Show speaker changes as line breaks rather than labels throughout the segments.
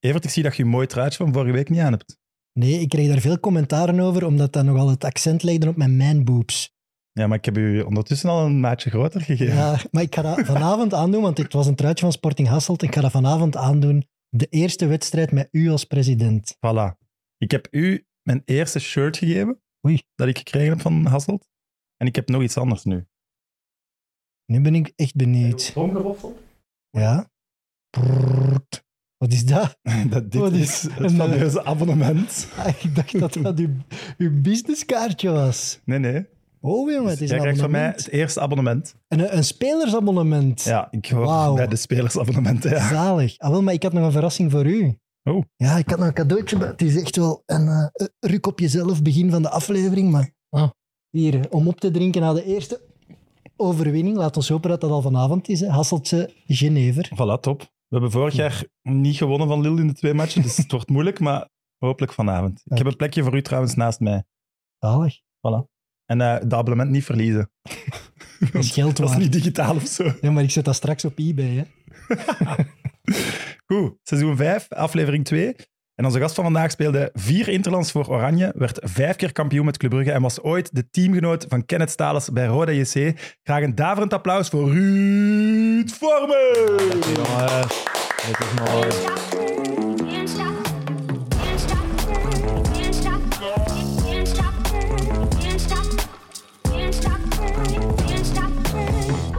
Evert, ik zie dat je een mooi truitje van vorige week niet aan hebt.
Nee, ik kreeg daar veel commentaren over, omdat dat nogal het accent legde op mijn manboobs.
Ja, maar ik heb u ondertussen al een maatje groter
Ja.
gegeven.
maar ik ga dat vanavond aandoen, want het was een truitje van Sporting Hasselt. Ik ga dat vanavond aandoen. De eerste wedstrijd met u als president.
Voilà. Ik heb u mijn eerste shirt gegeven.
Oei.
Dat ik gekregen heb van Hasselt. En ik heb nog iets anders nu.
Nu ben ik echt benieuwd.
Tromgeroffel?
Ja? Prrrt. Wat is dat?
Dat dit
Wat is
is het
een,
fameuze abonnement.
Ah, ik dacht dat dat uw, uw businesskaartje was.
Nee, nee. Dus
Oh jongen, het is
Jij
een
krijgt van mij
abonnement.
het eerste abonnement.
Een, een spelersabonnement.
Ja, ik hoor
Wauw.
bij de spelersabonnementen. Ja.
Zalig. Ah, wel, maar ik had nog een verrassing voor u.
Oh.
Ja, ik had nog een cadeautje. Maar het is echt wel een eh, ruk op jezelf, begin van de aflevering. Maar ah, hier, eh, om op te drinken na de eerste overwinning. Laat ons hopen dat dat al vanavond is. hè. Hasseltje, Genever.
Voilà, top. We hebben vorig jaar niet gewonnen van Lille in de twee matchen, dus het wordt moeilijk, maar hopelijk vanavond. Ik
Dank.
heb een plekje voor u trouwens naast mij.
Zalig.
En eh het abonnement niet verliezen.
Dat is geld
Dat is
waard.
niet digitaal of zo.
Ja, maar ik zet dat straks op eBay. Hè.
Goed, seizoen 5, aflevering 2. En onze gast van vandaag speelde vier Interlands voor Oranje, werd vijf keer kampioen met Club Brugge en was ooit de teamgenoot van Kenneth Stalers bij Roda JC. Graag een daverend applaus voor Ruud Vormen!
Jongen, dit is mooi.
Can't stop. Can't stop. Can't stop. Can't stop. Can't stop. Can't stop. Can't stop.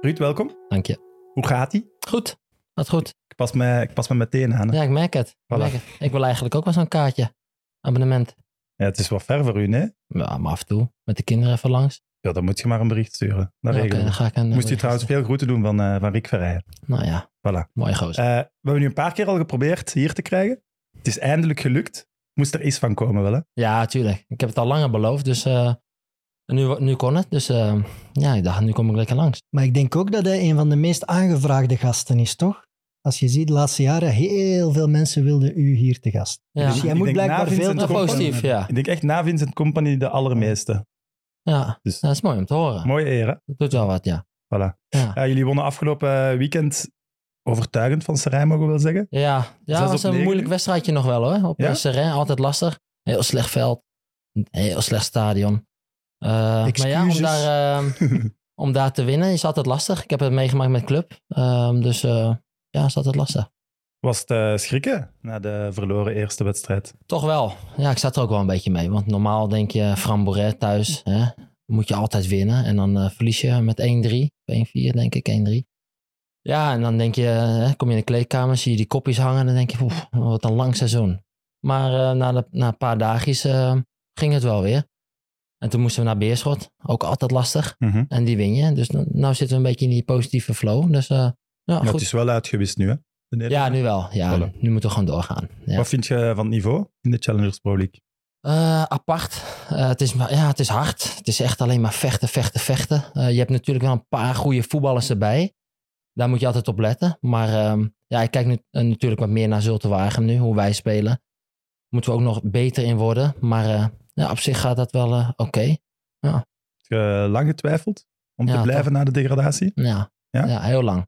Ruud, welkom.
Dank je.
Hoe gaat-ie?
Goed, dat goed.
Ik pas me, ik pas me meteen aan. hè.
Ja, ik merk het. Ik,
Voilà.
merk het. ik wil eigenlijk ook wel zo'n kaartje. Abonnement.
Ja, het is wel ver voor u, nee?
Ja, maar af en toe. Met de kinderen even langs.
Ja, dan moet je maar een bericht sturen. Dat
Ja, oké,
regelen we.
dan ga ik een... eh,
Moest je trouwens veel groeten doen van, eh, van Rick Verrijen.
Nou ja,
Voilà.
mooi gozer.
Eh, we hebben nu een paar keer al geprobeerd hier te krijgen. Het is eindelijk gelukt. Moest er iets van komen wel, hè?
Ja, tuurlijk. Ik heb het al langer beloofd, dus... eh, en nu, nu kon het, dus eh, ja, ik dacht, nu kom ik lekker langs.
Maar ik denk ook dat hij een van de meest aangevraagde gasten is, toch? Als je ziet, de laatste jaren heel veel mensen wilden u hier te gast.
Ja,
Dus jij
Ik
moet
denk
blijkbaar
na Vincent
veel te
Nou,
Company-
positief, ja.
Ik denk echt na Vincent Company de allermeeste.
ja.
Dus-
dat is mooi om te horen.
Mooie eer, hè?
Dat doet wel wat, ja.
Voilà.
Ja.
Ja, jullie wonnen afgelopen weekend overtuigend van Serij, mogen we wel zeggen.
Ja, ja
Zes
dat
op
was een
negen.
moeilijk wedstrijdje nog wel hoor. Op
Ja?
ja? altijd lastig. Heel slecht veld. Heel slecht stadion. Eh, maar ja,
Excuses.
om daar, eh, om daar te winnen is altijd lastig. Ik heb het meegemaakt met club. Ehm, dus eh, ja, is altijd lastig.
Was het eh, schrikken na de verloren eerste wedstrijd?
Toch wel. Ja, ik zat er ook wel een beetje mee. Want normaal denk je, Framboret thuis, hè, moet je altijd winnen. En dan eh, verlies je met 1-3. 1-4 denk ik, 1-3. Ja, en dan denk je, hè, kom je in de kleedkamer, zie je die kopjes hangen. Dan denk je, oef, wat een lang seizoen. Maar eh, na, de- na een paar dagjes eh, ging het wel weer. En toen moesten we naar Beerschot. Ook altijd lastig.
Mhm.
En die win je. Dus nu nou zitten we een beetje in die positieve flow. Dus eh, ja,
Ja, het
goed.
is wel uitgewist nu, hè? De
Ja,
nederlaag.
nu wel. Ja,
Voilà.
nu moeten we gewoon doorgaan. Ja.
Wat vind je van het niveau in de Challengers Pro League?
Eh, apart. Eh, het, is, maar- ja, het is hard. Het is echt alleen maar vechten, vechten, vechten. Eh, je hebt natuurlijk wel een paar goede voetballers erbij. Daar moet je altijd op letten. Maar ehm, ja, ik kijk nu eh, natuurlijk wat meer naar Zulte Waregem nu, hoe wij spelen. Moeten we ook nog beter in worden. Maar eh, ja, op zich gaat dat wel eh, oké.
Heb je lang getwijfeld om te
Ja,
blijven
toch.
na de degradatie?
Ja.
Ja?
Ja? heel lang.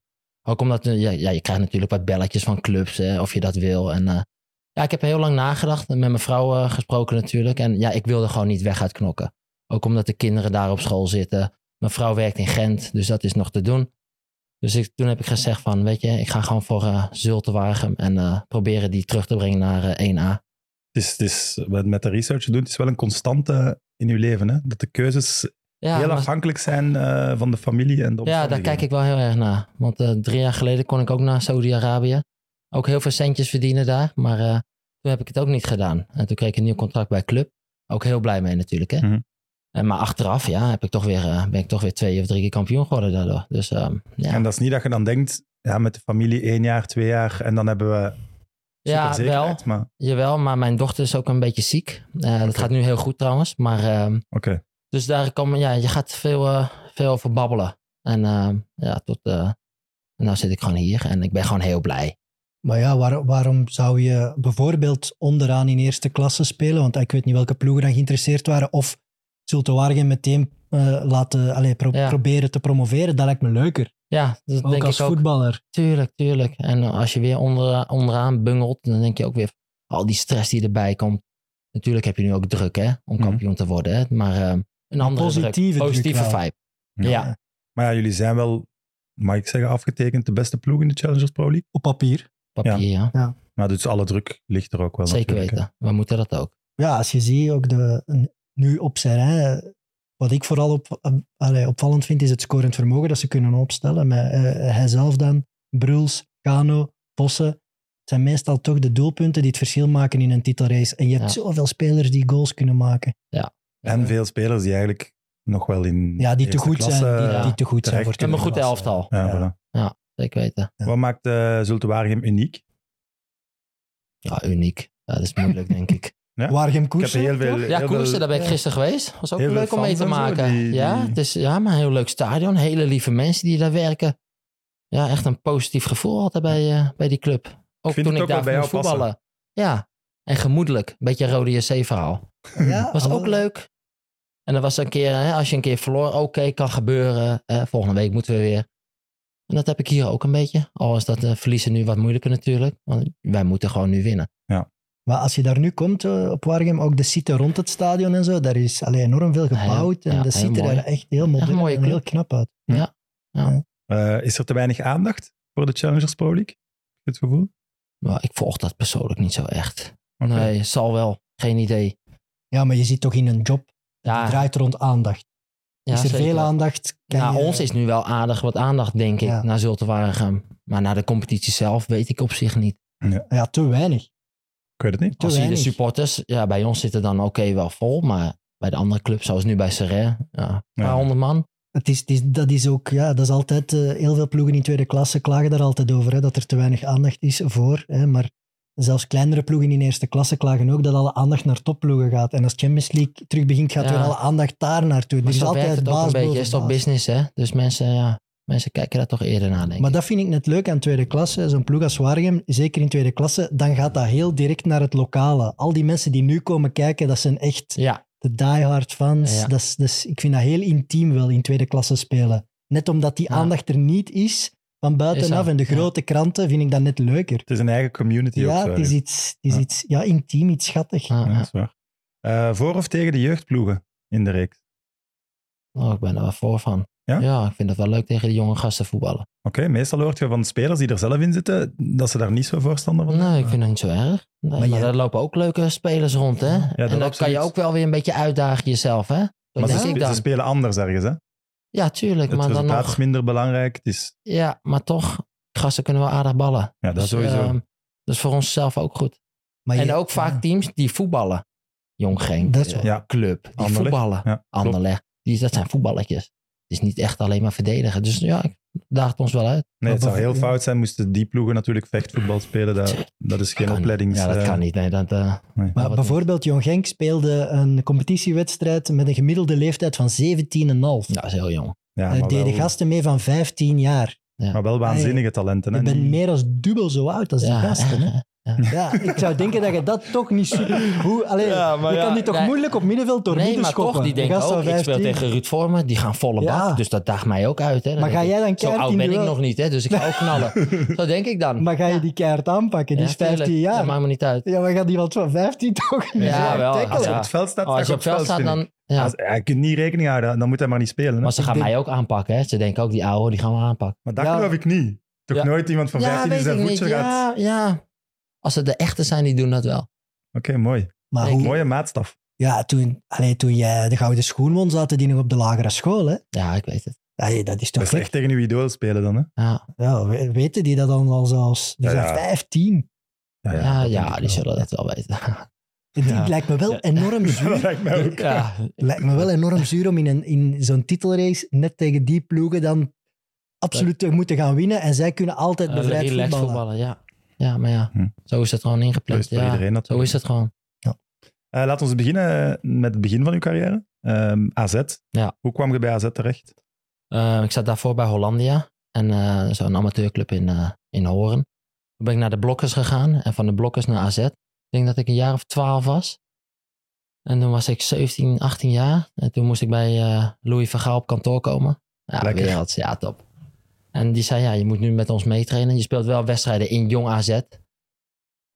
Ook omdat eh, ja, ja, je krijgt natuurlijk wat belletjes van clubs, hè, of je dat wil. En, eh, ja, ik heb heel lang nagedacht en met mijn vrouw eh, gesproken natuurlijk. En ja, ik wilde gewoon niet weg uit knokken. Ook omdat de kinderen daar op school zitten. Mijn vrouw werkt in Gent, dus dat is nog te doen. Dus ik, toen heb ik gezegd van, weet je, ik ga gewoon voor eh Zulte Waregem en eh, proberen die terug te brengen naar eh, 1A.
Het is, het is, wat met de research doen, het is wel een constante in uw leven. Hè? Dat de keuzes
Ja,
heel
maar-
afhankelijk zijn eh, van de familie en de
Ja, daar kijk ik wel heel erg naar. Want eh, drie jaar geleden kon ik ook naar Saudi-Arabië. Ook heel veel centjes verdienen daar. Maar eh, toen heb ik het ook niet gedaan. En toen kreeg ik een nieuw contract bij Club. Ook heel blij mee natuurlijk. Hè?
Mhm.
En, maar achteraf ja, heb ik toch weer, eh, ben ik toch weer twee of drie keer kampioen geworden daardoor. Dus ehm, ja,
En dat is niet dat je dan denkt, ja, met de familie één jaar, twee jaar en dan hebben we
ja wel,
superzekerheid. Ja, maar oké,
jawel, maar mijn dochter is ook een beetje ziek. Eh, Dat
Oké.
gaat nu heel goed trouwens. Maar ehm, Dus daar komen, ja, je gaat veel, eh, veel over babbelen. En ehm, ja, tot, eh, nou zit ik gewoon hier en ik ben gewoon heel blij.
Maar ja, waar- waarom zou je bijvoorbeeld onderaan in eerste klasse spelen? Want ik weet niet welke ploegen dan geïnteresseerd waren. Of Zulte Waregem meteen eh, laten allee, pro-
Ja.
proberen te promoveren. Dat lijkt me leuker.
Ja, dat
Ook
denk
als
ik ook.
voetballer.
Tuurlijk, tuurlijk. En eh, als je weer onder, onderaan bungelt, dan denk je ook weer al die stress die erbij komt. Natuurlijk heb je nu ook druk hè, om
Mhm.
kampioen te worden. Hè, maar ehm, een andere
positieve
druk,
druk
positieve
wel.
vibe.
Ja.
Ja.
Maar ja, jullie zijn wel, mag ik zeggen, afgetekend de beste ploeg in de Challengers Pro League.
Op papier.
papier, ja.
Maar dus alle druk ligt er ook wel
Zeker
natuurlijk, hè.
weten. We moeten dat ook.
Ja, als je ziet, ook de, nu op zijn rij, wat ik vooral op, eh, allee, opvallend vind, is het scorend vermogen dat ze kunnen opstellen. Met, eh, hij zelf dan, Bruls, Kano, Vossen. Het zijn meestal toch de doelpunten die het verschil maken in een titelrace. En je hebt
Ja.
zoveel spelers die goals kunnen maken.
En veel spelers die eigenlijk nog wel in
Ja, die te
eerste
goed zijn. Die,
klasse-
ja.
die te goed zijn
terecht.
voor
En een
tweede
goed
klasse.
elftal.
Ja,
Ja.
voilà.
Zeker weten.
Ja.
Wat maakt eh Zulte Waregem uniek?
Ja, Ah, uniek. Ja, dat is moeilijk, denk ik.
Ja.
Waregem
Ik heb
Koersen.
heel veel...
Ja,
heel
koersen,
veel-
daar ben ik
ja.
gisteren geweest. Was ook
Heel veel
leuk om mee
fans en
te
zo,
maken.
die-
Ja,
die-
het is, ja, maar een heel leuk stadion. Hele lieve mensen die daar werken. Ja, echt een positief gevoel altijd bij, eh, bij die club. Ook
vind
toen
het
ik
ook
daar
wel bij
moest
jou passen.
voetballen. Ja, en gemoedelijk. Een beetje een rode JC-verhaal.
Ja,
Was
hallo.
ook leuk. En dat was een keer, hè, als je een keer verloor, oké, kan gebeuren. Hè, volgende week moeten we weer. En dat heb ik hier ook een beetje. Al is dat eh, verliezen nu wat moeilijker natuurlijk. Want wij moeten gewoon nu winnen.
Maar als je daar nu komt eh, op Waregem, ook de site rond het stadion en zo, daar is allee, enorm veel gebouwd.
Ah, Ja,
en
ja,
de
heel
ziet er
mooi.
echt heel modern
mooie
en heel
club.
knap uit.
Eh, is er te weinig aandacht voor de Challengers Pro League? Het gevoel?
Maar ik volg dat persoonlijk niet zo echt.
Oké.
Nee, zal wel. Geen idee.
Ja, maar je zit toch in een job
Ja,
Het draait rond aandacht.
ja,
is er
zeker.
veel aandacht? kan
Nou,
je-
ons is nu wel aardig wat aandacht, denk ik,
Ja.
naar Zulte Waregem. Maar naar de competitie zelf weet ik op zich niet.
Ja, te weinig.
Ik weet het niet.
Te
Als je de
weinig.
supporters, ja, bij ons zitten dan oké wel vol, maar bij de andere clubs, zoals nu bij Serre, ja, een paar
Ja.
honderd man.
Het is, het is- dat is ook, ja, dat is altijd, eh, heel veel ploegen in tweede klasse klagen daar altijd over, hè, dat er te weinig aandacht is voor. Hè, maar zelfs kleinere ploegen in eerste klasse klagen ook dat alle aandacht naar topploegen gaat. En als Champions League terug begint, gaat
Ja.
weer alle aandacht daar naartoe. Er
Maar
is
zo werkt
altijd
het ook
baas
een beetje.
boven
is toch
baas.
business, hè? Dus mensen, ja, mensen kijken daar toch eerder naar, denk
Maar
ik.
dat vind ik net leuk aan tweede klasse. Zo'n ploeg als Waregem, zeker in tweede klasse, dan gaat dat heel direct naar het lokale. Al die mensen die nu komen kijken, dat zijn echt
Ja,
de diehard fans.
Ja.
Dat is, dat is- ik vind dat heel intiem wel in tweede klasse spelen. Net omdat die
Ja.
aandacht er niet is van buitenaf
zo,
en de
ja.
grote kranten, vind ik dat net leuker.
Het is een eigen community ook.
Ja,
zo,
het is
hè.
iets, het is
Ja.
iets ja, intiem, iets schattig.
ja,
Ja,
ja.
dat is waar. Eh, voor of tegen de jeugdploegen in de reeks?
Oh, ik ben er wel voor van.
Ja?
ik vind het wel leuk tegen de jonge gasten voetballen.
Oké, meestal hoort je van spelers die er zelf in zitten, dat ze daar niet zo voorstander van zijn.
Nee, ik vind het niet zo erg. Nee, maar
jij-
daar lopen ook leuke spelers rond, hè? en
dat
dan kan
absoluut.
je ook wel weer een beetje uitdagen jezelf, hè? Dat
Maar
denk
ze,
ik
spe- ze
dan.
spelen anders ergens, hè?
Ja, tuurlijk.
Het
maar dan
resultaat is
nog,
minder belangrijk. Het is,
ja, maar toch, gasten kunnen wel aardig ballen.
ja, dat
Dus,
sowieso.
ehm, dat is voor onszelf ook goed.
Maar
en
je-
ook vaak
ja.
teams die voetballen. Jong Genk, eh,
Dat is waar.
Ja.
club, die
Anderlecht.
voetballen.
Ja, klopt.
Anderlecht. Die, dat zijn voetballetjes. Het is niet echt alleen maar verdedigen. Dus ja, ik daagt ons wel uit.
Nee, het zou heel
Ja.
fout zijn moesten die ploegen natuurlijk vechtvoetbal spelen. Dat, dat is geen
Kan niet.
opleiding.
Ja, dat kan niet. Nee, dat, eh,
nee.
Maar
wat
bijvoorbeeld, Jong Genk speelde een competitiewedstrijd met een gemiddelde leeftijd van 17,5.
dat is heel jong.
Ja,
Daar
maar,
deden
wel,
gasten mee van 15 jaar.
maar wel waanzinnige talenten. hè.
Ik ben
Die-
meer dan dubbel zo oud als die
Ja,
gasten. Hè? Ja, ik zou denken dat je dat toch niet super... Hoe, allee,
Ja, maar
je kan
ja,
die toch
nee.
moeilijk op middenveld door
nee,
midden
maar
schoppen.
toch, die
Een
denken
gast van
ook, ik speel
15.
tegen Ruud Vormen, die gaan volle
Ja.
bak. Dus dat daagt mij ook uit. Hè. Dan
Maar
denk
ga
ik,
jij dan
zo
keihard
oud
in
ben ik
duel-
nog niet, hè, dus ik ga ook knallen. zo denk ik dan.
Maar ga je die keihard aanpakken? Die
Ja,
is 15
tuurlijk.
jaar.
Dat
Ja,
maakt me niet uit.
maar gaat iemand van 15 toch niet
Ja,
zo hard
wel,
tackelen?
Als je
Ja.
op het veld staat,
Oh, als je
sta
op het veld staat,
vind ik.
dan... Ja.
Als- Hij kunt niet rekening houden, dan moet hij maar niet spelen. Hè?
Maar ze
Ik
gaan
denk-
mij ook aanpakken. Hè. Ze denken ook, die oude, die gaan we aanpakken.
Maar dat
Ja.
geloof ik niet. Toch
Ja.
nooit iemand van 15 die zijn voetje gaat.
Ja, ja. Als het de echte zijn, die doen dat wel.
Oké, mooi.
Maar
Ik-
hoe,
Mooie maatstaf.
ja, toen, allee, toen jij de gouden schoen won, zaten die nog op de lagere school. Hè?
Ja, ik weet het.
Allee, dat
Dat
is toch
is
gek?
echt tegen uw idool spelen dan, hè?
Ja,
Ja, we- weten die dat dan al zelfs? Die
Ja,
zijn
ja.
15.
ja,
dat
ja,
denk ik
die
wel.
zullen dat wel weten.
Het
Ja.
lijkt me wel
Ja.
enorm
Dat
zuur.
lijkt mij ook.
Ja,
lijkt me wel enorm zuur om in, een- in zo'n titelrace net tegen die ploegen dan absoluut te moeten gaan winnen. En zij kunnen altijd bevrijd
relaxed
voetballen.
voetballen, ja. Ja, maar ja,
Hm.
zo is het gewoon
Dat
ingepland.
is voor
Ja.
iedereen
Zo
natuurlijk.
is het gewoon.
Eh, laten we beginnen met het begin van uw carrière. Ehm, AZ.
Ja.
Hoe kwam je bij AZ terecht?
Eh, ik zat daarvoor bij Hollandia. En eh, zo'n amateurclub in, eh, in Horen. Toen ben ik naar de Blokkers gegaan. En van de Blokkers naar AZ. Ik denk dat ik een jaar of twaalf was. En toen was ik 17, 18 jaar. En toen moest ik bij eh, Louis van Gaal op kantoor komen. Ja,
Lekker.
werelds. Ja, top. En die zei, ja, je moet nu met ons meetrainen. Je speelt wel wedstrijden in Jong AZ.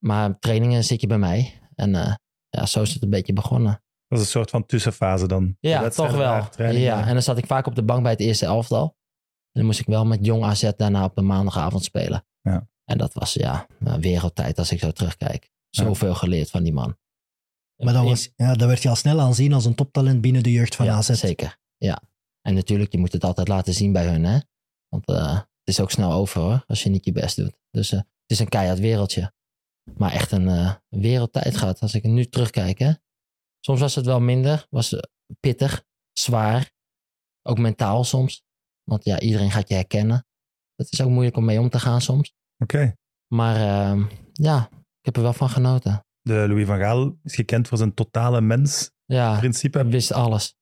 Maar trainingen zit je bij mij. En eh, ja, zo is het een beetje begonnen.
Dat is een soort van tussenfase dan. De
Ja,
wedstrijd
toch wel.
daar, training
Ja,
daar.
en dan zat ik vaak op de bank bij het eerste elftal. En dan moest ik wel met Jong AZ daarna op de maandagavond spelen.
Ja.
En dat was ja, een wereldtijd als ik zo terugkijk.
Ja.
Zoveel geleerd van die man.
Maar dat,
In-
was, ja, dat werd je al snel aanzien als een toptalent binnen de jeugd van
ja,
AZ.
Zeker, ja. En natuurlijk, je moet het altijd laten zien bij hun, hè. Want eh, het is ook snel over, hoor, als je niet je best doet. Dus eh, het is een keihard wereldje. Maar echt een eh, wereldtijd gehad, als ik nu terugkijk, hè. Soms was het wel minder, was eh, pittig, zwaar. Ook mentaal soms. Want ja, iedereen gaat je herkennen. Dat is ook moeilijk om mee om te gaan soms.
Oké.
Maar ehm, ja, ik heb er wel van genoten.
De Louis van Gaal is gekend voor zijn totale mens-principe.
Ja, Hij wist alles.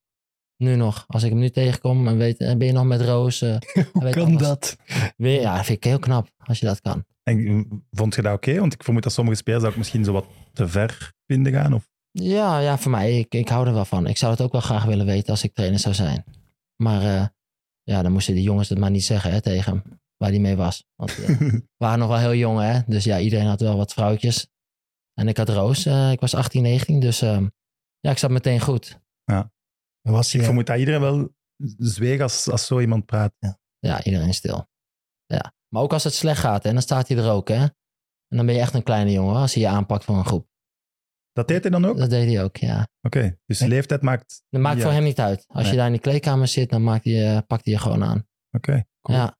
Nu nog. Als ik hem nu tegenkom en weet, eh, ben je nog met Roos? eh, hij weet
Kan
alles.
dat?
Weer, ja, dat vind ik heel knap als je dat kan.
En vond je dat oké? Want ik vermoed dat sommige spelers dat ook misschien zo wat te ver vinden gaan. Of...
Ja, ja voor mij, ik, ik hou er wel van. Ik zou het ook wel graag willen weten als ik trainer zou zijn. Maar eh, ja, dan moesten die jongens het maar niet zeggen hè, tegen hem, waar hij mee was. Want eh, we waren nog wel heel jong, hè? dus ja, iedereen had wel wat vrouwtjes. En ik had Roos, eh, ik was 18, 19, dus ehm, ja, ik zat meteen goed.
Was
Ik
je,
vermoed dat iedereen wel zweeg als, als zo iemand praat.
Ja, iedereen stil. Ja. Maar ook als het slecht gaat, hè, dan staat hij er ook. Hè? En dan ben je echt een kleine jongen hoor, als hij je aanpakt voor een groep.
Dat deed hij dan ook? Oké.
Dat deed hij ook, ja.
Dus leeftijd maakt...
Dat maakt
Ja.
voor hem niet uit. Als
Nee.
je daar in die kleedkamer zit, dan maakt hij, eh, pakt hij je gewoon aan.
Oké. cool.
Ja,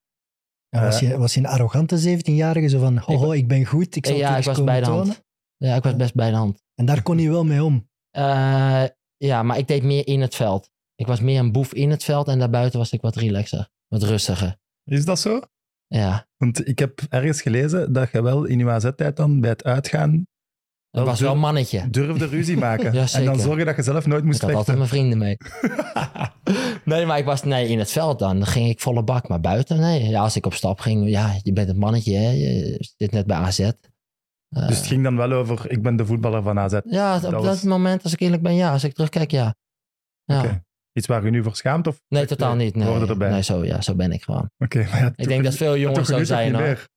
ja, was, je, was je een arrogante 17-jarige? Zo van, hoho, ik ben goed, ik zal
Eh,
het
ja
je eens
ik was
komen
bij de
tonen.
hand. Ja, ik was best bij de hand.
En daar kon je wel mee om.
Eh, ja, maar ik deed meer in het veld. Ik was meer een boef in het veld en daarbuiten was ik wat relaxer, wat rustiger.
Is dat zo?
Ja,
Want ik heb ergens gelezen dat je wel in je AZ-tijd dan bij het uitgaan
dat
Wel
was wel
durf-
een mannetje.
durfde ruzie maken.
Ja,
en dan
zeker.
zorgen dat je zelf nooit moest
Ik had altijd
vechten.
mijn vrienden mee. nee, maar ik was nee, in het veld dan. Dan ging ik volle bak. Maar buiten, nee. Ja, als ik op stap ging, ja, je bent het mannetje, hè. Je zit net bij AZ. Eh,
Dus het ging dan wel over, ik ben de voetballer van AZ.
ja, op
dat
dat,
was-
moment, als ik eerlijk ben, ja. Als ik terugkijk, ja. ja.
Oké. Iets waar je nu voor schaamt? Of...
Nee, totaal niet. Nee,
Hoorde erbij.
nee zo, ja, zo ben ik gewoon.
Oké, maar ja,
Ik denk dat veel jongens zo zijn, hoor.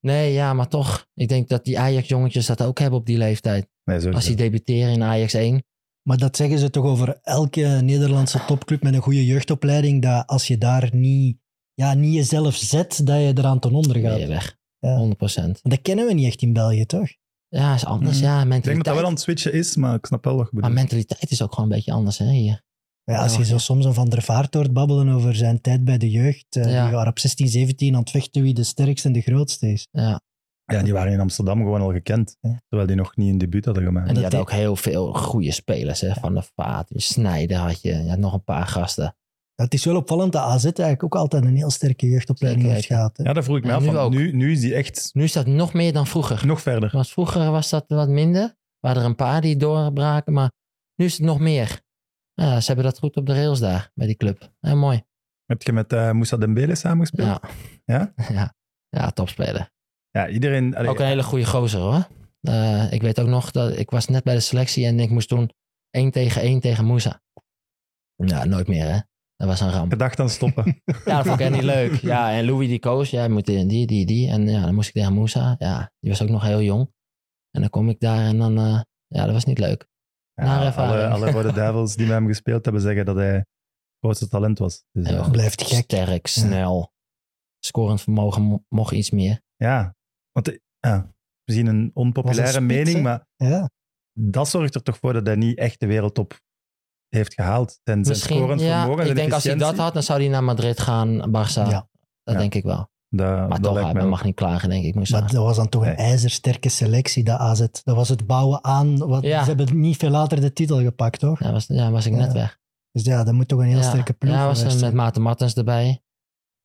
Nee, ja, maar toch. Ik denk dat die Ajax-jongetjes dat ook hebben op die leeftijd.
Nee, zo
Als die debuteren in Ajax 1.
Maar dat zeggen ze toch over elke Nederlandse topclub met een goede jeugdopleiding, dat als je daar niet, ja, niet jezelf zet, dat je eraan ten onder
ben
gaat.
je weg.
Ja.
100%.
Dat kennen we niet echt in België, toch?
Ja, is anders.
Mhm.
Ja,
Ik denk dat
mentaliteit.
dat wel aan het switchen is, maar ik snap wel wat je
Maar
bedoelt.
mentaliteit is ook gewoon een beetje anders hè, hier.
Ja, als
Ja.
je zo soms een Van der Vaart hoort babbelen over zijn tijd bij de jeugd, eh,
Ja.
die waren op 16, 17 aan het vechten wie de sterkste en de grootste is.
Ja.
Ja, die waren in Amsterdam gewoon al gekend.
Ja.
Terwijl die nog niet een debuut hadden gemaakt.
En die
dat
hadden ook heel veel goede spelers. Hè? Van de Vaart, Snijder had je. Je had nog een paar gasten.
Ja, het is wel opvallend dat AZ eigenlijk ook altijd een heel sterke jeugdopleiding
Zeker
heeft gehad. hè.
Ja, daar vroeg ik me
En
af.
nu
van,
ook.
Nu, nu is die echt
Nu is dat nog meer dan vroeger.
nog verder.
Want vroeger was dat wat minder. Waren er een paar die doorbraken. Maar nu is het nog meer. Ja, ze hebben dat goed op de rails daar. Bij die club. Heel mooi.
Heb je met eh Moussa Dembele samengespeeld?
Ja.
Ja?
Ja, ja topspeler.
Ja, iedereen... allee,
Ook een hele goede gozer hoor. Eh, ik weet ook nog dat ik was net bij de selectie en ik moest toen 1 tegen 1 tegen Moussa. Ja, nooit meer hè. Dat was een ramp.
Gedacht aan stoppen.
Ja, dat vond ik echt niet leuk. Ja, en Louis die koos, ja, moet in die, die, die. En ja, dan moest ik tegen Moussa. Ja, die was ook nog heel jong. En dan kom ik daar en dan, eh, ja, dat was niet leuk. Naar
Ja, alle,
ervaring.
alle Rode Duivels die met hem gespeeld hebben zeggen dat hij het grootste talent was. Dus,
Heel
eh,
goed.
Blijft gek.
Sterk, snel. Scorend vermogen mo- mocht iets meer.
ja, want eh, ja, misschien een onpopulaire
Was een spits,
mening,
hè?
maar
Ja.
dat zorgt er toch voor dat hij niet echt de wereldtop heeft gehaald. Zijn, zijn
Misschien,
scorend
ja,
vermogen en
ik denk als hij dat had, dan zou hij naar Madrid gaan, Barça.
Ja.
Dat
Ja.
denk ik wel.
Dat,
Maar
dat
toch,
lijkt mij
hij
ook.
mag niet klagen, denk ik. Moussa.
Maar dat was dan toch
Nee.
een ijzersterke selectie, dat AZ. Dat was het bouwen aan. Wat,
Ja.
Ze hebben niet veel later de titel gepakt, toch?
Ja, was, ja, was ik net
Ja,
weg.
Dus ja, dat moet toch een heel
ja.
sterke ploeg
Ja, was
geweest
er met
zijn.
Maarten Martens erbij.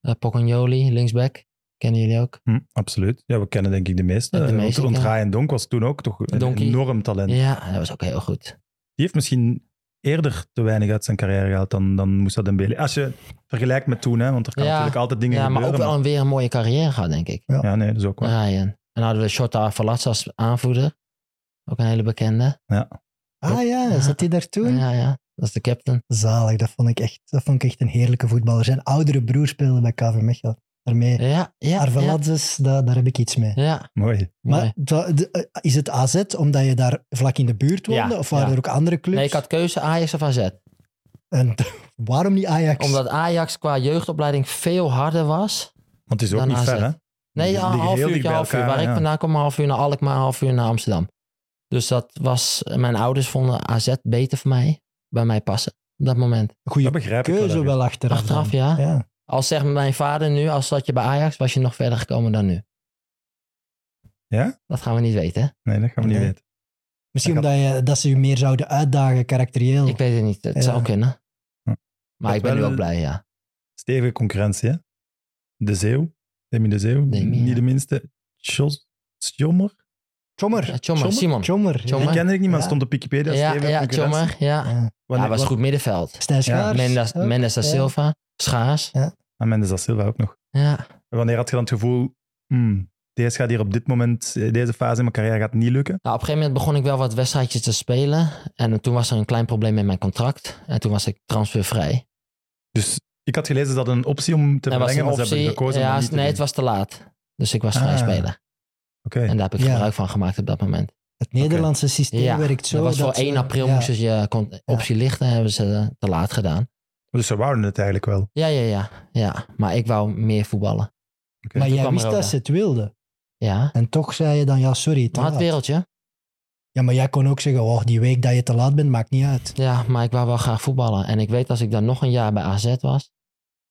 Uh, Pocagnoli, linksback. Kennen jullie ook?
Hm, absoluut. Ja, we kennen denk ik de meeste.
De
Eh, want
meeste,
Rond
ja.
Ryan Donk was toen ook toch een
Donkie.
enorm talent.
Ja, dat was ook heel goed.
Die heeft misschien eerder te weinig uit zijn carrière gehaald dan, dan Moussa Dembele. Als je het vergelijkt met toen, hè, want er kan
Ja.
natuurlijk altijd dingen
ja, maar
gebeuren.
ook wel
maar-
een, weer een mooie carrière gehad, denk ik.
Ja, nee, dat is ook wel.
Ryan. En dan hadden we Shota Falas als aanvoerder. Ook een hele bekende.
Ja.
Ah ja, zat hij daar toen?
Ja, ja, dat is de captain.
Zalig, dat vond, ik echt, dat vond ik echt een heerlijke voetballer. Zijn oudere broer speelde bij KV Mechelen. Daarmee,
Ja, ja. Ja,
Arveladzes, daar, daar heb ik iets mee.
ja.
Mooi.
mooi.
Maar dat- de- eh, is het AZ omdat je daar vlak in de buurt woonde?
Ja,
of waren
ja.
er ook andere clubs?
Nee, ik had keuze Ajax of AZ.
En waarom niet Ajax?
Omdat Ajax qua jeugdopleiding veel harder was.
Want het is ook
Dan
niet ver,
AZ.
hè? Die
Nee, ja, een
liggen
half
heel
uurtje,
dicht bij
half uur.
elkaar,
Waar ik
ja.
vandaan kom, een half uur naar Alkmaar, een half uur naar Amsterdam. Dus dat was... Mijn ouders vonden AZ beter voor mij. Bij mij passen. Op dat moment.
Dat
Goede
begrijp ik wel.
keuze
ergens.
wel achteraf.
Achteraf,
dan.
ja.
ja.
Als zegt mijn vader nu, als zat je bij Ajax, was je nog verder gekomen dan nu.
Ja?
Dat gaan we niet weten. hè?
Nee, dat gaan we niet
Nee.
weten.
Misschien
Ik had-
omdat je, dat ze je meer zouden uitdagen, karakterieel.
Ik weet het niet. Het
Ja.
zou kunnen.
Oh. Hm.
Maar
Dat
ik ben nu
wel-
ook blij, ja.
Stevige concurrentie, hè? De Zeeuw. Demi de Zeeuw.
Demi, ja.
Niet de minste. Jos- Sjommer.
Tjommer.
Ja, Tjommer, Simon.
Tjommer.
Die
Tjommer.
kende ik niet, maar
Ja.
stond op Wikipedia.
ja,
stevige
ja,
concurrentie.
Tjommer, ja.
Ja.
Ja,
Wanneer
was goed middenveld.
Stijn Schaars.
Mendes,
ook.
Mendes da
Ja.
Silva, Schaars.
En Ah, Mendes da Silva ook nog.
Ja.
Wanneer had je dan het gevoel, hmm, deze gaat hier op dit moment, eh, deze fase in mijn carrière gaat niet lukken?
Nou, op een gegeven moment begon ik wel wat wedstrijdjes te spelen. En toen was er een klein probleem met mijn contract. En toen was ik transfervrij.
Dus ik had gelezen dat een optie om te
en was
verlengen,
een
maar ze hebben
optie.
gekozen om
Ja,
dat
nee,
niet te
het
doen.
was te laat. Dus ik was
Ah.
vrij speler.
Oké,
En daar heb ik
Ja.
gebruik van gemaakt op dat moment.
Het Nederlandse systeem
Ja,
werkt zo.
dat was voor
ze-
1 april
ja.
moesten ze je con- optie lichten. Hebben ze eh, te laat gedaan.
dus ze wouden het eigenlijk wel.
Ja, ja, ja, ja. Maar ik wou meer voetballen.
Ja,
Maar
toen
jij
kwam
wist
Roda.
dat ze het wilden.
Ja.
En toch zei je dan, ja, sorry, te
Maar het
laat.
wereldje.
Ja, maar jij kon ook zeggen, oh, die week dat je te laat bent, maakt niet uit.
Ja, maar ik wou wel graag voetballen. En ik weet als ik dan nog een jaar bij AZ was,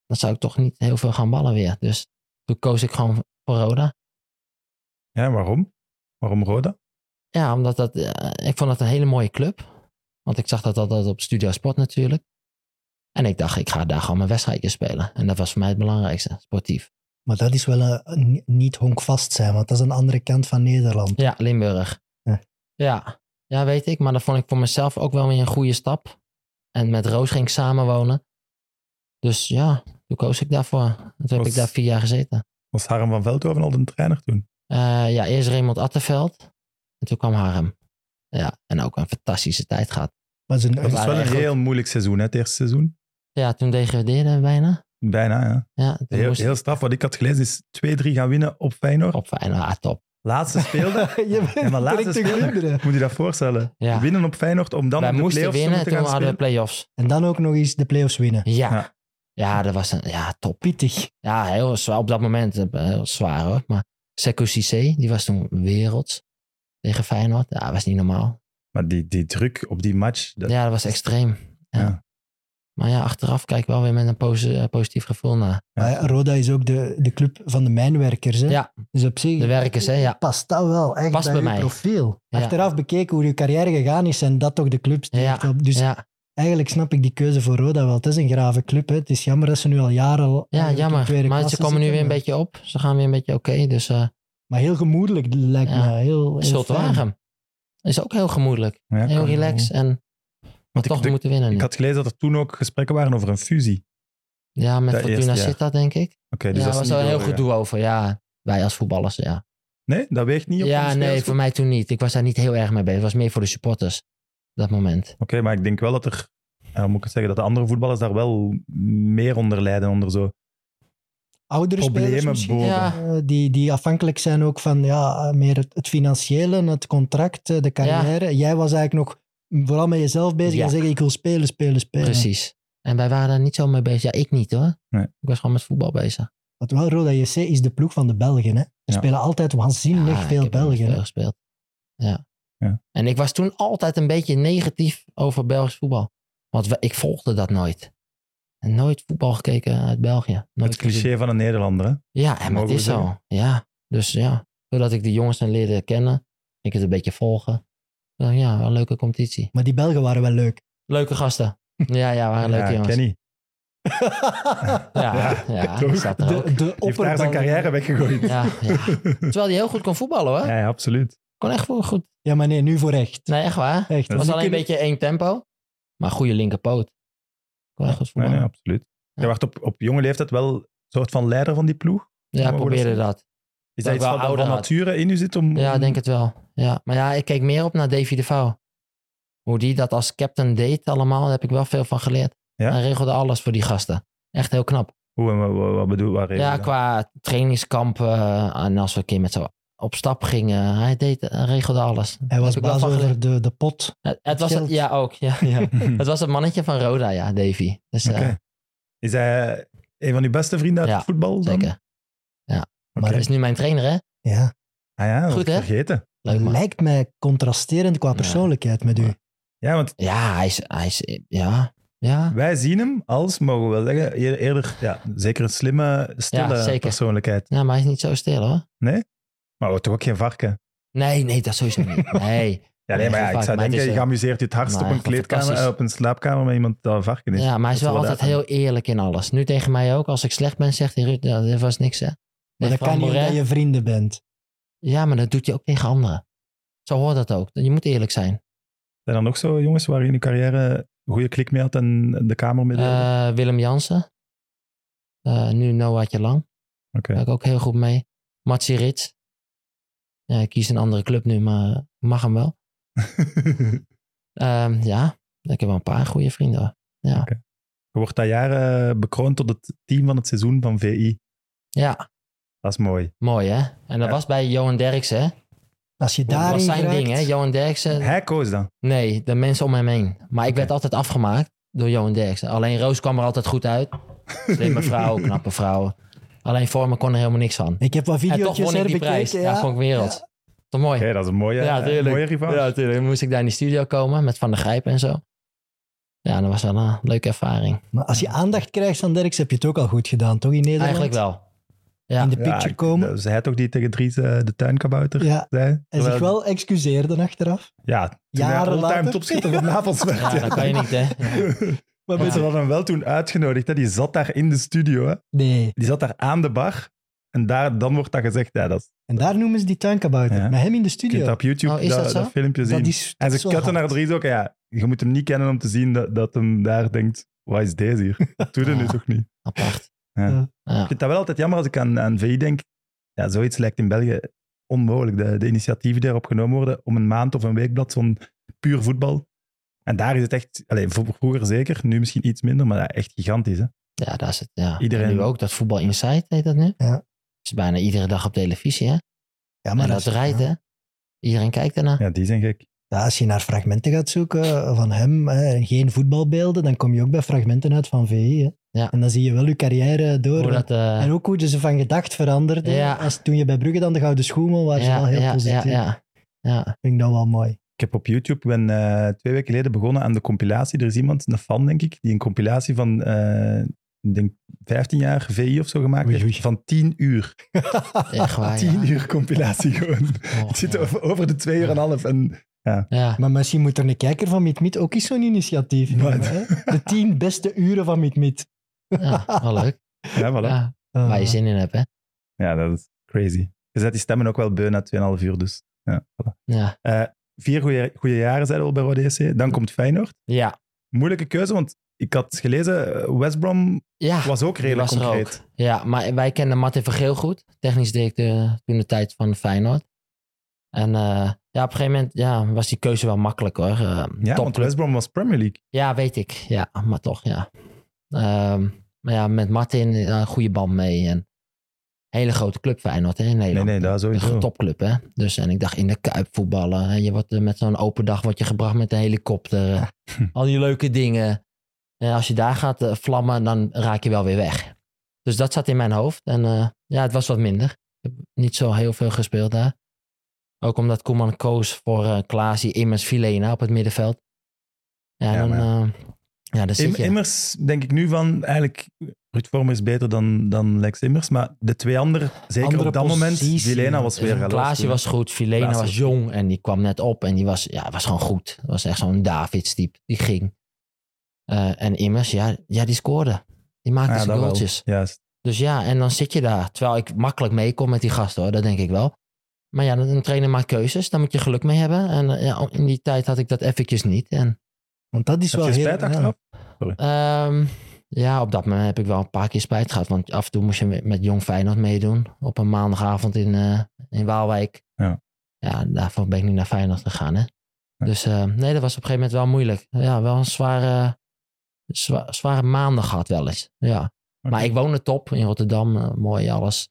dan zou ik toch niet heel veel gaan ballen weer. Dus toen koos ik gewoon voor Roda.
Ja, waarom? Waarom Roda?
Ja, omdat dat, eh, ik vond dat een hele mooie club. Want ik zag dat altijd op Studio Sport natuurlijk. En ik dacht, ik ga daar gewoon mijn wedstrijdje spelen. En dat was voor mij het belangrijkste, sportief.
Maar dat is wel een, een niet honkvast zijn, want dat is een andere kant van Nederland.
Ja, Limburg.
Ja.
Ja. ja, weet ik. Maar dat vond ik voor mezelf ook wel weer een goede stap. En met Roos ging ik samenwonen. Dus ja, toen koos ik daarvoor. En toen heb
Was-
ik daar vier jaar gezeten.
Was Harm van Veldhoven al de trainer toen?
Eh, ja, eerst Raymond Attenveld. En toen kwam Harm. Ja, en ook een fantastische tijd gehad.
Maar het is
Dat
een,
was
waren
wel een
echt goed.
heel moeilijk seizoen, hè, het eerste seizoen.
Ja, toen degradeerden we bijna.
Bijna, ja.
Ja, toen
Heel,
moest
heel straf. Wat ik had gelezen is 2-3 gaan winnen op Feyenoord.
op Feyenoord. Ah, top.
Laatste speelde.
je
Ja, maar laatste
direct te
speler.
glunderen.
Moet je dat voorstellen?
Ja.
Winnen op Feyenoord om dan
Wij
in de
moesten
play-offs te
winnen,
moeten
toen
gaan
hadden we
spelen?
play-offs.
En dan ook nog eens de play-offs winnen.
Ja.
Ja.
ja. dat was een... Ja, top.
Pittig.
Ja, heel zwaar. Op dat moment eh, heel zwaar hoor. Maar Sekou Cissé, die was toen werelds tegen Feyenoord. Ja, dat was niet normaal.
Maar die, die druk op die match, dat,
Ja, dat was extreem. Ja.
Ja.
Maar ja, achteraf kijk ik wel weer met een posi- eh, positief gevoel naar.
Ja.
Maar ja, Roda is ook de, de club van de mijnwerkers. Hè?
Ja.
Dus op zich
De werkers, hè, ja.
past dat wel echt
Past
bij,
bij
uw
mij.
profiel.
Ja.
Achteraf bekeken hoe je carrière gegaan is, en dat toch de clubs die
Ja.
echt op. Dus
ja,
eigenlijk snap ik die keuze voor Roda wel. Het is een grave club. Hè. Het is jammer dat ze nu al jaren.
ja
eigenlijk in
jammer.
tweede
Maar ze
klasse
komen nu weer
zitten,
een
maar-
beetje op. Ze gaan weer een beetje oké. dus eh,
Maar heel gemoedelijk lijkt
Ja.
me. Heel, heel fijn.
Schultwagen. Is ook heel gemoedelijk.
Ja,
heel
kan-
relaxed. En
Want
maar
ik,
toch
de-
moeten winnen nu.
ik had gelezen dat er toen ook gesprekken waren over een fusie.
ja, met
dat
Fortuna
eerste, ja.
zit dat, denk ik.
Oké,
Ja,
dus
daar
dat is
was wel
niet
heel
doorgegaan.
goed doel over. Ja, wij als voetballers, ja.
Nee, dat weegt niet op
Ja,
onze
nee,
spelers?
voor mij toen niet. Ik was daar niet heel erg mee bezig. Het was meer voor de supporters. op Dat moment.
Oké, maar ik denk wel dat er, ja, hoe moet ik het zeggen, dat de andere voetballers daar wel meer onder lijden, onder zo.
Oudere
Problemen
spelers misschien,
boven.
Ja.
eh, die, die afhankelijk zijn ook van ja, meer het, het financiële, het contract, eh, de carrière. Jij was eigenlijk nog vooral met jezelf bezig
Ja.
en zeggen ik wil spelen, spelen, spelen.
Precies. En wij waren daar niet zo mee bezig. Ja, ik niet hoor.
Nee.
Ik was gewoon met voetbal bezig.
Wat wel Roda JC is de ploeg van de Belgen. Hè? Er
Ja.
spelen altijd waanzinnig
Ja, Ah, ik
veel
heb ook
Belgen.
veel
hè.
gespeeld. Ja.
Ja.
En ik was toen altijd een beetje negatief over Belgisch voetbal. Want we- ik volgde dat nooit. En nooit voetbal gekeken uit België. Nooit
Het cliché van een Nederlander, hè?
Ja, en maar het
Mogen we
is zo.
zeggen.
Ja, dus ja. Doordat ik de jongens dan leerde kennen, ik het een beetje volgen. Dan, ja, wel een leuke competitie.
Maar die Belgen waren wel leuk.
Leuke gasten. Ja, ja, waren leuke
ja,
Ah, jongens.
Kenny.
Ja, ja,
toch?
die zat er ook.
De, de
Die heeft daar zijn
opperbelgen.
carrière weggegooid. Ja,
Ja, ja. Terwijl hij heel goed kon voetballen hoor.
ja, absoluut.
Kon echt wel goed.
Ja, maar nee, nu voor echt.
Nee, echt waar. Het
Dat
echt.
Nou, was
Die
alleen een
kunnen-
beetje één tempo. Maar goede linkerpoot. Kon echt
Nee,
goed
nee,
voetballen.
absoluut. Je werd op, op jonge leeftijd wel een soort van leider van die ploeg.
Ja,
we
probeerde
dat-
dat.
Is
Dat
dat
ik
iets
wel
wat van
ouder had.
nature in u zit om...
Ja,
om-
ik denk het wel. Ja. Maar ja, ik keek meer op naar Davy de Vouw. Hoe die dat als captain deed allemaal, daar heb ik wel veel van geleerd.
Ja?
Hij regelde alles voor die gasten. Echt heel knap.
Hoe en wa- wa- wat bedoel waar reden
Ja,
we dan?
qua trainingskampen eh, en als we een keer met z'n op stap gingen. Hij deed, hij regelde alles.
Hij was
Heb ik wel
baas
van
over
geleerd.
de, de pot.
Het, het was,
Geld.
ja, ook. Ja, ja. het was het mannetje van Roda, ja, Davy. Dus eh,
Oké. Is hij eh, een van uw beste vrienden uit
Ja,
het voetbal? dan?
zeker.
Oké.
Maar hij is nu mijn trainer, hè?
Ja,
Ah ja, dat
Goed,
was ik
hè?
vergeten.
Leuk man.
lijkt mij contrasterend qua
Ja.
persoonlijkheid met u.
Ja, want
Ja, hij is, hij is ja, ja.
wij zien hem als, mogen we wel zeggen, eer- eerder ja, zeker een slimme, stille
Ja, zeker.
persoonlijkheid.
Ja, maar hij is niet zo stil, hoor.
Maar toch ook geen varken.
Nee, nee, dat sowieso niet. Nee.
Ja, nee, maar ja,
Nee, geen
ik
varken,
zou
maar het
denken,
is,
je
eh,
amuseert je het hardst
maar
op een
echt wel
kleedkamer,
fantastisch.
eh, op een slaapkamer met iemand dat een varken is.
Ja, maar hij is
Dat
wel
is wel
altijd heel eerlijk in alles. Nu tegen mij ook. Als ik slecht ben, zegt hij, Ruud, nou, dat was niks, hè.
Maar
Tegen
dat kan
Van
niet
Moret.
omdat je vrienden bent.
Ja, maar dat doet hij ook tegen anderen. Zo hoort dat ook. Je moet eerlijk zijn.
Zijn er nog zo jongens waar je in je carrière een goede klik mee had en de kamer mee deelde?
Eh, Willem Jansen. Eh, nu Noahje Lang.
Oké.
Daar heb ik ook heel goed mee. Matsi Rits. Ja, ik kies een andere club nu, maar ik mag hem wel. Ehm, ja, ik heb wel een paar goede vrienden. hoor.
Je wordt dat jaar eh, bekroond tot het team van het seizoen van VI.
Ja,
Dat is mooi.
mooi hè. En dat
Ja.
was bij Johan Derksen. hè.
Als je
Dat
daarin
was zijn
raakt,
ding hè. Johan Derksen,
Hij koos dat.
Nee, de mensen om hem heen. Maar ik
Oké.
werd altijd afgemaakt door Johan Derksen. Alleen Roos kwam er altijd goed uit. Slimme vrouw, knappe vrouw. Alleen voor me kon er helemaal niks van.
Ik heb wat
En toch
video's
won ik die
herbekeken.
prijs. Ja,
ja.
vond ik wereld. Toch mooi.
Oké, dat is een mooie,
Ja,
eh,
tuurlijk.
mooie revanche.
Ja, natuurlijk. Dan moest ik daar in die studio komen met Van der Grijp en zo. Ja, dat was wel een leuke ervaring.
Maar als je aandacht krijgt van Derks, heb je het ook al goed gedaan, toch? In Nederland?
Eigenlijk wel. Ja.
In de
Ja,
picture
ik- dat-
komen.
Zei Dus hij toch die tegen Dries eh, de tuinkabouter
Ja.
zei?
En zich
Terwijl-
wel excuseerde achteraf.
Ja, toen
Jaren
hij all-time
later.
topschutter van Napels werd.
Ja, dat kan je niet, hè?
Maar
Ja.
mensen hadden hem wel toen uitgenodigd. Hè? Die zat daar in de studio. Hè?
Nee.
Die zat daar aan de bar. En daar, dan wordt dat gezegd. Ja, dat
En daar noemen ze die tuinkabouter.
Ja.
Met hem in de
je kunt
studio.
dat op YouTube
Oh, is dat zo?
filmpje zien.
is,
en
is
ze kutten
wel hard.
naar Dries ook. Ja, je moet hem niet kennen om te zien dat, dat hem daar denkt... Wat is deze hier? Dat doe je nu
Ja.
toch niet?
Apart.
Ja.
Ja.
Ik vind dat wel altijd jammer als ik aan, aan VI denk. Ja, zoiets lijkt in België onmogelijk. De, de initiatieven die daarop genomen worden om een maand of een weekblad zo'n puur voetbal. En daar is het echt, allez, vro- vroeger zeker, nu misschien iets minder, maar ja, echt gigantisch. Hè?
Ja, daar zit. Ja.
Iedereen-
En nu ook, dat Voetbal Insight heet dat nu.
Ja.
Is bijna iedere dag op televisie, hè?
Ja,
Maar
maar
en dat
als,
rijdt, hè? Iedereen kijkt ernaar.
Ja, die zijn gek.
ja, als je naar fragmenten gaat zoeken van hem, hè, en geen voetbalbeelden, dan kom je ook bij fragmenten uit van VI. Hè.
Ja.
En dan zie je wel je carrière door.
Hoe dat, eh,
En ook hoe je ze van gedacht veranderde.
Ja.
Als toen je bij Brugge dan de Gouden Schoemel was, je wel heel positief.
Ja, ja, ja.
Vind ik dat wel mooi.
Ik heb op YouTube, ik ben eh, twee weken geleden begonnen aan de compilatie. Er is iemand, een fan denk ik, die een compilatie van, eh, ik denk 15 jaar VI of zo gemaakt
Oei,
heeft.
oei.
Van 10 uur.
Echt waar,
10
Ah, ja.
uur compilatie gewoon.
Oh,
Het zit
ja.
over, over de 2 uur en een half. En
Ja.
Maar misschien moet er een kijker van Meet Meet ook eens zo'n initiatief
Maar-
nemen. Hè? De tien beste uren van Meet Meet.
ja, wel leuk.
ja, voilà.
Ja,
Eh,
waar je zin in hebt, hè.
Ja, dat is crazy. Je zet die stemmen ook wel beu na 2,5 uur, dus. Ja, voilà.
Ja.
Eh, vier goede, goede jaren, zeiden we al bij Rode JC. Dan komt Feyenoord.
Ja. moeilijk
Moeilijke keuze, want ik had gelezen, eh, West Brom
Ja,
was ook
die
redelijk
was er
concreet.
ook. Ja, maar wij kenden Martin Vergeel goed. Technisch directeur toen de tijd van Feyenoord. En eh, ja, op een gegeven moment ja, was die keuze wel makkelijk, hoor. Eh,
Ja, want
topclub.
West Brom was Premier League.
Ja, weet ik. Ja, maar toch, ja. Ehm, maar ja, met Martin ja, een goede band mee. En hele grote club Feyenoord hè, in Nederland.
Nee, nee, daar sowieso.
Een topclub, hè. Dus, en ik dacht, in de Kuip voetballen. En je wordt, eh, met zo'n open dag word je gebracht met een helikopter. eh.
Hm.
Al die leuke dingen. En als je daar gaat eh, vlammen, dan raak je wel weer weg. Dus dat zat in mijn hoofd. En eh, ja, het was wat minder. Ik heb niet zo heel veel gespeeld daar. Ook omdat Koeman koos voor eh Klaasie, Immers, Filena op het middenveld. Ja,
Ja,
dan,
maar-
eh, ja daar
Im-
zit je.
Immers denk ik nu van, eigenlijk, Ruud Vormer is beter dan, dan Lex Immers, maar de twee anderen, zeker
Andere
op dat moment,
positie.
Vilena was weer
Dus
galoos.
Klaasje was goed, Filena
Klaasje
was
was
jong en die kwam net op en die was, ja, was gewoon goed. Dat was echt zo'n Davids-type, die ging. Eh, en Immers, ja, ja, die scoorde. Die maakte
Ja,
zijn
dat wel.
goaltjes.
Juist.
Dus ja, en dan zit je daar. Terwijl ik makkelijk mee kon met die gasten hoor, dat denk ik wel. Maar ja, een trainer maakt keuzes, daar moet je geluk mee hebben. En eh, ja, in die tijd had ik dat eventjes niet. En
Want dat is
Heb
wel
je
heel...
spijt
ja.
achteraf?
Ehm, ja, op dat moment heb ik wel een paar keer spijt gehad. Want af en toe moest je met, met Jong Feyenoord meedoen. Op een maandagavond in, eh, in Waalwijk.
Ja.
ja, daarvoor ben ik niet naar Feyenoord gegaan. Hè? Dus eh, nee, dat was op een gegeven moment wel moeilijk. Ja, wel een zware, zwa- zware maandag gehad wel eens. Ja. Maar ik woonde top in Rotterdam, eh, mooi alles.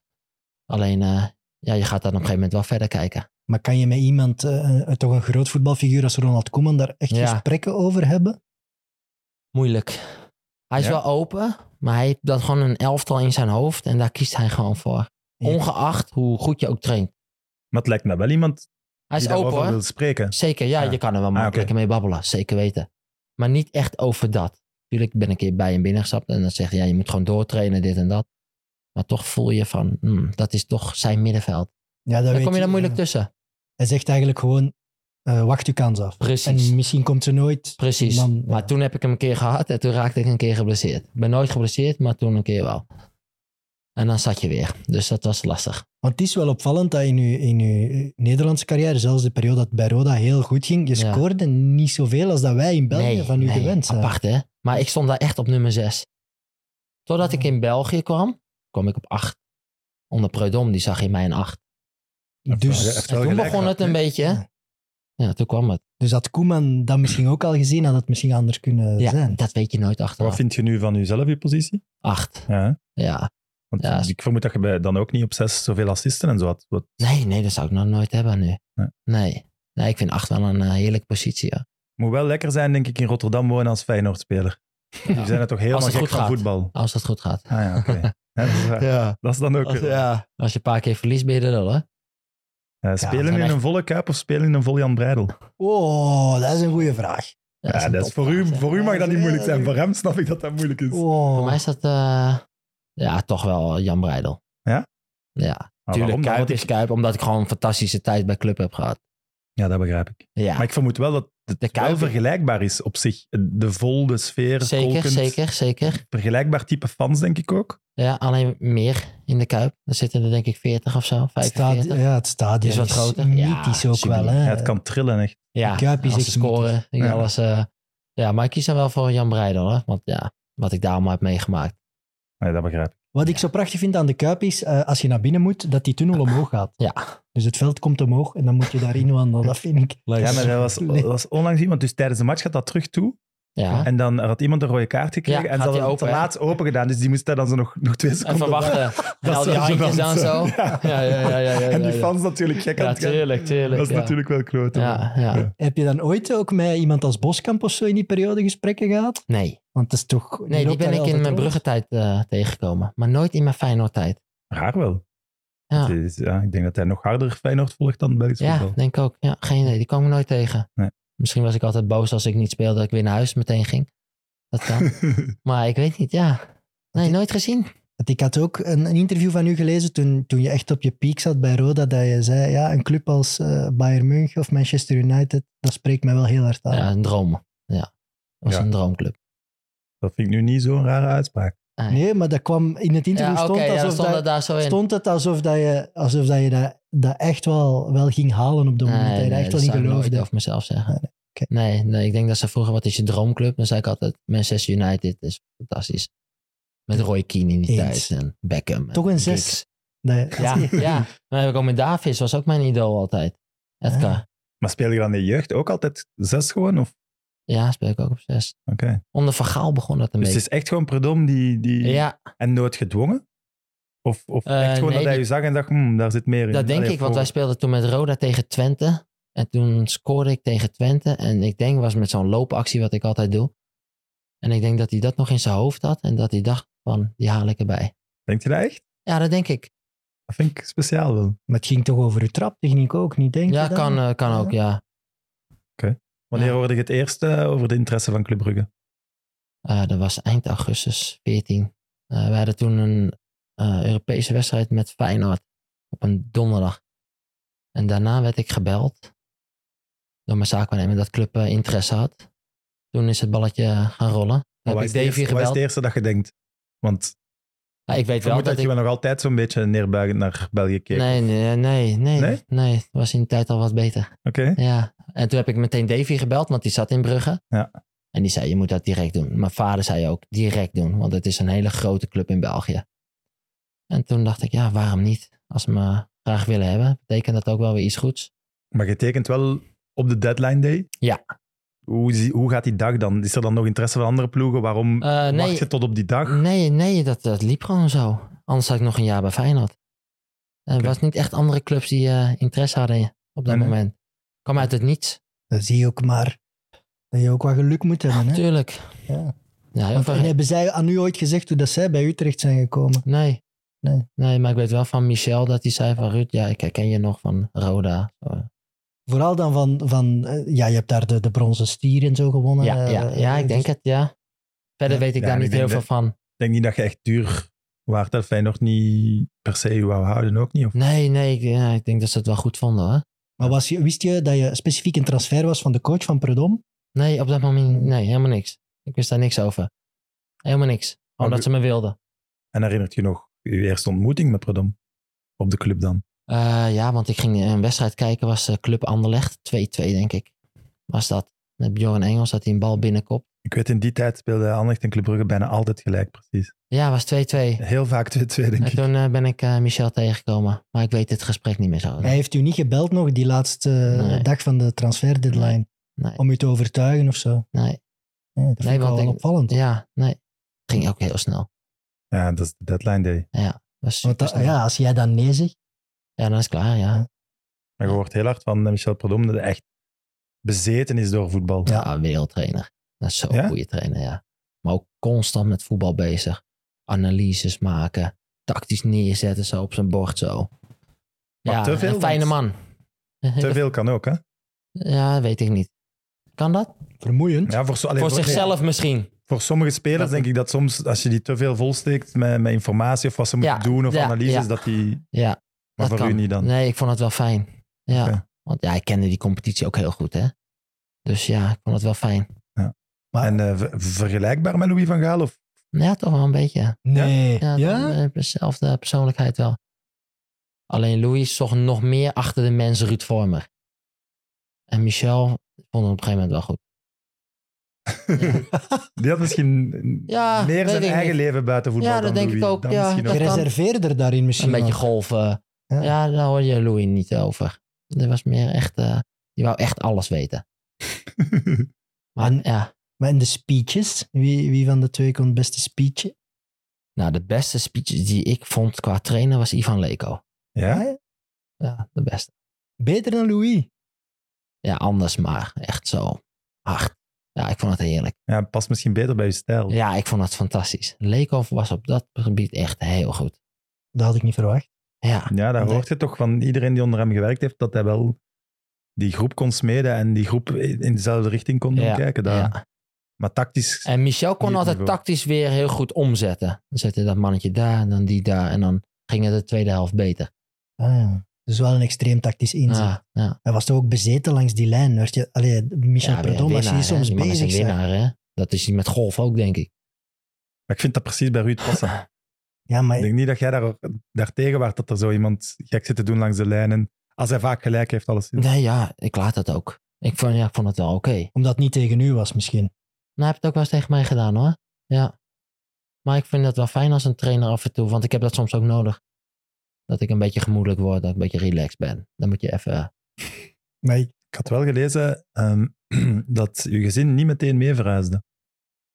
Alleen, eh, ja, je gaat dan op een gegeven moment wel verder kijken.
Maar kan je met iemand, eh, eh, toch een groot voetbalfiguur als Ronald Koeman, daar echt
Ja.
gesprekken over hebben?
Moeilijk. Hij is
Ja.
wel open, maar hij heeft dan gewoon een elftal in zijn hoofd en daar kiest hij gewoon voor.
Ja.
Ongeacht hoe goed je ook traint.
Maar het lijkt me wel iemand
Hij is
die
open
daarover
hoor.
wil spreken.
Zeker, ja,
Ja.
je kan er wel
oké.
makkelijker mee babbelen, zeker weten. Maar niet echt over dat. Tuurlijk ben ik een keer bij hem binnengestapt en dan zeg je, ja, je moet gewoon doortrainen, dit en dat. Maar toch voel je van, hmm, dat is toch zijn middenveld.
Ja, dat
Dan
weet
kom je daar moeilijk
eh,
tussen.
Hij zegt eigenlijk gewoon, eh, wacht je kans af.
Precies.
En misschien komt ze nooit.
Precies.
Dan-
maar
ja.
toen heb ik hem een keer gehad en toen raakte ik een keer geblesseerd. Ik ben nooit geblesseerd, maar toen een keer wel. En dan zat je weer. Dus dat was lastig.
Want het is wel opvallend dat in je, in uw eh, Nederlandse carrière, zelfs de periode dat het bij Roda heel goed ging, je
Ja.
scoorde niet zoveel als dat wij in België van u
nee,
gewend zijn.
apart hè. Maar ik stond daar echt op nummer 6. Totdat ik in België kwam, kwam ik op 8. Onder Preudom, die zag in mij een 8.
Ja,
Dus,
echt.
En
wel
toen
gelijk
begon
gehad,
het een
hè?
beetje. hè. Ja, toen kwam het.
dus had Koeman dat misschien ook al gezien, had het misschien anders kunnen
Ja,
zijn.
dat weet je nooit
Wat
achteraf.
vind je nu van jezelf, je positie?
8.
Ja, hè?
Ja.
want
Ja, is-
ik vermoed dat je bij, dan ook niet op zes zoveel assisten en zo had. Wat,
Nee, nee, dat zou ik nog nooit hebben nu.
Nee.
Nee. Nee, ik vind 8 wel een eh, heerlijke positie. Ja.
moet wel lekker zijn, denk ik, in Rotterdam wonen als Feyenoord-speler. Die zijn er toch
Als
helemaal
het
gek
goed
van
gaat.
voetbal.
Als dat goed gaat.
Ah ja, oké. Ja, dat, is waar.
Ja.
Dat is dan ook
Als,
weer...
ja. als je een paar keer verliest, ben je er al, hè?
Eh, spelen
zijn
in
echt-
een volle kuip of spelen in een vol Jan Breidel?
Oh, dat is een goede vraag.
Ja, dat is voor, u,
topvraag, hè.
voor u mag dat niet moeilijk zijn.
Ja,
Voor hem snap ik dat dat moeilijk is.
Oh.
Voor mij is dat... eh, ja, toch wel Jan Breidel.
Ja?
Ja.
Maar
Tuurlijk,
waarom?
Kuip
Dat-
is Kuip, omdat ik gewoon een fantastische tijd bij Club heb gehad.
Ja, dat begrijp ik.
Ja,
Maar ik vermoed wel dat het
De
wel
Kuip-
vergelijkbaar is op zich. De vol, de sfeer,
zeker,
kolkend.
zeker, zeker.
Vergelijkbaar type fans, denk ik ook.
Ja, alleen meer in de Kuip. Er zitten er denk ik 40 of zo,
Het, staat,
45.
ja, het stadion
Is wat groter. Ja,
mythisch ook
subliem.
wel. Hè?
Ja, het kan trillen, echt.
Ja,
de Kuip is
als
echt
ze scoren. ik
Ja.
Alles, eh, ja, maar ik kies dan wel voor Jan Breidel, hè? Want ja, wat ik daar allemaal heb meegemaakt.
Nee, dat begrijp ik.
Wat ik zo prachtig vind aan de Kuip is, eh, als je naar binnen moet, dat die tunnel omhoog gaat.
Ja,
Dus het veld komt omhoog en dan moet je daarin wandelen. Dat vind ik...
Ja, maar dat was,
Nee.
dat was onlangs iemand. Dus tijdens de match gaat dat terug toe.
ja.
En dan had iemand een rode kaart gekregen.
Ja,
en ze
gaat
hadden
die
het te
open, hè?
laat open gedaan. Dus die moest daar dan zo nog, nog twee seconden
Even wachten. en al die
zou
handjes
gênant
dan zo.
zijn.
Ja, ja, ja. ja, ja,
En die
ja.
fans natuurlijk gek aan
Ja,
het gaan.
tuurlijk, tuurlijk.
Dat is
ja.
natuurlijk wel kloot. hoor.
Ja, ja.
Heb je dan ooit ook met iemand als Boskamp of zo in die periode gesprekken gehad?
Nee,
Want het is toch...
nee die
loopt
ben
daar
ik in
altijd
mijn
rond.
bruggentijd eh, tegengekomen. Maar nooit in mijn Feyenoord-tijd.
Raar wel.
Ja,
Het is- Dus, eh, ja, ik denk dat hij nog harder Feyenoord volgt dan Belgisch
ja
voetbal.
denk ik ook. Ja, geen idee, die kwam ik nooit tegen.
Nee.
Misschien was ik altijd boos als ik niet speelde dat ik weer naar huis meteen ging. Dat kan. maar ik weet niet, ja. Nee, nooit gezien.
Want ik had ook een, een interview van u gelezen toen, toen je echt op je piek zat bij Roda, dat je zei, ja, een club als eh, Bayern München of Manchester United, dat spreekt mij wel heel hard aan.
Ja, een droom. Ja, was
Ja.
een droomclub.
Dat vind ik nu niet zo'n rare uitspraak.
Nee, maar dat kwam in het interview
Ja, oké,
stond,
ja, dan
alsof
stond
dat-
het daar zo in.
stond het alsof dat je, alsof dat, je dat, dat echt wel, wel ging halen op dat moment. dat je er echt wel
dat
in
zou ik nooit
geloofde.
over mezelf zeggen.
Nee,
Nee,
oké.
nee, ik denk dat ze vroegen, wat is je droomclub? Dan zei ik altijd, Manchester United is fantastisch. Met Roy Keane in die
Eens.
tijd en Beckham. en
Toch een
Giggs.
zes. Dat je-
Ja, ja. Dan heb ik ook met Davis, was ook mijn idool altijd. Edgar.
Ah.
Maar speel je dan in de jeugd ook altijd zes gewoon? Of?
Ja, speel ik ook op zes.
Oké.
Onder Vergaal begon dat een
Dus het
beetje.
is echt gewoon Predom die... die...
Ja,
En nooit gedwongen? Of, of
Eh,
echt gewoon
nee,
dat hij
die-
je zag en dacht, hmm, daar zit meer in?
dat denk
Allee,
ik, want wij
voor-
speelden toen met Roda tegen Twente. En toen scoorde ik tegen Twente. En ik denk, was met zo'n loopactie wat ik altijd doe. En ik denk dat hij dat nog in zijn hoofd had. En dat hij dacht van, die haal ik erbij.
Denkt je dat echt?
Ja, dat denk ik.
Dat vind ik speciaal wel.
Maar het ging toch over uw traptechniek ook, niet denk
ja,
je dan?
kan, eh, kan
Ja.
ook, ja.
Wanneer
Ja.
hoorde je het eerst eh, over de interesse van Club Brugge?
Eh, dat was eind augustus 14. Eh we hadden toen een eh, Europese wedstrijd met Feyenoord op een donderdag. En daarna werd ik gebeld door mijn zaakwaarnemer dat club eh, interesse had. Toen is het balletje gaan rollen.
Wat
Toen heb
Oh, is,
ik
het
Davy
eerste- wat is
gebeld.
het eerste dat je denkt? Want
Ah, ik weet
ik
wel
vermoed
dat,
dat,
ik...
je wel nog altijd zo'n beetje neerbuigend naar België keek.
Nee, nee, nee, nee,
Nee?
nee. Nee, het was in de tijd al wat beter.
Oké?
Ja, en toen heb ik meteen Davy gebeld, want die zat in Brugge.
Ja.
En die zei, je moet dat direct doen. Mijn vader zei ook, direct doen, want het is een hele grote club in België. En toen dacht ik, ja, waarom niet? Als ze me graag willen hebben, betekent dat ook wel weer iets goeds.
Maar je tekent wel op de deadline day?
Ja.
Hoe, zie- hoe gaat die dag dan? Is er dan nog interesse van andere ploegen? Waarom
Eh,
wacht
nee,
je tot op die dag?
nee, nee dat, dat liep gewoon zo. Anders had ik nog een jaar bij Feyenoord. Er
Oké.
was niet echt andere clubs die eh, interesse hadden in- op dat
Nee, nee.
moment. kwam uit het niets.
Dan zie je ook maar dat je ook wat geluk moet hebben. Hè?
Tuurlijk.
Ja.
Ja, heel
Want,
veel-
en hebben zij aan u ooit gezegd hoe dat zij bij Utrecht zijn gekomen?
nee.
Nee.
nee. maar ik weet wel van Michel dat hij zei van Ruud, ja, ik herken je nog van Roda.
Vooral dan van, van eh, ja, je hebt daar de, de bronzen stier en zo gewonnen.
Ja,
eh,
ja, ja, ik
dus-
denk het, ja. Verder
Ja,
weet ik
ja,
daar
en
niet
ik
heel
denk
veel van.
Ik denk niet dat je echt duur waard dat Feyenoord niet per se je wou houden, ook niet. Of
Nee, nee, ik, ja, ik denk dat ze het wel goed vonden hoor.
Maar was je, wist je dat je specifiek een transfer was van de coach van Predom?
Nee, op dat moment, nee, helemaal niks. Ik wist daar niks over. Helemaal niks.
Maar
Omdat
de-
ze me wilden.
En herinnert je nog je eerste ontmoeting met Predom? Op de club dan?
Eh, ja, want ik ging een wedstrijd kijken, was eh, Club Anderlecht, 2-2 denk ik. Was dat. Met Bjorn Engels dat hij een bal binnenkopt.
Ik weet, in die tijd speelde Anderlecht en Club Brugge bijna altijd gelijk, precies.
Ja, was 2-2.
Heel vaak 2-2, denk
En
ik.
toen eh, ben ik eh, Michel tegengekomen. Maar ik weet het gesprek niet meer zo.
Hij heeft u niet gebeld nog die laatste eh,
Nee.
dag van de transfer deadline
Nee.
om u te overtuigen of zo?
Nee.
Nee, dat vind
Nee,
ik wel
want ik-
opvallend.
Ja, nee. Ging ook heel snel.
Ja, dat is de deadline day.
Was
Want dat-
supersnel.
ja, als jij dan nee zegt,
ja, dan is het klaar, ja.
Maar je hoort heel hard van eh, Michel Predom dat hij echt bezeten is door voetbal.
Ja.
Ah, wereldtrainer. Dat is zo'n
Ja?
goede trainer, ja. Maar ook constant met voetbal bezig. Analyses maken. Tactisch neerzetten, zo op zijn bord, zo.
Maar
ja,
te veel,
een fijne man.
Te veel kan ook, hè?
Ja, weet ik niet. Kan dat?
vermoeiend.
Ja, voor, zo- allee,
Voor
nee,
zichzelf misschien.
voor sommige spelers
Dat-
denk ik dat soms, als je die te veel volsteekt met, met informatie of wat ze moeten
Ja,
doen of
ja,
analyses,
ja.
dat die...
Ja,
Maar
dat
voor
kan.
u niet dan?
Nee, ik vond het wel fijn. Ja,
Oké.
want ja, ik kende die competitie ook heel goed, hè. Dus ja, ik vond het wel fijn.
Maar-
En eh, ver- vergelijkbaar met Louis van Gaal? Of,
Ja, toch wel een beetje.
Nee.
Ja,
Ja?
dan, eh, dezelfde persoonlijkheid wel. Alleen Louis zocht nog meer achter de mens Ruud Vormer. En Michel vond hem op een gegeven moment wel goed.
die had misschien
Ja,
meer
weet
zijn
ik
eigen
niet.
leven buiten voetbal
Ja,
dan
dat denk ik
Louis.
ook,
Dan
ja.
misschien
Dat
ook.
kan.
Gereserveerder daarin misschien.
Een beetje
wel.
golven.
Ja.
Ja. daar hoor je Louis niet over. Er was meer echt... eh, die wou echt alles weten. Maar
En-
ja,
Maar in de speeches, wie, wie van de twee kon het beste speechen?
nou, de beste speech die ik vond qua trainer was Ivan Leko.
Ja?
Ja, de beste.
Eh, Beter dan Louis.
Ja, anders maar. Echt zo hard. Ja, ik vond het heerlijk.
ja, past misschien beter bij je stijl.
Ja, ik vond het fantastisch. Leekhoff was op dat gebied echt heel goed.
Dat had ik niet verwacht.
Ja,
Ja, daar
Nee.
hoort je toch van iedereen die onder hem gewerkt heeft, dat hij wel die groep kon smeden en die groep in dezelfde richting kon doen
Ja,
kijken. Daar.
ja.
Maar tactisch,
En Michel kon
Die op
altijd
niveau.
tactisch weer heel goed omzetten. Dan zette dat mannetje daar en dan die daar. En dan ging het de tweede helft beter.
Ah, ja. Dus wel een extreem tactisch inzet.
Ja, ja.
Hij was toch ook bezeten langs die lijn. werd je- Allee, Michel
ja,
Perdom, als je die
winnaar, hè.
soms
Die man is
bezig
een
zijn.
winnaar, hè. Dat is hij met golf ook, denk ik.
maar ik vind dat precies bij Ruud passen.
Ja, maar
Ik denk niet dat jij daar, daar tegen waart dat er zo iemand gek zit te doen langs de lijnen. Als hij vaak gelijk heeft, alles.
Nee, ja, ik laat dat ook. Ik vond, ja, ik vond het wel oké.
omdat het niet tegen u was misschien.
Nou, hij heeft het ook wel eens tegen mij gedaan hoor. Ja. Maar ik vind dat wel fijn als een trainer af en toe, want ik heb dat soms ook nodig. Dat ik een beetje gemoedelijk word, dat ik een beetje relaxed ben. Dan moet je even.
Maar ik-
Ik had wel gelezen ehm, dat je gezin niet meteen mee verhuisde.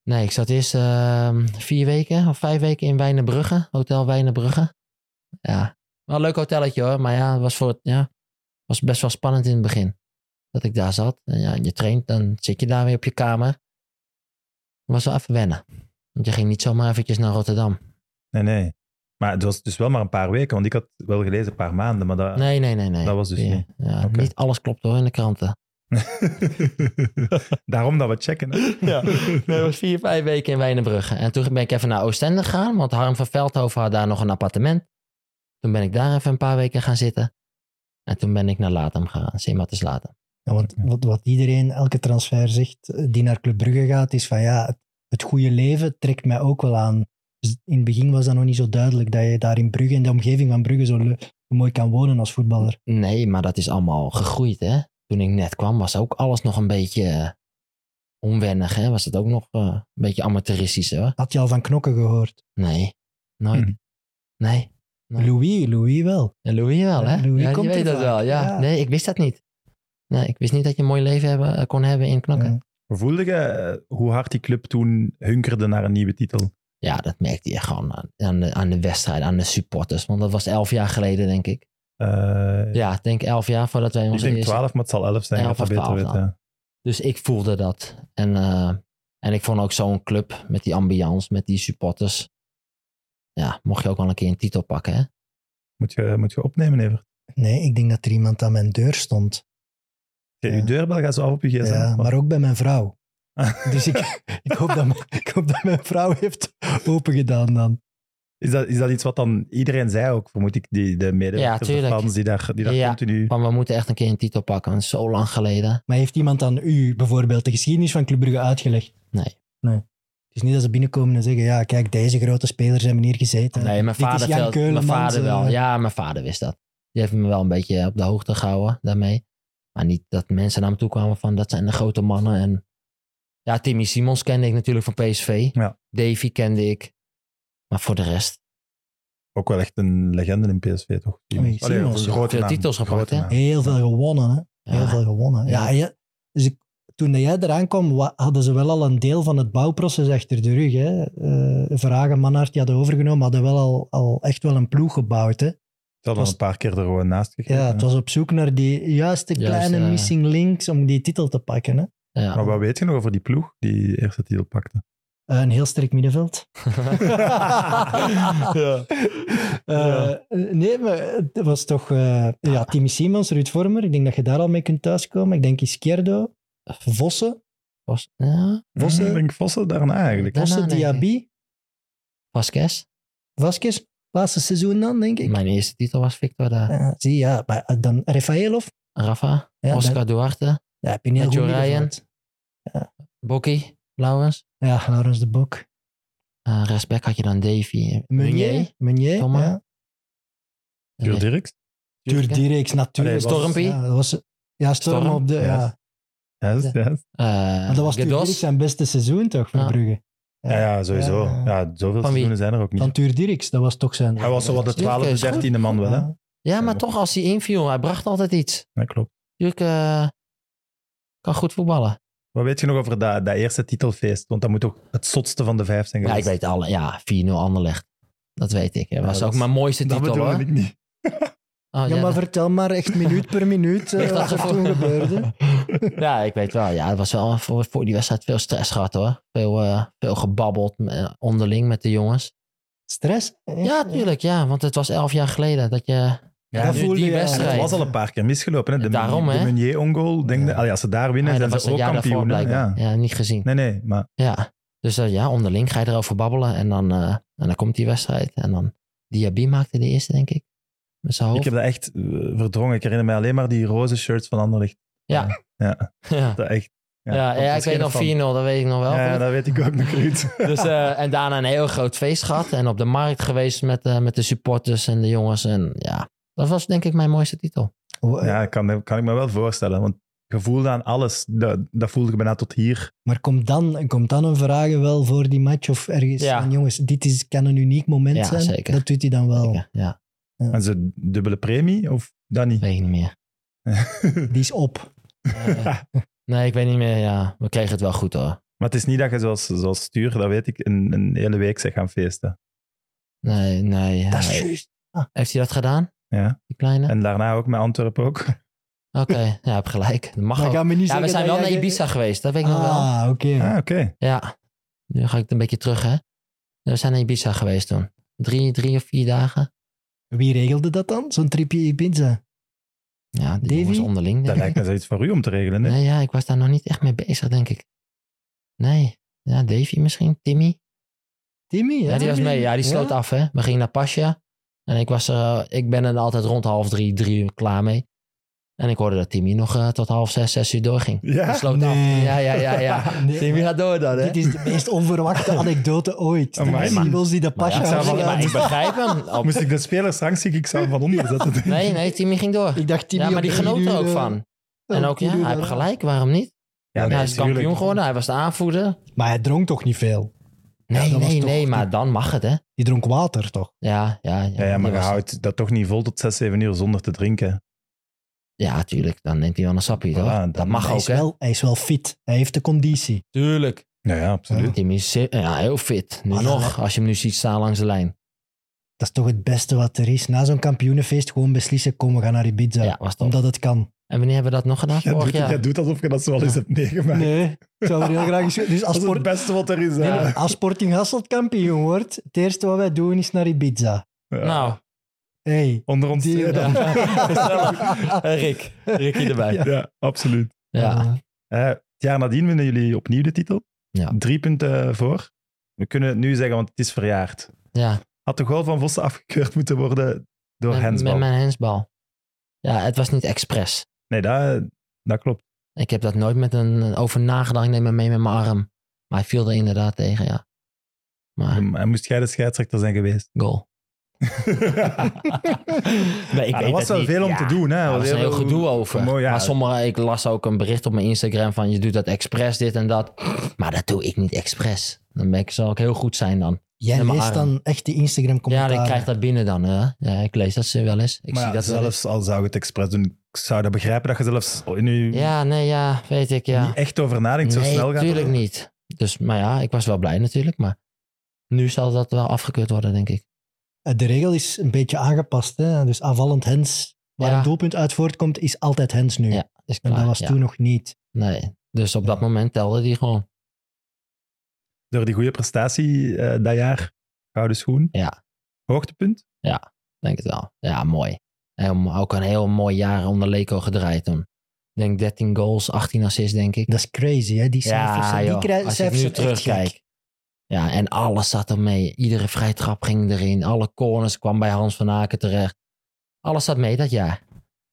Nee, ik zat eerst ehm, vier weken of vijf weken in Wijnenbrugge, Hotel Wijnenbrugge. Ja. Wel een leuk hotelletje hoor, maar ja, het was, voor het, ja, was best wel spannend in het begin. Dat ik daar zat. En ja, je traint, dan zit je daar weer op je kamer. Het was wel even wennen. Want je ging niet zomaar eventjes naar Rotterdam.
Nee, nee. Maar het was dus wel maar een paar weken, want ik had wel gelezen een paar maanden, maar dat...
Nee, nee, nee, nee.
Dat was dus
ja,
niet.
ja,
Oké.
Niet alles klopt hoor in de kranten.
Daarom dat we checken. hè.
Nee, dat was vier, vijf weken in Wijnenbrugge. En toen ben ik even naar Oostende gegaan, want Harm van Veldhoven had daar nog een appartement. Toen ben ik daar even een paar weken gaan zitten. En toen ben ik naar Latem gegaan, Simatis Latem.
ja, want wat, wat iedereen, elke transfer zegt eh, die naar Club Brugge gaat, is van ja, het, het goede leven trekt mij ook wel aan. Dus in het begin was dat nog niet zo duidelijk dat je daar in Brugge, in de omgeving van Brugge, zo le- zo mooi kan wonen als voetballer.
Nee, maar dat is allemaal gegroeid hè. Toen ik net kwam was ook alles nog een beetje eh, onwennig hè. Was het ook nog eh, een beetje amateuristisch hoor.
Had je al van knokken gehoord?
Nee, nooit.
Hm.
Nee. Nee.
Louis, Louis wel.
En Louis wel, hè?
Ja, Louis
ja, die
komt
weet
er
dat
vaak,
wel, ja.
ja.
Nee, ik wist dat niet. Nee, ik wist niet dat je een mooi leven hebben, eh, kon hebben in knokken.
Ja.
Voelde je eh, hoe hard die club toen hunkerde naar een nieuwe titel?
Ja, dat merkte je gewoon aan, aan, de, aan de wedstrijd, aan de supporters. Want dat was elf jaar geleden, denk ik.
Eh,
Ja, ik denk elf jaar voordat wij
ik
onze
denk
eerste...
12, maar het zal 11 zijn.
Ja,
dat dat
of
beter
12
weet,
dan.
ja.
Dus ik voelde dat. En, eh, en ik vond ook zo'n club met die ambiance, met die supporters. Ja, mocht je ook wel een keer een titel pakken, hè?
Moet je, moet je opnemen, Evert.
Nee, ik denk dat er iemand aan mijn deur stond.
Je,
Ja.
je deurbel gaat zo af op je gsm.
Ja, maar ook bij mijn vrouw.
Ah.
Dus ik, ik, hoop dat, mijn- ik hoop dat mijn vrouw heeft opengedaan dan.
Is dat, is dat iets wat dan iedereen zei ook, vermoed ik, die, de medewerkers,
Ja,
de
tuurlijk.
fans die daar, die daar
Ja.
continu...
Maar we moeten echt een keer een titel pakken, want het is zo lang geleden.
Maar heeft iemand aan u bijvoorbeeld de geschiedenis van Club Brugge uitgelegd?
Nee.
nee. Het is niet dat ze binnenkomen en zeggen, ja, kijk, deze grote spelers hebben hier gezeten.
Nee, mijn
Eh, Dit is
vader,
Jan
veel- mijn
Keulemans,
vader wel.
eh.
Ja, mijn vader wist dat. Die heeft me wel een beetje op de hoogte gehouden daarmee. Maar niet dat mensen naar me toe kwamen van dat zijn de grote mannen. En ja, Timmy Simons kende ik natuurlijk van PSV.
Ja.
Davy kende ik. Maar voor de rest,
Ook wel echt een legende in PSV, toch?
Oei,
Allee, of
Simons,
een grote
Veel
naam,
titels
grote
gepakt, hè?
naam.
Heel veel gewonnen, hè.
ja,
Heel veel gewonnen. Ja.
Ja.
je- dus ik, toen jij eraan kwam, wa- hadden ze wel al een deel van het bouwproces achter de rug. Hè? Eh Vragen, Manhart, die hadden overgenomen, hadden wel al, al echt wel een ploeg gebouwd. Hè?
Ze hadden
Was-
een paar keer er gewoon naast gegeven.
Ja, het was op zoek naar die juiste
Juist,
kleine
ja.
missing links om die titel te pakken. Hè?
Ja.
Maar wat weet je nog over die ploeg die eerste titel pakte?
Eh, een heel sterk middenveld.
ja.
Eh, Nee, maar het was toch eh, ja, Timmy Simons, Ruud Vormer. Ik denk dat je daar al mee kunt thuiskomen. Ik denk Izquierdo, Vossen,
Was, ja.
Vossen?
Vossen?
Ik denk Vossen daarna eigenlijk.
Daarna,
Vossen,
denk ik.
Diaby,
Vasquez.
Vasquez. Laatste seizoen dan, denk ik.
Mijn eerste titel was Victor daar.
Ja, zie, ja. Maar eh, dan Rafaelov.
Rafa,
Ja,
Oscar
dan-
Duarte,
Ja, heb je een heel
Met
goed
Joe
middenveld.
Bokkie, Lauwens.
Ja, Laurens de Bok.
Eh respect had je dan Davy.
Meunier. Meunier,
Thomas.
ja.
Jur
Meunier.
Dirks?
Tuur Dirks, natuurlijk.
Allee, was-
Stormpie?
Ja, dat was, ja Storm,
Storm,
op de... Ja.
ja. Juist,
Ja.
juist.
Eh,
Maar dat was Tuur
Gedos.
Dirks zijn beste seizoen, toch, voor
Ja.
Brugge?
Ja, ja, sowieso.
Ja.
Ja, zoveel
wie?
seizoenen zijn er ook
Van
niet.
Tuur Dirks, dat was toch zijn...
Hij was zo wat de
Dirk is
12e,
goed.
13e man wel, hè?
Ja.
Ja, maar toch als hij inviel, hij bracht altijd iets.
Ja, klopt.
Jurke eh, kan goed voetballen.
Wat weet je nog over dat, dat eerste titelfeest? Want dat moet ook het zotste van de vijf zijn
Ja, ik
geweest.
weet alle. Ja, 4-0 Anderlecht. Dat weet ik. Dat was
dat
ook
is-
mijn mooiste
dat
titel, hoor.
bedoelde ik niet.
Oh,
Ja,
ja,
maar
dat-
vertel maar echt minuut per minuut eh,
Echt
wat er
dat-
toen gebeurde.
ja, ik weet wel. Ja, het was wel voor, voor die wedstrijd veel stress gehad, hoor. Veel, eh, veel gebabbeld eh, onderling met de jongens.
Stress? hè?
Ja, tuurlijk, ja. Want het was elf jaar geleden dat je...
Ja,
Dat
nu-
voelde
die
je-
en het
wedstrijd.
was al een paar keer misgelopen. Hè? De,
Daarom,
de
hè?
Meunier-ongol. denk de-
Ja.
Allee, Als ze daar winnen,
Ah, dat
zijn
was
ze
het
ook
jaar daarvoor
kampioen. hè?
blijkbaar.
Ja.
Ja. niet gezien.
Nee, nee, maar
Ja. Dus eh, ja, onderling ga je erover babbelen. En dan, eh, en dan komt die wedstrijd. En dan... Diaby maakte de eerste, denk ik. Met zijn
ik
hoofd.
heb dat echt eh, verdrongen. Ik herinner mij alleen maar die roze shirts van Anderlecht.
Ja. Ja.
Dat echt,
Ja, ja,
dat
ik
is
weet
geen
nog 4-0,
fan.
dat weet ik nog wel.
Ja,
Goed.
dat weet ik ook nog niet.
Dus, eh, en daarna een heel groot feest gehad. En op de markt geweest met, eh, met de supporters en de jongens. En ja, dat was denk ik mijn mooiste titel.
Oh, eh,
ja, kan, kan ik me wel voorstellen. Want gevoel aan alles, dat, dat voelde ik bijna tot hier.
Maar komt dan, komt dan een vraag wel voor die match of ergens?
Ja.
van, jongens, dit is, kan een uniek moment
Ja,
zijn.
zeker.
Dat doet hij dan wel.
Ja, eh, ja,
En ze dubbele premie, of dat niet?
weet ik niet meer.
Die is op.
Eh, nee, ik weet niet meer. Ja, we kregen het wel goed hoor.
Maar het is niet dat je zoals, zoals stuur, dat weet ik, een, een hele week zegt gaan feesten.
Nee, nee. ja.
Dat is juist.
Heeft hij dat gedaan?
Ja.
Die kleine?
En daarna ook met Antwerpen ook.
Oké, ja, heb gelijk. Dat mag
Maar
ook.
gaan we niet
Ja, we
zeggen
zijn wel
dat
naar
jij-
Ibiza geweest, dat weet ik nog wel.
Ah, oké.
Ah, oké.
Ja, nu ga ik het een beetje terug hè. We zijn naar Ibiza geweest toen. Drie, drie of vier dagen.
Wie regelde dat dan? Zo'n tripje Ibiza?
Ja, die
Davy?
jongens onderling.
Dat
denk ik.
lijkt me zoiets voor u om te regelen. hè?
Nee, ja, ik was daar nog niet echt mee bezig, denk ik. Nee. Ja, Davy misschien, Timmy.
Timmy,
Ja, die was mee. Ja, die sloot
ja?
af, hè. We gingen naar Pasja. En ik was er, eh, ik ben er altijd rond half drie, drie uur klaar mee. En ik hoorde dat Timmy nog eh, tot half zes, zes uur doorging.
Ja?
Die sloot
Nee.
af. Ja, ja, ja, ja.
Nee,
Timmy gaat door dan, hè.
Dit is de meest onverwachte anekdote ooit.
Amai,
Die
man.
Simons die de
Maar ja,
pasja
zou
ik,
wel-
afslaat.
maar ik begrijp hem. Op-
Moest ik de spelers straks zie ik zou hem van onder zetten.
Nee, nee, Timmy ging door.
Ik dacht Timmy
ja, maar
om
die
tien
genoot er
uur,
ook eh.
eh,
van.
om
En ook,
tien
ja,
uur
hij heeft
daarna.
gelijk, waarom niet?
Ja, nee,
hij is
tuurlijk.
kampioen geworden, hij was de aanvoerder.
Maar hij dronk toch niet veel? dat
Nee,
was
nee,
toch-
nee, maar dan mag het, hè.
Die dronk water, toch?
Ja, ja, ja.
Ja, ja, maar
die
je
was-
houdt dat toch niet vol tot 6, 7 uur zonder te drinken.
Ja, tuurlijk. Dan neemt hij wel een sapje, toch?
Voilà,
dat
dan-
mag
hij,
ook,
is
hè?
wel, hij is wel fit. Hij heeft de conditie.
Tuurlijk.
Ja, ja, absoluut.
Tim is ze- ja, heel fit. Nu
Maar dan-
nog, als je hem nu ziet staan langs de lijn.
Dat is toch het beste wat er is. Na zo'n kampioenenfeest gewoon beslissen, kom, we gaan naar Ibiza.
Ja, was top.
Omdat het kan.
En wanneer hebben we dat nog gedaan?
Jij
Vorig
doet,
jaar.
jij doet alsof je dat zo al eens hebt meegemaakt.
Nee, ik zou er heel graag eens... Dus
dat
als,
is het
sport,
beste wat er is. hè.
Nee, als Sporting Hasselt kampioen wordt, het eerste wat wij doen is naar Ibiza.
Ja.
Nou,
Hey.
Onder ons
Die-
eh, dan.
ja.
Nou,
Eh, Rick. Rickie erbij.
Ja, absoluut.
Ja.
Eh, het jaar nadien winnen jullie opnieuw de titel.
Ja.
Drie punten voor. We kunnen het nu zeggen, want het is verjaard.
ja.
Had de goal van Vossen afgekeurd moeten worden door
Met,
Hensbal?
met mijn hensbal. Ja, het was niet expres.
Nee, dat, dat klopt.
Ik heb dat nooit met een over nagedacht. Ik neem hem mee met mijn arm. Maar hij viel er inderdaad tegen, ja. Maar
En moest jij de scheidsrechter zijn geweest?
goal. nee, ik
Ja,
weet
Ah, er was
het
wel
niet.
veel om
Ja.
te doen. Hè.
Ja,
Er
Daar
was
was een heel
heel-
gedoe over.
mooi, ja.
Maar sommige, ik las ook een bericht op mijn Instagram van je doet dat expres, dit en dat. Maar dat doe ik niet expres. Dan ben ik, zal ik heel goed zijn dan.
Jij
Nee, maar
leest
Aaron-
dan echt die
Ja,
Instagram-commentaren.
ik krijg dat binnen dan. hè. Ja, ik lees dat ze wel eens. Ik
Maar
zie
ja,
dat wel eens.
zelfs al zou je het expres doen, ik zou dat begrijpen dat je zelfs in je
Ja, nee, ja, weet ik, ja.
niet echt over nadenkt, zo
nee,
snel gaat.
natuurlijk niet. Dus, maar ja, ik was wel blij natuurlijk. Maar nu zal dat wel afgekeurd worden, denk ik.
Eh, De regel is een beetje aangepast. Hè? Dus aanvallend hens, waar
Ja.
een doelpunt uit voortkomt, is altijd hens nu.
Ja, is
En
klaar.
dat was
ja.
toen nog niet.
Nee, dus op dat moment telde die gewoon.
Door die goede prestatie eh, dat jaar, gouden schoen.
Ja.
Hoogtepunt?
Denk het wel. Ja, mooi. Heel, ook een heel mooi jaar onder Leco gedraaid toen. Ik denk 13 goals, 18 assists, denk ik.
Dat is crazy, hè? Die cijfers, zijn- die
joh.
krij-
als je het
cijfers
nu
zijn echt gek.
terugkijkt. Ja, en alles zat er mee. Iedere vrije trap ging erin. Alle corners kwam bij Hans van Aken terecht. Alles zat mee dat jaar.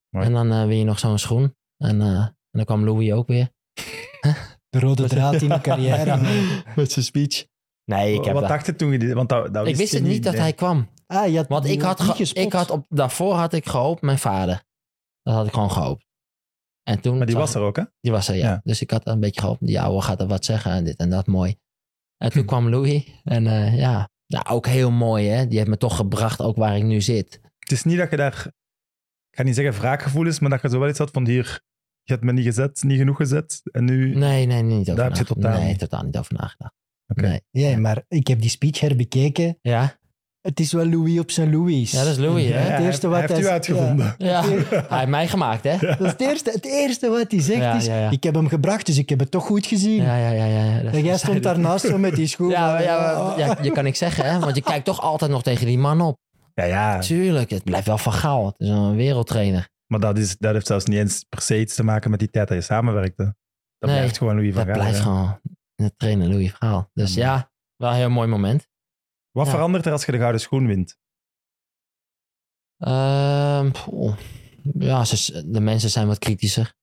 Mooi.
En dan eh win je nog zo'n schoen. En, eh, en dan kwam Louis ook weer.
De rode draad in de carrière.
Met zijn speech. Nee, ik heb
Wat
dat-
dacht je toen? je dit- Want dat, dat
Ik wist
je
het niet dat
nee.
hij kwam.
Ah, je had
Want
die-
ik had,
die
ge-
gespot.
ik had op, daarvoor had ik gehoopt, mijn vader. Dat had ik gewoon gehoopt. En toen
Maar die
zag-
was er ook, hè?
Die was er, ja.
Ja.
Dus ik had een beetje gehoopt, die ouwe gaat er wat zeggen en dit en dat, mooi. En
Hm.
toen kwam Louis en eh, ja, nou, ook heel mooi hè. Die heeft me toch gebracht, ook waar ik nu zit.
Het is niet dat je daar, ik ga niet zeggen wraakgevoelens, maar dat je zo wel iets had van hier, je hebt me niet gezet, niet genoeg gezet. En nu,
Nee, nee, niet over
Daar heb je
nagedacht.
totaal
nee,
niet-
totaal niet over nagedacht.
Oké.
Nee.
Ja, maar ik heb die speech herbekeken.
Ja?
Het is wel Louis op zijn Louis.
ja, dat is Louis
Ja,
hè.
het
hij-
eerste
hij,
wat
heeft u
hij-
uitgevonden.
Ja, hij heeft mij gemaakt hè.
Dat is het, eerste, het eerste wat hij zegt
Ja,
is,
ja, ja.
ik heb hem gebracht, dus ik heb het toch goed gezien.
Ja, ja, ja. ja, ja.
En jij stond daarnaast zo met die schoen.
Ja,
van,
maar- ja,
oh.
maar- ja, je kan niks zeggen, hè? Want je kijkt toch altijd nog tegen die man op.
Ja, ja.
Tuurlijk, het blijft wel van Gaal. Het is een wereldtrainer.
Maar dat, is, dat heeft zelfs niet eens per se iets te maken met die tijd dat je samenwerkte. Dat
Nee,
blijft gewoon Louis van
Dat
Gaal.
blijft
hè.
gewoon de trainer Louis Verhaal. Dus
Ja,
ja, wel een heel mooi moment.
Wat
Ja.
verandert er als je de gouden schoen wint?
Ehm, poeh. ja, ze- de mensen zijn wat kritischer.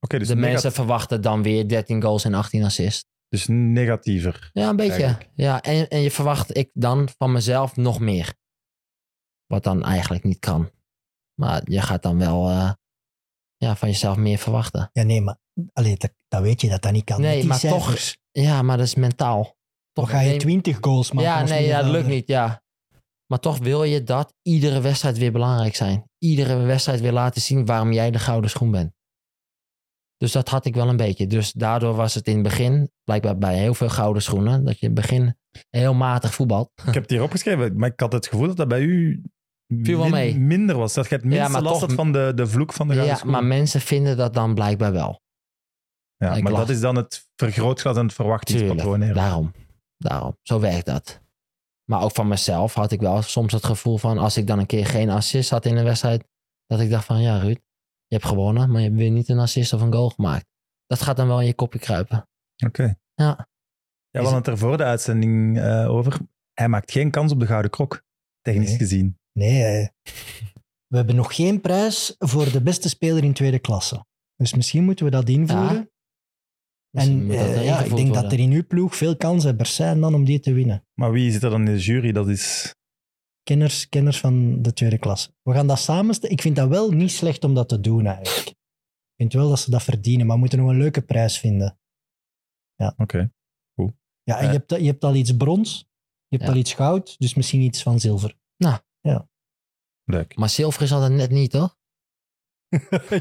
Oké, dus,
de
nega-
mensen verwachten dan weer 13 goals en 18 assists.
dus negatiever.
Ja, een beetje.
Eigenlijk.
Ja, en, en je verwacht ik dan van mezelf nog meer. Wat dan eigenlijk niet kan. Maar je gaat dan wel eh, ja, van jezelf meer verwachten.
Ja, nee, maar allee, dat, dat weet je dat dat niet kan.
Nee,
Met die
maar toch-
cijfers.
Ja, maar dat is mentaal.
Dan ga je
neem-
20 goals maken.
Ja,
als
nee, ja, dat
middenvelder.
lukt niet, ja. Maar toch wil je dat iedere wedstrijd weer belangrijk zijn. Iedere wedstrijd weer laten zien waarom jij de gouden schoen bent. Dus dat had ik wel een beetje. Dus daardoor was het in het begin, blijkbaar bij heel veel gouden schoenen, dat je in het begin heel matig voetbalt.
Ik heb het hier opgeschreven, maar ik had het gevoel dat dat bij u
Viel wel mee.
minder was. Dat je het minste
maar
last
toch-
had van de, de vloek van de gouden
Ja,
schoen.
maar mensen vinden dat dan blijkbaar wel.
Ja,
ik
maar
lach.
dat is dan het vergrootglas en het verwachtingspatroon. hè.
Tuurlijk, daarom. Daarom. Zo werkt dat. Maar ook van mezelf had ik wel soms het gevoel van... als ik dan een keer geen assist had in een wedstrijd... dat ik dacht van, ja Ruud, je hebt gewonnen... maar je hebt weer niet een assist of een goal gemaakt. Dat gaat dan wel in je kopje kruipen.
Oké.
Ja.
Ja,
Is
we hadden
het-
het er voor de uitzending eh, over. Hij maakt geen kans op de gouden krok, technisch
Nee.
gezien.
Nee, eh, we hebben nog geen prijs voor de beste speler in tweede klasse. Dus misschien moeten we dat invoeren.
Misschien
en
moet dat
eh,
erin
ja, ik
gevoerd
denk dat
worden.
er in uw ploeg veel kansen zijn dan om die te winnen.
Maar wie zit er dan in de jury? Dat is...
Kenners, kenners van de tweede klasse. We gaan dat samenstellen. Ik vind dat wel niet slecht om dat te doen eigenlijk. Ik vind wel dat ze dat verdienen, maar we moeten nog een leuke prijs vinden.
Oké.
Ja, en
Eh.
je, hebt, je hebt al iets brons, je hebt
Ja.
al iets goud, dus misschien iets van zilver.
Leuk.
Maar zilver is altijd net niet, toch?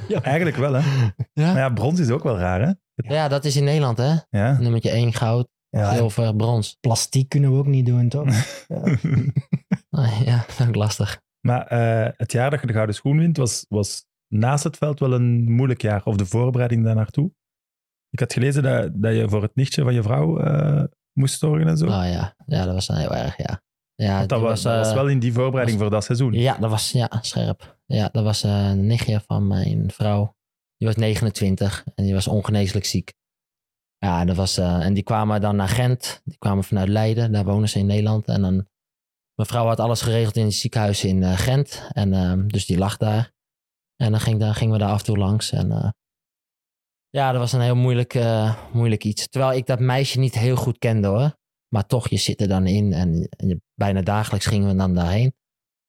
Eigenlijk wel, hè?
Ja.
Maar ja, brons is ook wel raar, hè?
Ja, dat is in Nederland, hè?
Ja.
Nummertje 1 goud,
Ja, en
zilver, brons.
plastiek kunnen we ook niet doen, toch?
Ah, ja, dat is ook lastig.
maar eh, het jaar dat je de gouden schoen wint, was, was naast het veld wel een moeilijk jaar. Of de voorbereiding daar naartoe. Ik had gelezen dat, dat je voor het nichtje van je vrouw eh, moest zorgen en zo.
Oh ja, ja dat was dan heel erg, ja. ja
Want dat,
die
was, dat
eh,
was wel in die voorbereiding voor dat seizoen.
Ja, dat was ja, scherp. Ja, dat was eh, een nichtje van mijn vrouw. Die was 29 en die was ongeneeslijk ziek. Ja, dat was, eh, en die kwamen dan naar Gent. Die kwamen vanuit Leiden. Daar wonen ze in Nederland. En dan, mijn vrouw had alles geregeld in het ziekenhuis in eh, Gent. En, ehm, dus die lag daar. En dan ging, daar, gingen we daar af en toe langs. En, eh, ja, dat was een heel moeilijk, eh, moeilijk iets. Terwijl ik dat meisje niet heel goed kende hoor. Maar toch, je zit er dan in. En, en je- bijna dagelijks gingen we dan daarheen.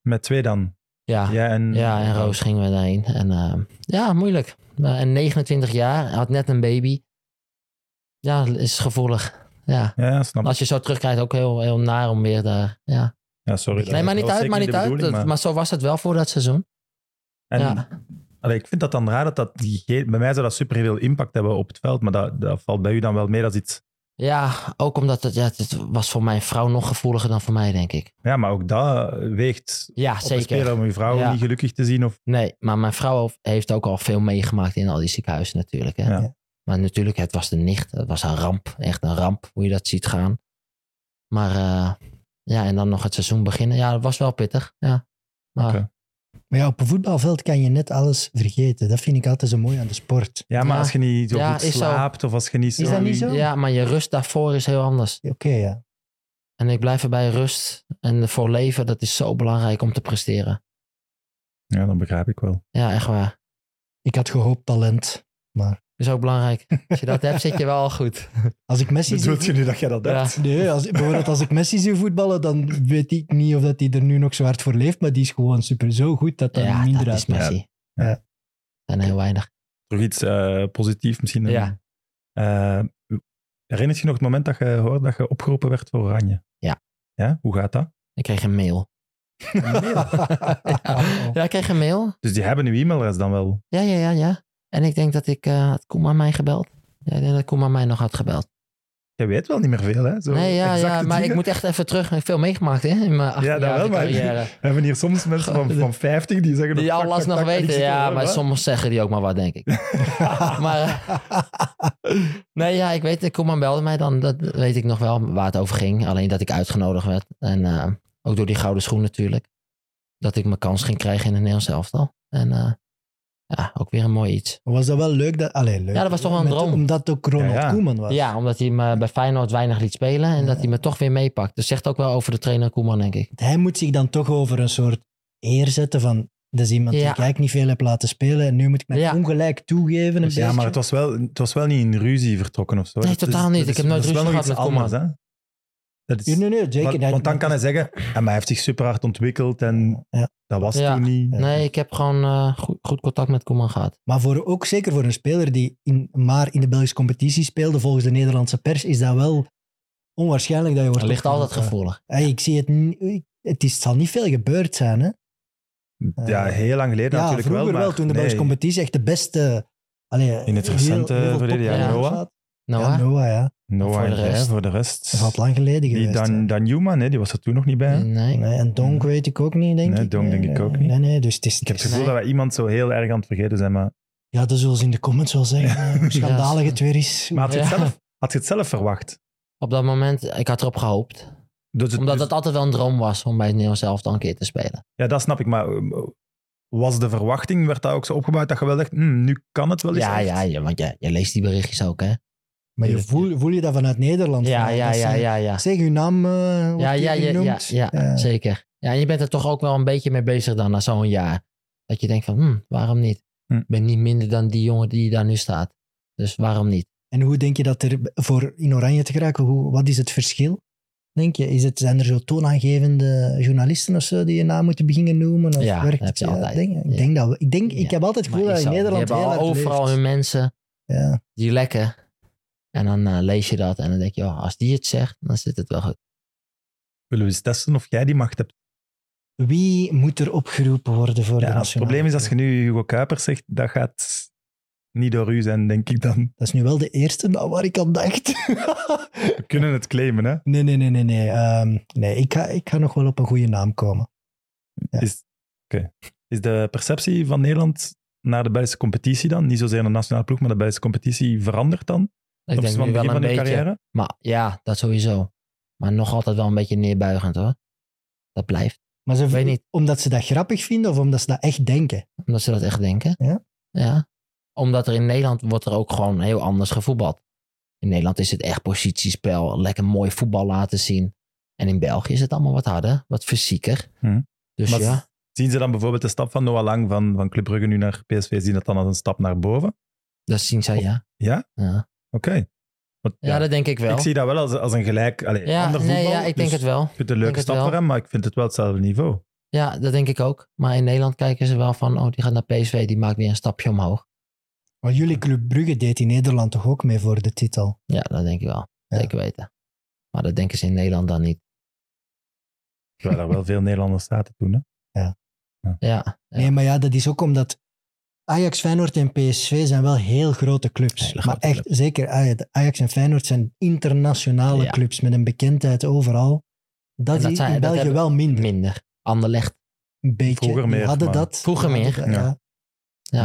Met twee dan.
Ja,
Ja, en,
Ah. ja, en Roos gingen we daarheen. En ehm, ja, moeilijk. Eh, en 29 jaar, had net een baby. Ja, is gevoelig. Ja.
Ja, snap ik.
Als je zo terugkijkt, ook heel, heel naar om weer daar. Ja.
Ja, sorry. dat
Nee, maar
was
niet uit,
zeker
maar
de
niet uit.
bedoeling,
Dat- maar zo was het wel voor dat seizoen.
En
ja.
allee, ik vind dat dan raar dat dat... die ge- Bij mij zou dat superveel impact hebben op het veld, maar dat, dat valt bij u dan wel mee als iets...
ja, ook omdat het, ja, het was voor mijn vrouw nog gevoeliger dan voor mij, denk ik.
Ja, maar ook dat weegt
Ja,
op een speler
zeker.
om uw vrouw
Ja.
niet gelukkig te zien. Of,
Nee, maar mijn vrouw heeft ook al veel meegemaakt in al die ziekenhuizen natuurlijk. Hè?
Ja.
Maar natuurlijk, het was de nicht. Het was een ramp. Echt een ramp, hoe je dat ziet gaan. Maar eh, ja, en dan nog het seizoen beginnen. Ja, dat was wel pittig. Ja. Maar
Oké.
Maar ja, op een voetbalveld kan je net alles vergeten. Dat vind ik altijd zo mooi aan de sport.
ja, maar
Ja.
als je niet zo
Ja,
goed
is zo.
slaapt of als je niet zo...
Is dat niet zo?
ja, maar je rust daarvoor is heel anders.
Oké, ja.
En ik blijf erbij rust. En voor leven, dat is zo belangrijk om te presteren.
Ja, dan begrijp ik wel.
Ja, echt waar.
Ik had gehoopt talent.
Dat is ook belangrijk. Als je dat hebt, zit je wel al goed.
Als ik Messi zie...
Bedoelt je nu dat jij dat
Ja.
hebt?
Nee, als, bijvoorbeeld als ik Messi zie voetballen, dan weet ik niet of dat hij er nu nog zo hard voor leeft, maar die is gewoon super zo goed dat dat
ja,
minder
dat
uit.
is Messi.
Ja. Ja.
Er zijn heel weinig.
Toch iets eh, positiefs misschien? dan-
Ja.
Eh, herinnert je nog het moment dat je hoorde dat je opgeroepen werd voor Oranje?
Ja.
Ja, hoe gaat dat?
Ik kreeg een mail. Ja, ik kreeg een mail.
Dus die hebben uw e-mailadres dan wel.
Ja, ja, ja, ja. En ik denk dat ik, eh had Koeman mij gebeld? Ja, ik denk dat Koeman mij nog had gebeld.
Jij weet wel niet meer veel, hè? Zo
nee, ja, ja,
exacte
maar ik
dingen.
moet echt even terug. Ik heb veel meegemaakt hè, in mijn 18
dat
jaar
wel, maar-
carrière.
We hebben hier soms mensen van, van 50 die zeggen...
Die
dat-
alles
tak, tak,
nog
tak, en ik
weten.
zit er
Ja,
wel,
maar
hè?
soms zeggen die ook maar wat, denk ik. maar, eh, nee, ja, ik weet, eh, Koeman belde mij dan. Dat weet ik nog wel waar het over ging. Alleen dat ik uitgenodigd werd. En eh, ook door die gouden schoen natuurlijk. Dat ik mijn kans ging krijgen in het Nederlands elftal. En eh, ja, ook weer een mooi iets.
Was dat wel leuk? Dat, allee, leuk.
Ja, dat was toch wel een
Met-
droom.
Omdat het ook Ronald
Ja, ja.
Koeman was.
Ja, omdat hij me bij Feyenoord weinig liet spelen en dat
Ja.
hij me toch weer meepakt. Dat zegt ook wel over de trainer Koeman, denk ik.
Hij moet zich dan toch over een soort eer zetten van, dat is iemand die
Ja.
ik eigenlijk niet veel heb laten spelen en nu moet ik mij
Ja.
ongelijk toegeven. Een
Dus Ja,
beetje.
maar het was, wel, het was wel niet in ruzie vertrokken of zo.
Nee,
Dat is-
totaal niet.
dat
Ik
is-
heb nooit
dat is
ruzie
wel
gehad
nog
met
iets anders, hè? Dat is,
Nee, nee, nee, zeker.
want,
Hij-
want dan kan hij zeggen, ja, maar hij heeft zich super hard ontwikkeld en
Ja.
dat was
Ja.
toen niet.
Ja.
Nee, ik heb gewoon eh, goed, goed contact met Koeman gehad.
Maar voor, ook zeker voor een speler die in, maar in de Belgische competitie speelde, volgens de Nederlandse pers, is dat wel onwaarschijnlijk dat je wordt
Er ligt altijd
opgeroepen.
gevoelig.
Hey, ik zie het niet. ik- Het, is, het zal niet veel gebeurd zijn, hè?
Ja,
Eh,
heel lang geleden
ja,
natuurlijk
vroeger wel,
maar
toen de
nee.
Belgische competitie echt de beste... Allee,
In het recente verleden, ja,
topclubs
Noah.
had.
Noah?
Ja, Noah, ja.
Noah,
Voor de
hè,
rest.
voor de rest.
Dat is al lang geleden
Die
geweest. hè.
Dan, Dan Newman, hè, die was er toen nog niet bij. hè?
Nee.
Nee, en Donk weet ik ook niet, denk
Nee,
ik.
Donk denk ik ook niet.
Nee, nee, dus het is...
Ik heb het
het is-
gevoel
Nee.
dat we iemand zo heel erg aan het vergeten zijn. Maar,
ja, dat zullen ze in de comments wel zeggen. eh, Hoe schandalig
Ja,
het weer is.
maar had, je het
Ja.
zelf, had je het zelf verwacht?
Op dat moment, ik had erop gehoopt.
Dus het-
Omdat
dus-
het altijd wel een droom was om bij het Nederlands elftal een keer te spelen.
Ja, dat snap ik. Maar um, was de verwachting, werd dat ook zo opgebouwd dat je wel dacht, "Hmm, nu kan het wel eens
Ja,
echt?"
ja, ja, want je, je leest die berichtjes ook, hè?
Maar je voel, voel je dat vanuit Nederland?
Ja,
van,
ja,
dat
ja,
ze-
ja, ja.
Zeg uw naam, eh wordt
Ja,
hier
ja, ja, ja,
genoemd. Eh,
ja,
Ja.
zeker. Ja, en je bent er toch ook wel een beetje mee bezig dan na zo'n jaar. Dat je denkt van, hm, waarom niet?
Hm.
Ik ben niet minder dan die jongen die daar nu staat. Dus waarom niet?
En hoe denk je dat er voor in Oranje te geraken, hoe, wat is het verschil? Denk je, is het, zijn er zo toonaangevende journalisten of zo die je naam moeten beginnen noemen? Of
Ja,
werkt
dat heb je
ja,
altijd.
Denk, ik
Ja.
denk dat we, ik, denk, ik
Ja.
heb altijd het
Maar
gevoel
is
dat in
zo.
Nederland
die
heel
hebben
hard
al overal
leeft.
hun mensen
Ja.
die lekken. En dan eh, lees je dat en dan denk je, oh, als die het zegt, dan zit het wel goed.
Willen we eens testen of jij die macht hebt?
Wie moet er opgeroepen worden voor de
Ja, het
nationale
probleem is als je
ploeg?
nu Hugo Kuipers zegt, dat gaat niet door u zijn, denk ik dan.
Dat is nu wel de eerste nou, waar ik aan dacht.
We kunnen het claimen, hè?
nee, nee, nee, nee. Nee, Ehm, nee ik, ga, ik ga nog wel op een goede naam komen. Ja.
Is, oké. is de perceptie van Nederland naar de Belgische competitie dan, niet zozeer naar de nationale ploeg, maar de Belgische competitie verandert dan?
Ik denk
van het
nu wel
begin
een
van uw
beetje.
carrière?
Maar ja, dat sowieso. Maar nog altijd wel een beetje neerbuigend hoor. Dat blijft.
Maar ze
Weet niet.
Omdat ze dat grappig vinden of omdat ze dat echt denken?
Omdat ze dat echt denken.
Ja?
Ja. Omdat er in Nederland wordt er ook gewoon heel anders gevoetbald. In Nederland is het echt positiespel. Lekker mooi voetbal laten zien. En in België is het allemaal wat harder. Wat fysieker.
Hm.
Dus
Maar
ja.
Zien ze dan bijvoorbeeld de stap van Noah Lang van, van Club Brugge nu naar PSV, zien dat dan als een stap naar boven?
Dat zien zij, ja.
Ja?
Ja,
Oké. Want,
Ja, dat denk ik wel.
Ik zie dat wel als, als een gelijk, allee,
ja,
ander voetbal.
nee, ja, ik denk
dus
het wel.
Ik vind het een
denk
leuke
het
stap
wel.
voor hem, maar ik vind het wel hetzelfde niveau.
Ja, dat denk ik ook. Maar in Nederland kijken ze wel van, oh, die gaat naar PSV, die maakt weer een stapje omhoog.
Maar jullie Club Brugge deed in Nederland toch ook mee voor de titel?
Ja, dat denk ik wel.
Ja.
Zeker weten. Maar dat denken ze in Nederland dan niet.
Terwijl er wel veel Nederlanders zaten toen, hè?
Ja, ja.
Nee, maar ja, dat is ook omdat Ajax, Feyenoord en PSV zijn wel heel grote clubs.
Hele
maar
grote
echt, zeker Aj- Ajax en Feyenoord zijn internationale
Ja.
clubs met een bekendheid overal. Dat,
En dat
is
zijn-
in
dat
België
hebben- Mm.
wel minder.
minder. Anderlecht.
Een beetje.
Vroeger
Die
meer,
hadden
maar-
dat.
Vroeger
die
meer,
hadden dat,
ja.
ja.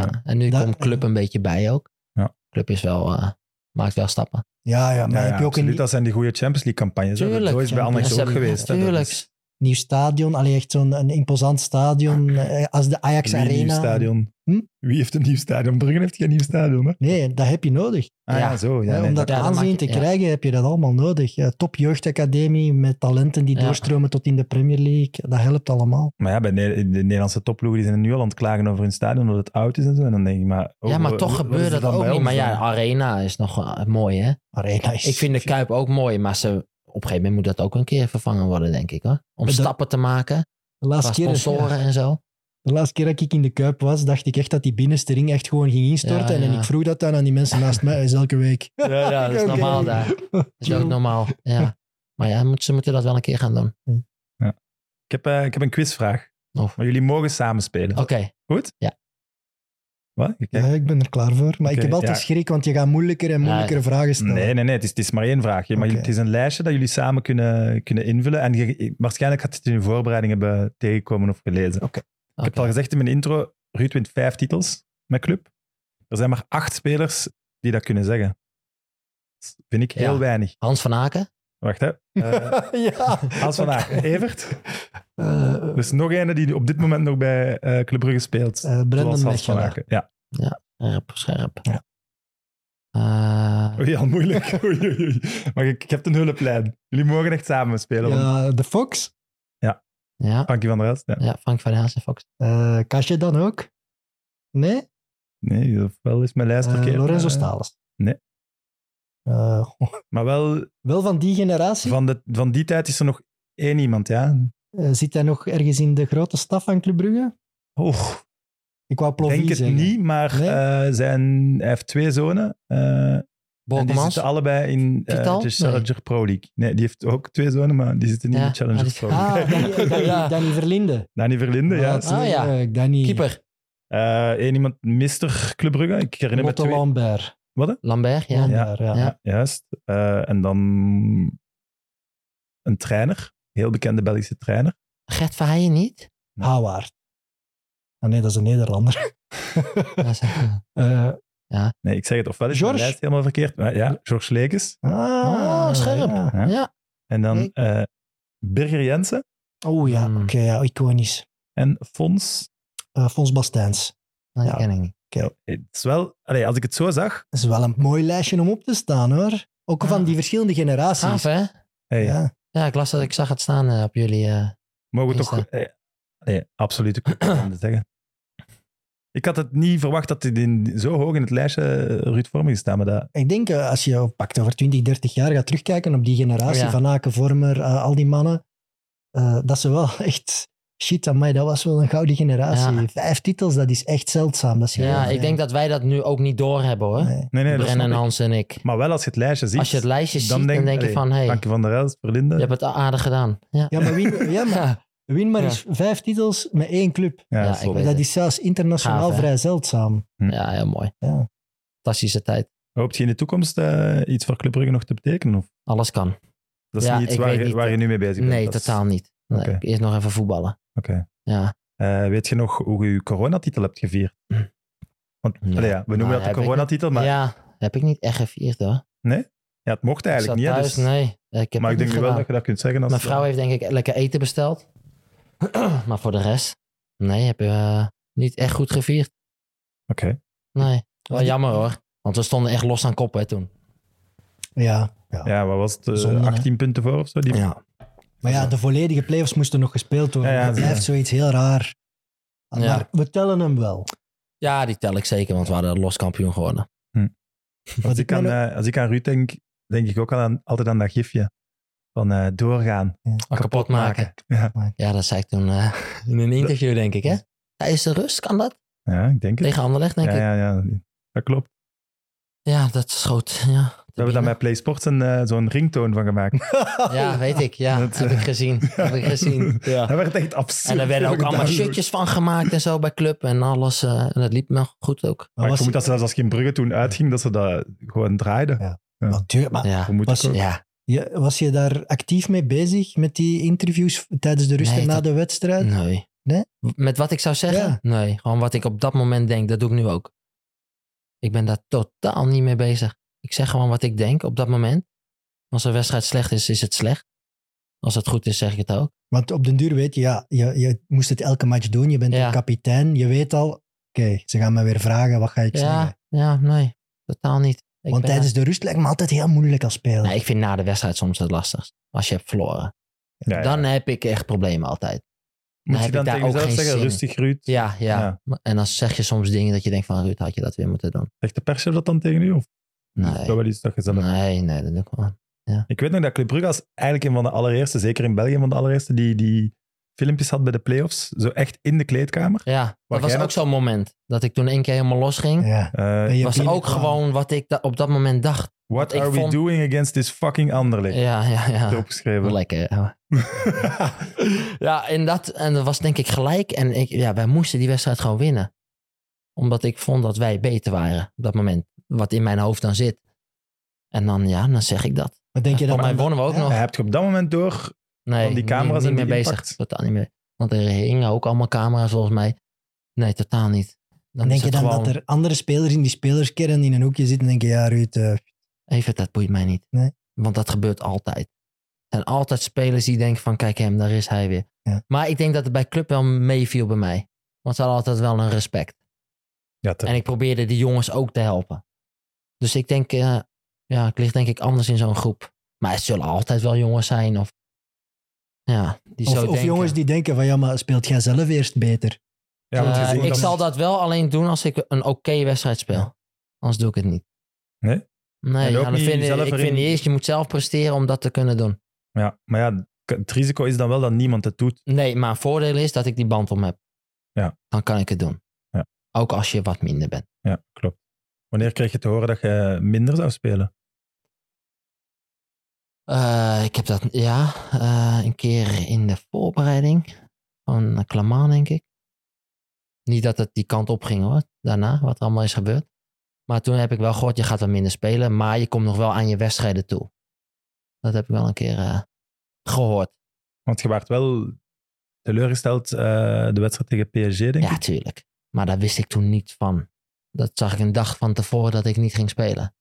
Ja.
Ja.
En nu
Daar-
komt Club een beetje bij ook.
Ja.
Club is wel, eh, maakt wel stappen.
Ja, ja, maar
Ja,
heb je ook
absoluut,
een
dat zijn die goede Champions League campagnes. hè.
Tuurlijk,
dat is bij Anderlecht ook
Champions League.
geweest. hè. Dus Dat
Tuurlijk.
is
nieuw stadion? Allee, echt zo'n een imposant stadion eh, als de Ajax
Wie een
Arena.
nieuw stadion?
Hm?
Wie heeft een nieuw stadion? Brugge heeft geen nieuw stadion, hè?
Nee, dat heb je nodig.
Ah ja,
Ja.
zo. Ja,
Hè,
nee,
om
dat-
dat
ja, dat
aanzien
maakt-
te
ja.
krijgen heb je dat allemaal nodig. Ja, top jeugdacademie met talenten die
Ja.
doorstromen tot in de Premier League. Dat helpt allemaal.
Maar ja, bij Ne- de Nederlandse topploegen die zijn nu al aan het klagen over hun stadion, omdat het oud is en zo. En dan denk ik, maar... oh,
ja, maar
wat-
toch
wat is
gebeurt
er
dat
dan
ook
bij
niet.
ons
Maar ja,
dan?
Arena is nog eh, mooi, hè.
Arena is...
Ik vind de Kuip ook mooi, maar ze, op een gegeven moment moet dat ook een keer vervangen worden, denk ik. Hoor. Om
Maar dat-
stappen te maken,
de,
qua
laatste keer,
sponsoren en zo.
de laatste keer dat ik in de Kuip was, dacht ik echt dat die binnenste ring echt gewoon ging instorten.
Ja,
En
ja.
ik vroeg dat dan aan die mensen naast mij, is elke week.
Ja, ja, dat is
Oké.
normaal daar. Dat is ook normaal, ja. Maar ja, moet- ze moeten dat wel een keer gaan doen.
Ik heb, eh, ik heb een quizvraag.
Of- Oh.
Maar jullie mogen samenspelen.
Oké,
Goed?
Ja.
Wat? Je kijkt?
Ja, ik ben er klaar voor. Maar ik
Oké,
heb altijd
ja.
schrik, want je gaat moeilijker en
Ja,
moeilijkere vragen stellen.
Nee, nee, nee. Het is, het is maar één vraagje. Maar
Oké.
het is een lijstje dat jullie samen kunnen, kunnen invullen. En je- waarschijnlijk had je het in je voorbereiding hebben tegengekomen of gelezen. Ik heb
oké.
al gezegd in mijn intro, Ruud wint vijf titels met club. Er zijn maar acht spelers die dat kunnen zeggen. Dat vind ik heel
Ja.
weinig.
Hans van Aken.
Wacht hè. Eh
ja.
Hans van Aken, Evert.
Eh,
Dus nog een die op dit moment nog bij eh Club Brugge speelt.
eh,
zoals
Brendan
Hans van
Mechelen.
Aken. Ja,
Scherp, scherp.
Ja.
Eh,
oei, al moeilijk. Oei, oei, oei. Maar ik, ik heb een hulplijn. Jullie mogen echt samen spelen. want-
Ja, de Fox.
ja.
Frankie van der Rest. Ja.
ja, Frank van Haas en Fox.
Eh Kasje dan ook? Nee?
Nee, wel is mijn lijst
Eh,
verkeerd.
Lorenzo
Eh,
Stalens.
nee.
Eh,
Maar wel,
wel van die generatie.
van, de, van die tijd is er nog één iemand, ja.
Eh, zit hij nog ergens in de grote staf van Club Brugge?
Oeh,
Ik wou
Ik
Plovy
denk het
zeggen.
niet, maar
Nee?
eh, zijn, hij heeft twee zonen. eh, en die
Borkomans.
zitten allebei in eh,
Vital?
de
Nee.
Challenger Pro League. Nee, die heeft ook twee zonen, maar die zitten niet
Ja,
in de Challenger
maar die-
Pro League.
Ah, Danny, Danny,
Ja.
Danny Verlinde.
Dani Verlinde, ja.
Ah,
Ah, ja.
leuk, Danny.
Keeper.
Eh, Eén iemand, Mister Club Brugge. Ik herinner me
Lotto
twee.
Lambert.
Lambert, ja.
Lambert, ja.
Ja.
Juist. Eh, en dan een trainer. Heel bekende Belgische trainer.
Gert Verheijen niet?
Houwaard. Ah, nee, dat is een Nederlander.
Dat is-
Eh,
Nee, ik zeg het ofwel is mijn
George.
lijst helemaal verkeerd. Maar ja, George Lekes.
Ah, scherp.
ja.
Ja.
ja.
En dan
Nee.
eh, Birger Jensen
Oh ja,
Hmm.
oké, ja, iconisch.
en Fons.
Eh, Fons Bastijns.
Dat
Ja.
ken ik niet.
Het is wel... Allee, als ik het zo zag...
Dat is wel een mooi lijstje om op te staan, hoor. Ook
Ja.
van die verschillende
Gaaf,
generaties.
hè?
Hey,
Ja.
Ja, ik las dat. Ik zag het staan eh, op jullie. eh,
Mogen we
Is
toch...
dat-
eh, nee, absoluut. Ik kan het zeggen. Ik had het niet verwacht dat dit in, zo hoog in het lijstje eh, Ruud Vorming staat. Maar dat,
Ik denk, eh, als je pakt over 20, 30 jaar gaat terugkijken op die generatie
Oh Ja.
van Aken, Vormer, eh, al die mannen, eh, dat ze wel echt... Shit, amai, dat was wel een gouden generatie.
Ja.
Vijf titels, dat is echt zeldzaam. Dat is
Ja,
heel
ik
fijn.
denk dat wij dat nu ook niet doorhebben hoor.
Nee.
nee, nee, dat
Brennan,
snap ik.
Hans en ik.
Maar wel als je het lijstje ziet.
Als je het lijstje
dan
ziet,
denk-
dan denk je
allee,
van... hé, hey,
Frankie van der Elst,
je
Verlinde.
hebt het aardig gedaan. Ja.
Ja, maar wie, ja, maar
Ja.
Win maar
Ja.
eens vijf titels met één club.
Ja,
Ja,
dat is
ik
zot.
weet-
Dat is zelfs internationaal
Gaaf, hè?
vrij zeldzaam.
Ja, heel mooi.
Ja.
Fantastische tijd.
Hoopt je in de toekomst eh, iets voor Club Brugge nog te betekenen? Of?
Alles kan.
Dat is
Ja,
niet iets
ik
waar,
weet
je-
niet,
waar je
eh,
nu mee bezig bent?
Nee,
Dat is-
totaal niet. Nee,
Oké.
Eerst nog even voetballen.
Oké.
Ja.
Eh, weet je nog hoe je je coronatitel hebt gevierd? Want
Hm. Ja.
allee, ja, we noemen dat
Nou, heb
de
ik-
coronatitel, maar ja.
ja, heb ik niet echt gevierd hoor.
het mocht eigenlijk
ik
niet.
zat
hè,
thuis,
dus-
nee. Ik heb
maar ik denk
het niet
nu wel
gedaan.
dat je dat kunt zeggen. Als, eh,
Mijn vrouw heeft denk ik lekker eten besteld. maar voor de rest, nee, heb je eh, niet echt goed gevierd.
Oké.
Nee, wel jammer hoor. Want we stonden echt los aan kop hè, toen.
Ja.
Ja, wat was het? eh,
Zonde, hè?
18 punten voor of zo? Die...
Ja.
Maar ja, de volledige playoffs moesten nog gespeeld worden.
Ja, ja,
dat
ja.
blijft zoiets heel raar. Maar
Ja.
we tellen hem wel.
ja, die tel ik zeker, want we hadden los kampioen geworden.
Als,
Wat
ik
mij
aan,
nog-
eh, als ik aan Ruud denk, denk ik ook al aan, altijd aan dat gifje. Van eh, doorgaan.
Kapot, maken.
Ja.
Ja, dat zei ik toen eh, in een interview, denk ik hè. Tijdens de rust kan dat?
ja, ik denk het.
Tegen Anderlecht, denk
ja,
ik.
ja, ja, dat klopt.
Ja, dat schoot. Ja,
We hebben daar bij PlaySports een, eh, zo'n ringtoon van gemaakt.
Ja, weet ik. Ja,
Dat,
heb
eh,
ik gezien. Heb ik gezien. Ja.
Dat werd echt absurd.
En er werden ook
veel
allemaal
gedownload.
shirtjes van gemaakt en zo bij Club en alles. eh, en dat liep me goed ook.
Maar ik
was-
vermoed dat zelfs als geen Brugge toen uitging, dat ze dat gewoon draaiden.
Ja. Natuurlijk, maar
Ja,
Vermoed ik
Was-
ook.
ja.
je- was je daar actief mee bezig met die interviews tijdens de rust
Nee,
en na
dat- Mhm.
de wedstrijd?
nee.
Nee?
Met wat ik zou zeggen?
Ja.
Nee, gewoon wat ik op dat moment denk, dat doe ik nu ook. Ik ben daar totaal niet mee bezig. Ik zeg gewoon wat ik denk op dat moment. Als een wedstrijd slecht is, is het slecht. Als het goed is, zeg ik het ook.
Want op den duur weet je, ja, je, je moest het elke match doen. Je bent
Ja.
de kapitein. Je weet al, oké, ze gaan me weer vragen, wat ga ik
Ja,
zeggen?
ja, nee, totaal niet. Ik
Want
ben
tijdens de rust lijkt me altijd heel moeilijk als speler.
daar- Nee, ik vind na de wedstrijd soms het lastigst. Als je hebt verloren.
Ja, ja.
Dan heb ik echt problemen altijd.
Moet
heb
je
ik
dan
daar
tegen
ook
jezelf
geen
zeggen,
zin in.
rustig Ruud.
Ja, ja,
Ja.
Maar- En dan zeg je soms dingen dat je denkt van Ruud, had je dat weer moeten doen.
Zegt de pers dat dan tegen u? Of is dat
Nee,
wel iets dat je zelf...
nee, nee dat doe ik gewoon.
Ik weet nog dat Club Brugge als eigenlijk een van de allereerste, zeker in België, een van de allereerste, die, die filmpjes had bij de playoffs. Zo echt in de kleedkamer.
Ja,
jij
dat was
dat-
ook zo'n moment. Dat ik toen één keer helemaal losging.
Ja.
Eh,
Ben je
was ook
binnenkwam.
gewoon wat ik da- op dat moment dacht.
What
ik
are we
vond-
doing against this fucking Anderlecht?
Ja, ja, ja.
Erop geschreven.
Lekker. ja. Ja, en dat, en dat was denk ik gelijk. En ik, ja, wij moesten die wedstrijd gewoon winnen. Omdat ik vond dat wij beter waren op dat moment. Wat in mijn hoofd dan zit. En dan, ja, dan zeg ik dat.
Maar denk je dat
Volgens mij
dan-
wonnen we ook
Ja.
nog.
Ja, heb je op dat moment door...
Nee,
Van die camera's
niet,
en
niet
die
mee
impact?
bezig. Totaal niet meer. Want er hingen ook allemaal camera's volgens mij. Nee, totaal niet. Dan
denk
is
je
het
dan
gewoon,
dat er andere spelers in die spelerskern in een hoekje zitten en denken, ja Ruud, eh,
Even, dat boeit mij niet.
Nee.
Want dat gebeurt altijd. Er zijn altijd spelers die denken van, kijk hem, daar is hij weer.
Ja.
Maar ik denk dat het bij club wel meeviel bij mij. Want ze hadden altijd wel een respect.
Ja, te-
En ik probeerde die jongens ook te helpen. Dus ik denk, eh, ja, ik lig denk ik anders in zo'n groep. Maar het zullen altijd wel jongens zijn. Of, ja, die zo
of, of
denken.
jongens die denken van, ja maar speelt jij zelf eerst beter?
ja, want je
Eh,
ziet
ik
dat-
zal dat wel alleen doen als ik een oké wedstrijd speel. Anders doe ik het niet.
Nee?
Nee,
En ook
ja, dan
niet
vind, ik
jezelf
ik
erin-
vind eerst, je moet zelf presteren om dat te kunnen doen.
Ja, maar ja, k- het risico is dan wel dat niemand het doet.
Nee, maar een voordeel is dat ik die band om heb.
Ja.
Dan kan ik het doen.
Ja.
Ook als je wat minder bent.
Ja, klopt. Wanneer kreeg je te horen dat je minder zou spelen?
Eh, ik heb dat, ja, eh, een keer in de voorbereiding van Klamaan, denk ik. Niet dat het die kant op ging hoor, daarna, wat er allemaal is gebeurd. Maar toen heb ik wel gehoord, je gaat wat minder spelen, maar je komt nog wel aan je wedstrijden toe. Dat heb ik wel een keer eh, gehoord.
Want je werd wel teleurgesteld eh, de wedstrijd tegen PSG, denk ik.
Ja, tuurlijk. Maar daar wist ik toen niet van. Dat zag ik een dag van tevoren dat ik niet ging spelen.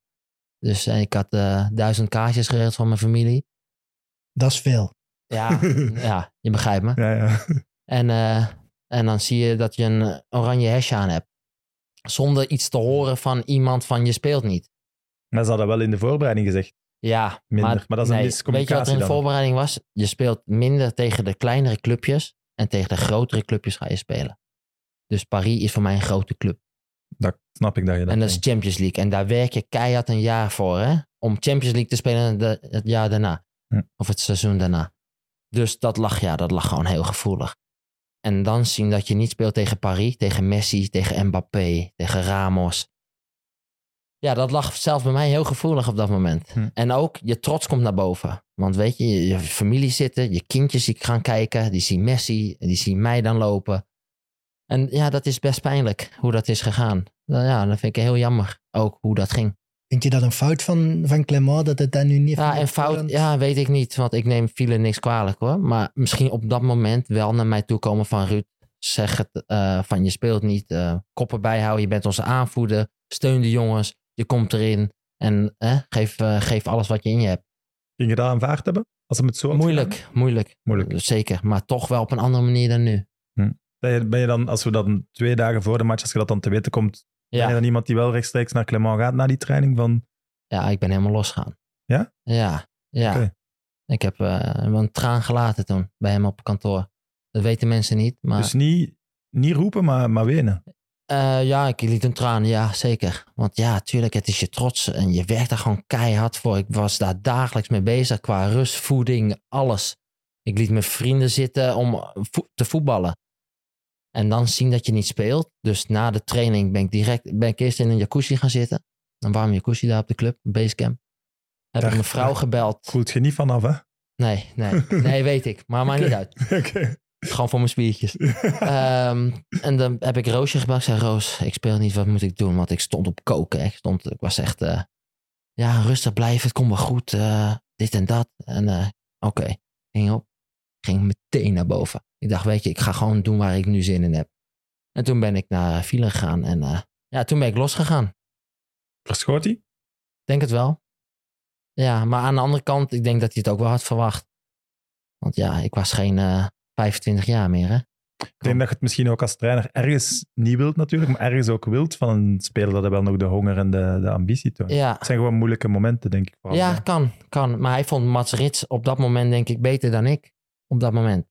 Dus eh, ik had eh, duizend kaartjes geregeld van mijn familie.
Dat is veel.
Ja, ja je begrijpt me.
Ja, ja.
En, eh, en dan zie je dat je een eh, oranje hesje aan hebt. Zonder iets te horen van iemand van je speelt niet.
Maar ze hadden wel in de voorbereiding gezegd.
Ja,
Minder. Maar dat is een
Weet je
miscommunicatie
wat er in de
dan?
voorbereiding was? Je speelt minder tegen de kleinere clubjes en tegen de grotere clubjes ga je spelen. Dus Paris is voor mij een grote club.
Dat snap ik dat je dat
en dat is
denkt.
Champions League. En daar werk je keihard een jaar voor, hè? Om Champions League te spelen de- het jaar daarna.
Ja.
Of het seizoen daarna. Dus dat lag, ja, dat lag gewoon heel gevoelig. En dan zien dat je niet speelt tegen Paris, tegen Messi, tegen Mbappé, tegen Ramos. ja, dat lag zelf bij mij heel gevoelig op dat moment.
Hm.
En ook je trots komt naar boven. Want weet je, je, je familie zitten, je kindjes die gaan kijken, die zien Messi, die zien mij dan lopen. En ja, dat is best pijnlijk hoe dat is gegaan. Nou ja, dat vind ik heel jammer ook hoe dat ging.
Vind je dat een fout van, van Clement dat het daar nu niet
Ja, en fout, ja, weet ik niet, want ik neem file niks kwalijk hoor. Maar misschien op dat moment wel naar mij toe komen van Ruud. Zeg het eh, van je speelt niet, eh, koppen bijhouden, je bent onze aanvoerder, steun de jongens, je komt erin en eh, geef, eh, geef alles wat je in je hebt.
Ging je dat aanvaard hebben? Als het met zo had
Moeilijk, moeilijk,
gedaan? Moeilijk.
zeker, maar toch wel op een andere manier dan nu.
Ben je, ben je dan, als we dat een- twee dagen voor de match, als je dat dan te weten komt, ben je
Ja,
dan iemand die wel rechtstreeks naar Clement gaat na die training? Van,
ja ik ben helemaal losgaan.
Ja?
Ja, ja.
Oké.
Ik heb eh, wel een traan gelaten toen bij hem op kantoor. Dat weten mensen niet, maar...
Dus niet, niet roepen, maar, maar wenen.
Eh, ja, ik liet een traan, ja, zeker. Want ja, tuurlijk, het is je trots en je werkt daar gewoon keihard voor. Ik was daar dagelijks mee bezig qua rust, voeding, alles. Ik liet mijn vrienden zitten om vo- te voetballen. En dan zien dat je niet speelt. Dus na de training ben ik direct, ben ik eerst in een jacuzzi gaan zitten. Een warme jacuzzi daar op de club, basecamp. Heb
Dag,
ik mijn vrouw
dag.
gebeld.
Voelt je niet vanaf, hè?
Nee, nee, nee, weet ik. Maar maakt niet uit.
Oké.
Gewoon voor mijn spiertjes. Ehm, en dan heb ik Roosje gebeld. Ik zei, Roos, ik speel niet. Wat moet ik doen? Want ik stond op koken. hè. Ik, stond, ik was echt, eh, ja, rustig blijven. Het komt wel goed. eh, dit en dat. En eh, oké, ging op. Ging meteen naar boven. Ik dacht, weet je, ik ga gewoon doen waar ik nu zin in heb. En toen ben ik naar Vielen gegaan. En eh, ja, toen ben ik losgegaan.
Verschoot hij?
Ik denk het wel. Ja, maar aan de andere kant, ik denk dat hij het ook wel had verwacht. Want ja, ik was geen eh, 25 jaar meer, hè.
Ik denk dat je het misschien ook als trainer ergens niet wilt natuurlijk, maar ergens ook wilt van een speler dat hij wel nog de honger en de, de ambitie toont.
Ja,
Het zijn gewoon moeilijke momenten, denk ik. vooral.
Ja, kan, kan. Maar hij vond Mats Rits op dat moment, denk ik, beter dan ik. Op dat moment.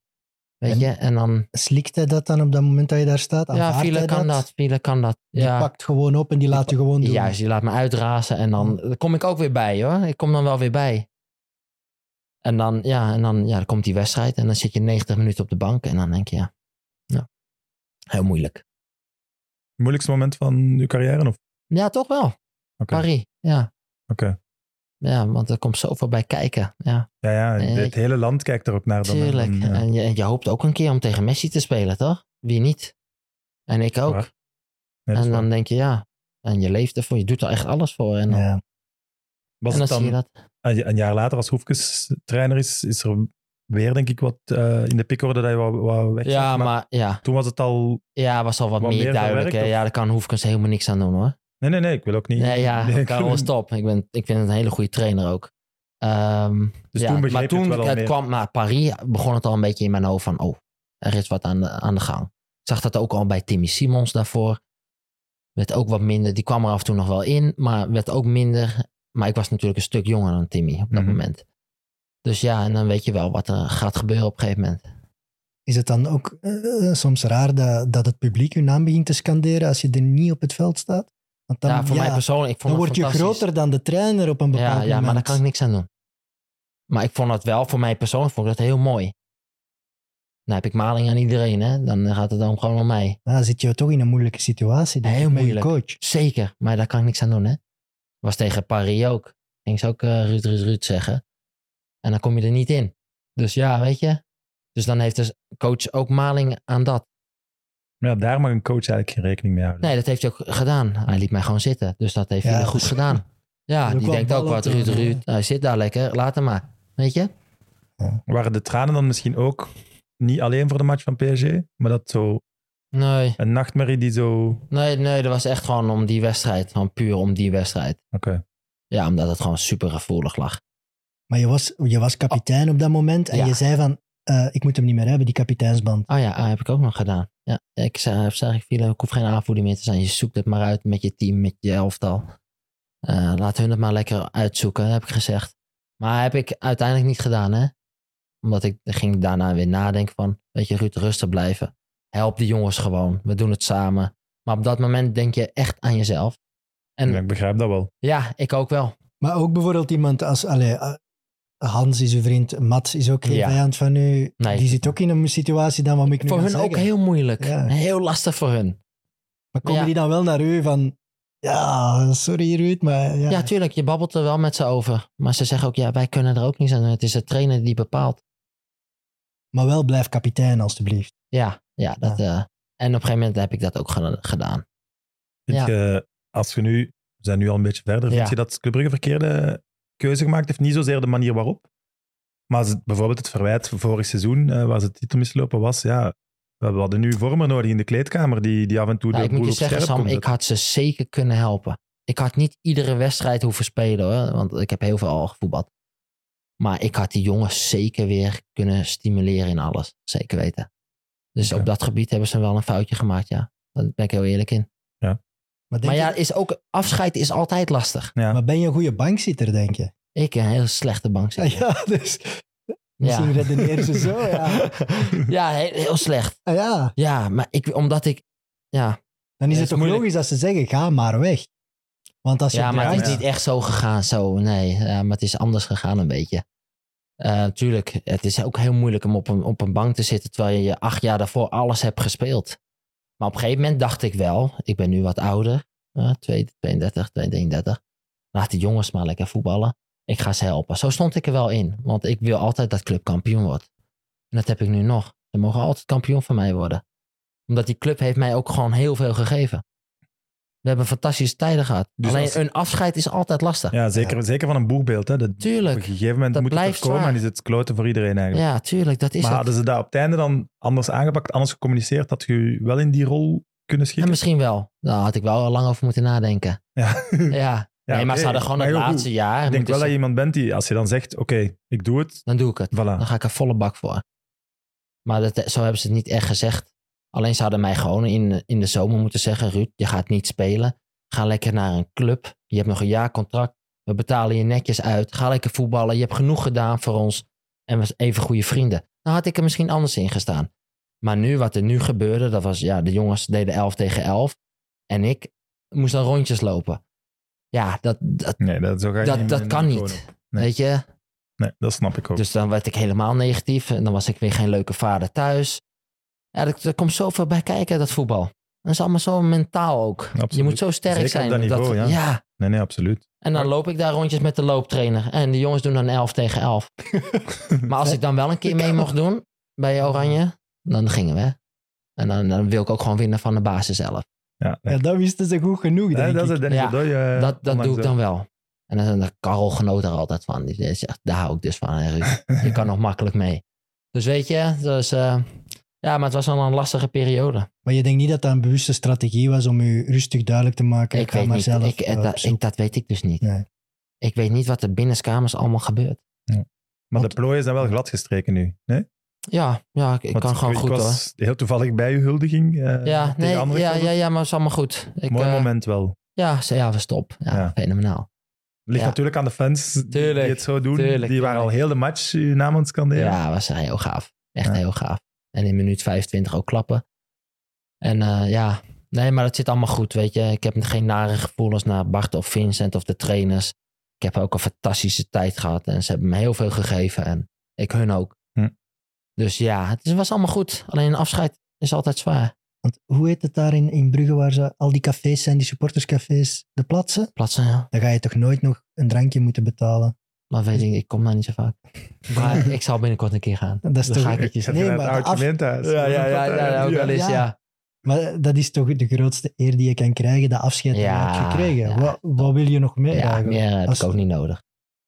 Weet
En-
je? En dan...
Slikt hij dat dan op dat moment dat je daar staat?
ja,
Aanvaardt
File
hij
kan dat. File kan dat.
Die
Ja,
pakt gewoon op en die laat je gewoon doen.
juist. Die laat me uitrazen. En dan kom ik ook weer bij, hoor. Ik kom dan wel weer bij. En dan, ja, en dan, ja, dan komt die wedstrijd. En dan zit je 90 minuten op de bank. En dan denk je, ja. ja. Heel moeilijk.
Moeilijkste moment van je carrière? Of?
Ja, toch wel.
Oké.
Paris. Ja.
Oké.
Ja, want er komt zoveel bij kijken. Ja.
Ja, ja,
Nee.
het hele land kijkt er ook naar. Dan, eh, hè.
Tuurlijk.
Dan, ja.
En, je, en je hoopt ook een keer om tegen Messi te spelen, toch? Wie niet? En ik ook.
Waar. Nee, dat is
en
waar.
dan denk je, ja. En je leeft ervoor. Je doet er echt alles voor. En dan,
Ja.
Was
en dan,
het dan
zie je dat.
een een jaar later, als Hoefkes trainer is, is er weer, denk ik, wat eh, in de pikorde dat je wat, wat weg
Ja, maar ja.
toen was het al...
Ja, was al wat,
Wat
meer,
meer
duidelijk.
verwerkt,
hè.
of?
Ja, daar kan Hoefkens helemaal niks aan doen, hoor.
Nee, nee, nee, ik wil ook niet...
Nee, ja.
Nee, ik wil-
Karel is top. Ik, ben, ik vind het een hele goede trainer ook. Ehm,
Dus
ja,
toen begreep
maar
je
toen
het wel al meer.
kwam naar Paris, begon het al een beetje in mijn hoofd van, oh, er is wat aan de, aan de gang. Ik zag dat ook al bij Timmy Simons daarvoor. Werd ook wat minder, die kwam er af en toe nog wel in, maar werd ook minder. Maar ik was natuurlijk een stuk jonger dan Timmy op dat
Mhm.
moment. Dus ja, en dan weet je wel wat er gaat gebeuren op een gegeven moment.
Is het dan ook eh, soms raar dat, dat het publiek je naam begint te scanderen als je er niet op het veld staat? Want dan,
ja, voor
ja,
mij persoonlijk, ik vond
dan
het
word je
fantastisch.
groter dan de trainer op een bepaald
ja,
moment.
ja, maar daar kan ik niks aan doen. Maar ik vond dat wel, voor mij persoonlijk, vond ik dat heel mooi. Dan heb ik maling aan iedereen, hè. Dan gaat het dan gewoon om mij.
Ja, Dan zit je toch in een moeilijke situatie. denk
Heel
ik, met je
moeilijk.
coach.
Zeker, maar daar kan ik niks aan doen, hè. Was tegen Paris ook. Ging ze ook eh Ruud, Ruud, Ruud zeggen. En dan kom je er niet in. Dus ja, weet je. Dus dan heeft de coach ook maling aan dat.
Maar ja, daar mag een coach eigenlijk geen rekening mee houden.
Nee, dat heeft hij ook gedaan. Hij liet mij gewoon zitten. Dus dat heeft
Ja,
hij
dat
goed
is-
gedaan. Ja,
Ook
die
wel
denkt ook
ballen
wat,
tegen,
Ruud,
hè.
Ruud. Hij zit daar lekker, laat hem maar. Weet je?
Waren de tranen dan misschien ook niet alleen voor de match van PSG, maar dat zo
Nee,
een nachtmerrie die zo... Oké.
nee, nee. Dat was echt gewoon om die wedstrijd. Gewoon puur om die wedstrijd. Ja, omdat het gewoon super gevoelig lag.
Maar je was, je was kapitein op dat moment en
Oh. Ja.
je zei van, eh, ik moet hem niet meer hebben, die kapiteinsband.
Oh ja, ah, heb ik ook nog gedaan. Ja, ik zei, eh, ik zei Philo, ik hoef geen aanvoerder meer te zijn. Je zoekt het maar uit met je team, met je elftal. Eh, laat hun het maar lekker uitzoeken, heb ik gezegd. Maar heb ik uiteindelijk niet gedaan, hè. Omdat ik ging daarna weer nadenken van, weet je Ruud, rustig blijven. Help die jongens gewoon, we doen het samen. Maar op dat moment denk je echt aan jezelf. En
Ja, ik begrijp dat wel.
ja, ik ook wel.
Maar ook bijvoorbeeld iemand als, allee, eh, Hans is uw vriend, Mats is ook geen
Ja.
vijand van u.
Nee.
Die zit ook in een situatie dan, wat moet ik nu
Voor
gaan
hun ook
zeggen?
heel moeilijk.
Ja.
Heel lastig voor hun.
Maar komen
Ja.
die dan wel naar u van, Ja, sorry Ruud, maar ja.
Ja, tuurlijk, je babbelt er wel met ze over. Maar ze zeggen ook, ja, wij kunnen er ook niets aan doen. Het is de trainer die bepaalt.
maar wel blijf kapitein alstublieft.
Ja, ja. Dat, eh, en op een gegeven moment heb ik dat ook ge- gedaan.
Vind
Ja.
je, als je nu, we zijn nu al een beetje verder, vind
Ja.
je dat Club Brugge verkeerde keuze gemaakt heeft? Niet zozeer de manier waarop, maar ze- bijvoorbeeld het verwijt van vorig seizoen, eh, waar ze het titel mislopen was, ja, we we hadden nu vormer nodig in de kleedkamer, die, die af en toe
Nou,
de
ik moet
boel
je
op
zeggen,
scherp
Sam,
kon
ik
zetten.
had ze zeker kunnen helpen. Ik had niet iedere wedstrijd hoeven spelen hoor, want ik heb heel veel al gevoetbald. Maar ik had die jongens zeker weer kunnen stimuleren in alles. Zeker weten. Dus
Oké.
op dat gebied hebben ze wel een foutje gemaakt, ja. Daar ben ik heel eerlijk in.
Maar, denk
maar ja,
je,
is ook, afscheid is altijd lastig.
ja.
maar ben je een goede bankzitter, denk je?
Ik een heel slechte bank
Ja,
zitten.
dus misschien redeneren ze zo, ja.
Ja, heel, heel slecht.
Ah, ja,
Ja, maar ik, omdat ik... Ja,
dan is
Ja,
het
is
toch
moeilijk.
logisch dat ze zeggen, ga maar weg. Want als je
ja maar het is
draait-
niet echt zo gegaan. Zo, nee. Ja, maar het is anders gegaan een beetje. Eh, tuurlijk, het is ook heel moeilijk om op een, op een bank te zitten... terwijl je je acht jaar daarvoor alles hebt gespeeld. Maar op een gegeven moment dacht ik wel... Ik ben nu wat ouder. eh, 32, 33. Laat die jongens maar lekker voetballen. Ik ga ze helpen. Zo stond ik er wel in. Want ik wil altijd dat club kampioen wordt. En dat heb ik nu nog. Ze mogen altijd kampioen van mij worden. Omdat die club heeft mij ook gewoon heel veel gegeven. We hebben fantastische tijden gehad.
Dus
Alleen
als-
een afscheid is altijd lastig. Ja,
Ja, zeker, zeker van een boegbeeld. Hè. Dat, op een
Tuurlijk.
gegeven moment
Dat
moet het er
blijft
komen
zwaar.
en is het kloten voor iedereen eigenlijk.
Ja, tuurlijk. Dat is
maar
het.
hadden ze dat op het einde dan anders aangepakt, anders gecommuniceerd, dat je je wel in die rol kunnen
Ja,
schikken?
misschien wel. Daar had ik wel lang over moeten nadenken.
Ja.
Ja.
Ja,
nee, maar
oké.
ze hadden gewoon het
heel goed.
laatste jaar.
Ik denk
moeten
wel dat je
ze-
iemand bent die, als je dan zegt, oké, ik doe het,
Dan doe ik het.
voilà.
Dan ga ik er volle bak voor. Maar dat, zo hebben ze het niet echt gezegd. Alleen ze hadden mij gewoon in, in de zomer moeten zeggen... Ruud, je gaat niet spelen. Ga lekker naar een club. Je hebt nog een jaar contract. We betalen je netjes uit. Ga lekker voetballen. Je hebt genoeg gedaan voor ons. En we zijn even goede vrienden. Dan had ik er misschien anders in gestaan. Maar nu, wat er nu gebeurde, dat was... Ja, de jongens deden 11 tegen 11. En ik moest dan rondjes lopen. Ja, dat, dat,
Nee, dat, zo ga je
Dat-
niet
dat
met
kan
een
niet.
icoon om. Nee.
weet je...
Nee, dat snap ik ook.
Dus dan werd ik helemaal negatief. En dan was ik weer geen leuke vader thuis. Ja, er, er komt zoveel bij kijken, dat voetbal. Dat is allemaal zo mentaal ook.
Absoluut.
Je moet zo sterk
Zeker op
zijn.
dat niveau, ja. Nee, nee, absoluut.
En dan loop ik daar rondjes met de looptrainer. En de jongens doen dan 11 tegen 11. maar als ik dan wel een keer mee mocht doen bij Oranje, dan gingen we. En dan, dan wil ik ook gewoon winnen van de basis zelf.
Ja, nee.
Ja, dat wisten ze goed genoeg, denk
Nee, dat is
ik.
het Danny
Ja,
Godoy, eh,
dat dat doe
onlangs
ik dan wel. En dan dan Karel genoot daar altijd van. Die zegt, daar hou ik dus van. hè, Ruud. Je kan nog makkelijk mee. Dus weet je, dus, eh, ja, maar het was wel een lastige periode.
Maar je denkt niet dat dat een bewuste strategie was om je rustig duidelijk te maken.
ik
ga
weet
maar
niet.
zelf
Ik, eh,
eh, op
dat,
zoek.
ik, dat weet ik dus niet.
Nee.
Ik weet niet wat er binnenskamers allemaal gebeurt.
Maar de plooien zijn wel gladgestreken nu. Nee?
Ja, ja ik, ik
Want
kan gewoon
ik
goed hoor.
was heel toevallig bij uw huldiging. eh,
Ja,
tegen
nee,
andere
ja,
clubs.
ja, ja, maar het is allemaal goed. Ik,
Mooi
eh,
moment wel.
Ja, ze- ja, we stop. Ja,
Ja.
fenomenaal.
Ligt
ja.
natuurlijk aan de fans
Tuurlijk,
die het zo doen.
tuurlijk,
die
tuurlijk.
waren al heel de match uw naam aan het
Ja,
scanderen.
was heel gaaf. Echt
Ja.
heel gaaf. En in minuut 25 ook klappen. En eh, ja, nee, maar dat zit allemaal goed, weet je. Ik heb geen nare gevoelens naar Bart of Vincent of de trainers. Ik heb ook een fantastische tijd gehad en ze hebben me heel veel gegeven en ik hun ook.
Hm.
Dus ja, het was allemaal goed. Alleen een afscheid is altijd zwaar.
Want hoe heet het daar in, in Brugge waar ze al die cafés zijn, die supporterscafés, de plaatsen?
Platsen, ja.
Dan ga je toch nooit nog een drankje moeten betalen.
Maar weet ik, ik kom daar niet zo vaak. Maar ik zal binnenkort een keer gaan.
Dat is
Dan
toch-
ga ik het je
Gaat
zeggen.
Nee,
je naar
maar
het
de af-
oud gemeentehuis?
ook wel eens,
Ja.
ja.
Maar dat is toch de grootste eer die je kan krijgen, dat afscheid dat je
Ja,
hebt gekregen.
ja.
Wat, wat wil je nog meer
Ja,
eigenlijk?
meer eh, heb
Als-
ik ook niet nodig.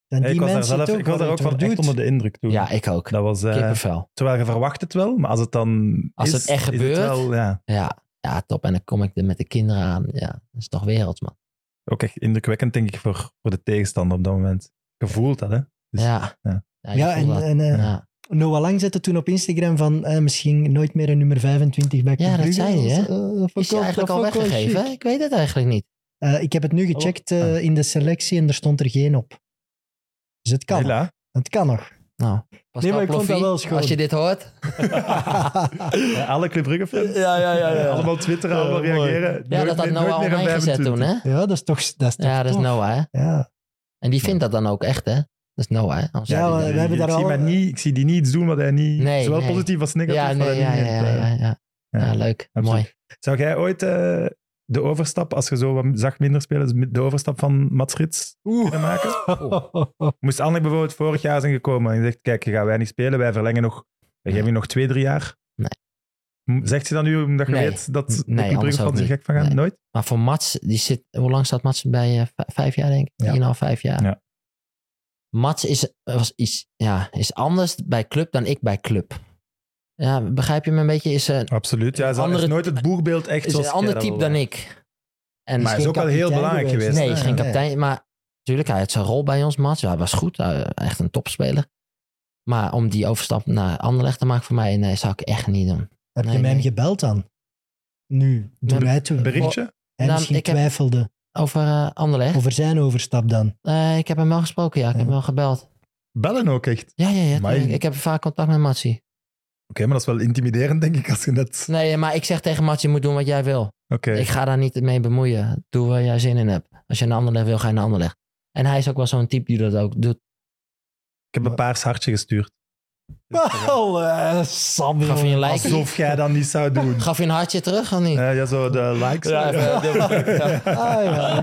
Dan
Nee,
die
ik was daar
mensen
zelf
toch,
ik was daar ook
wat je
van
ervoor
echt
doet.
onder de indruk toen.
Ja, ik ook.
Dat was, eh,
Kippenvel.
terwijl je verwacht het wel, maar als het dan
Als
is,
het echt
is
gebeurt.
wel, ja.
Ja, ja, top. En dan kom ik er met de kinderen aan. Ja, dat is toch werelds, man.
ook echt indrukwekkend, denk ik, voor, voor de tegenstander op dat moment. Gevoeld dat, hè? Dus-
ja.
ja.
je
Ja,
voelt
en,
dat.
en eh,
ja.
Noah Lang zette toen op Instagram van eh, misschien nooit meer een nummer 25 bij Club
Ja, dat
Brugge.
zei hij, hè?
Dat was, eh, dat vond
Is
ik
je
ook-
eigenlijk
dat
al
vond ik wel
weggegeven?
chic.
Ik weet het eigenlijk niet.
Eh, ik heb het nu
Oh.
gecheckt eh,
Ah.
in de selectie en er stond er geen op. Dus het kan.
Hela.
Het kan nog.
Nou, Pascal
Nee, maar ik vond dat
Ploffie,
wel schoon.
Als je dit hoort.
Ja, alle Club Brugge fans.
Ja, ja, ja.
Allemaal twitteren, allemaal
Ja, mooi.
reageren.
Ja,
Nooit
dat had
meer- nooit
Noah al
meer een
gezet
25.
toen, hè?
ja, dat is toch... Dat is toch
Ja, dat is nou-
tof.
Noah, hè?
Ja.
En die vindt dat dan ook echt, hè? Dat is Noah, hè? Anders
Ja,
zou die
maar-
dat-
We hebben
ik,
daar
zie
al-
mij niet, ik zie die niet iets doen wat hij niet...
Nee,
zowel
nee.
positief als negatief.
ja,
wat
nee,
hij
ja,
niet
ja,
heeft,
ja,
eh.
ja, ja.
ja.
Ja, leuk.
Absoluut.
Mooi.
Zou jij ooit eh, de overstap, als je zo wat zacht minder spelers, de overstap van Mats Rits kunnen maken? Moest Anne bijvoorbeeld vorig jaar zijn gekomen en zegt, kijk, je gaat weinig spelen, wij verlengen nog, we geven je nog twee, drie jaar.
Nee.
M- Zegt ze dat nu omdat je
Nee.
weet dat de
Nee,
Club
anders
Brugge
ook
fans er
niet.
gek van gaan?
Nee.
Nooit?
Maar voor Mats, die zit, hoe lang staat Mats bij? eh, v- vijf jaar, denk ik.
Ja.
Drieënhalf, vijf jaar.
Ja.
Mats is, was iets, ja, is anders bij club dan ik bij club. Ja, begrijp je me een beetje? Is een,
Absoluut. Ja,
Een
ze hadden
andere-
nooit het boegbeeld echt
is
zoals
een ander
jij dat
type
wil.
dan ik. En
Maar hij is ook wel heel belangrijk geweest.
Nee, is geen
Nee.
kapitein. Maar natuurlijk, hij had zijn rol bij ons, Mats. Hij was goed. Hij- Echt een topspeler. Maar om die overstap naar Anderlecht te maken voor mij, nee, zou ik echt niet doen.
Heb
Nee,
je mij
nee.
gebeld dan? Nu, doe
Een
mij toe.
Berichtje?
Hij
Nou,
misschien
ik heb-
twijfelde
Over eh, Anderlecht?
over zijn overstap dan.
Eh, ik heb hem wel gesproken, ja. Ik heb
Ja.
hem wel gebeld.
Bellen ook echt. Oké,
Ja, ja, ja.
Maar-
tuurlijk. Ik heb vaak contact met Matsi.
maar dat is wel intimiderend, denk ik, als je net...
Nee, maar ik zeg tegen Mats, je moet doen wat jij wil.
Oké.
Ik ga daar niet mee bemoeien. Doe waar jij zin in hebt. Als je naar Anderlecht wil, ga je naar Anderlecht. En hij is ook wel zo'n type die dat ook doet.
Ik heb een paars hartje gestuurd.
Wel, eh, Sam,
Gaf je een
jongen.
like?
Alsof jij dat niet zou doen.
Gaf je een hartje terug of niet?
Eh, ja, zo de likes.
Ja, even dubbel- ja.
Ah, ja.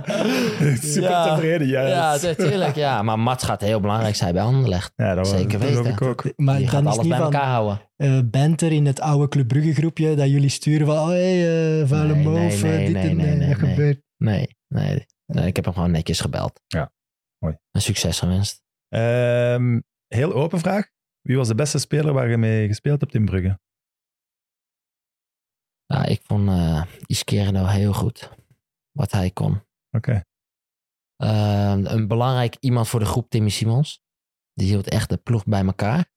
Super
Ja.
tevreden, ja.
ja,
dat-
natuurlijk. Ja. Maar Mats gaat heel belangrijk zijn bij Anderlecht.
ja dat
Zeker
dat
weten.
geloof ik ook.
Maar
die gaat
dan is
alles
niet
bij
van
elkaar houden.
eh Benter in het oude Club Brugge groepje dat jullie sturen van oh, hey, eh vuile
Nee, nee,
moof, eh,
nee,
dit
nee,
en
nee,
eh,
nee,
dat
nee.
gebeurt.
Nee, nee, nee. Ik heb hem gewoon netjes gebeld.
Ja, mooi.
Een succes gewenst.
Ehm, heel open vraag. Wie was de beste speler waar je mee gespeeld hebt in Brugge?
Ja, ik vond eh Iskereno heel goed. Wat hij kon.
Oké.
Eh, een belangrijk iemand voor de groep, Timmy Simons. Die hield echt de ploeg bij elkaar.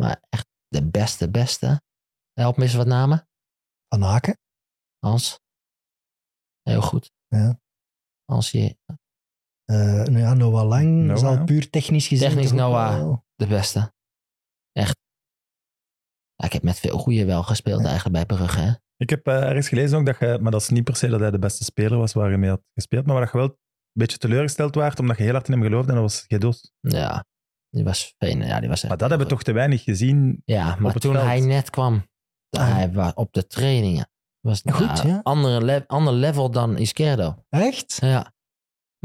Maar echt de beste, beste. Help me eens wat namen,
Van Haken.
Hans. Heel goed.
Ja.
Hans hier,
Eh, nou ja, Noah Lang
Noah,
zal
ja.
puur technisch gezien...
Technisch
toch ook
Noah.
wel-
de beste. Echt. Ja, ik heb met veel goeie wel gespeeld eigenlijk bij Brugge. Hè?
Ik heb eh, ergens gelezen ook dat je, maar dat is niet per se dat hij de beste speler was waar je mee had gespeeld, maar waar je wel een beetje teleurgesteld waard omdat je heel hard in hem geloofde en dat was Gedos.
Ja. Die was fijn. Ja, die was echt
Maar dat hebben we
goed.
toch te weinig gezien.
Ja, maar
het
toen
veld.
hij net kwam,
Ah.
hij was op de trainingen. Was
Goed,
ja,
ja.
andere le- ander level dan Iskerdo.
Echt?
Ja.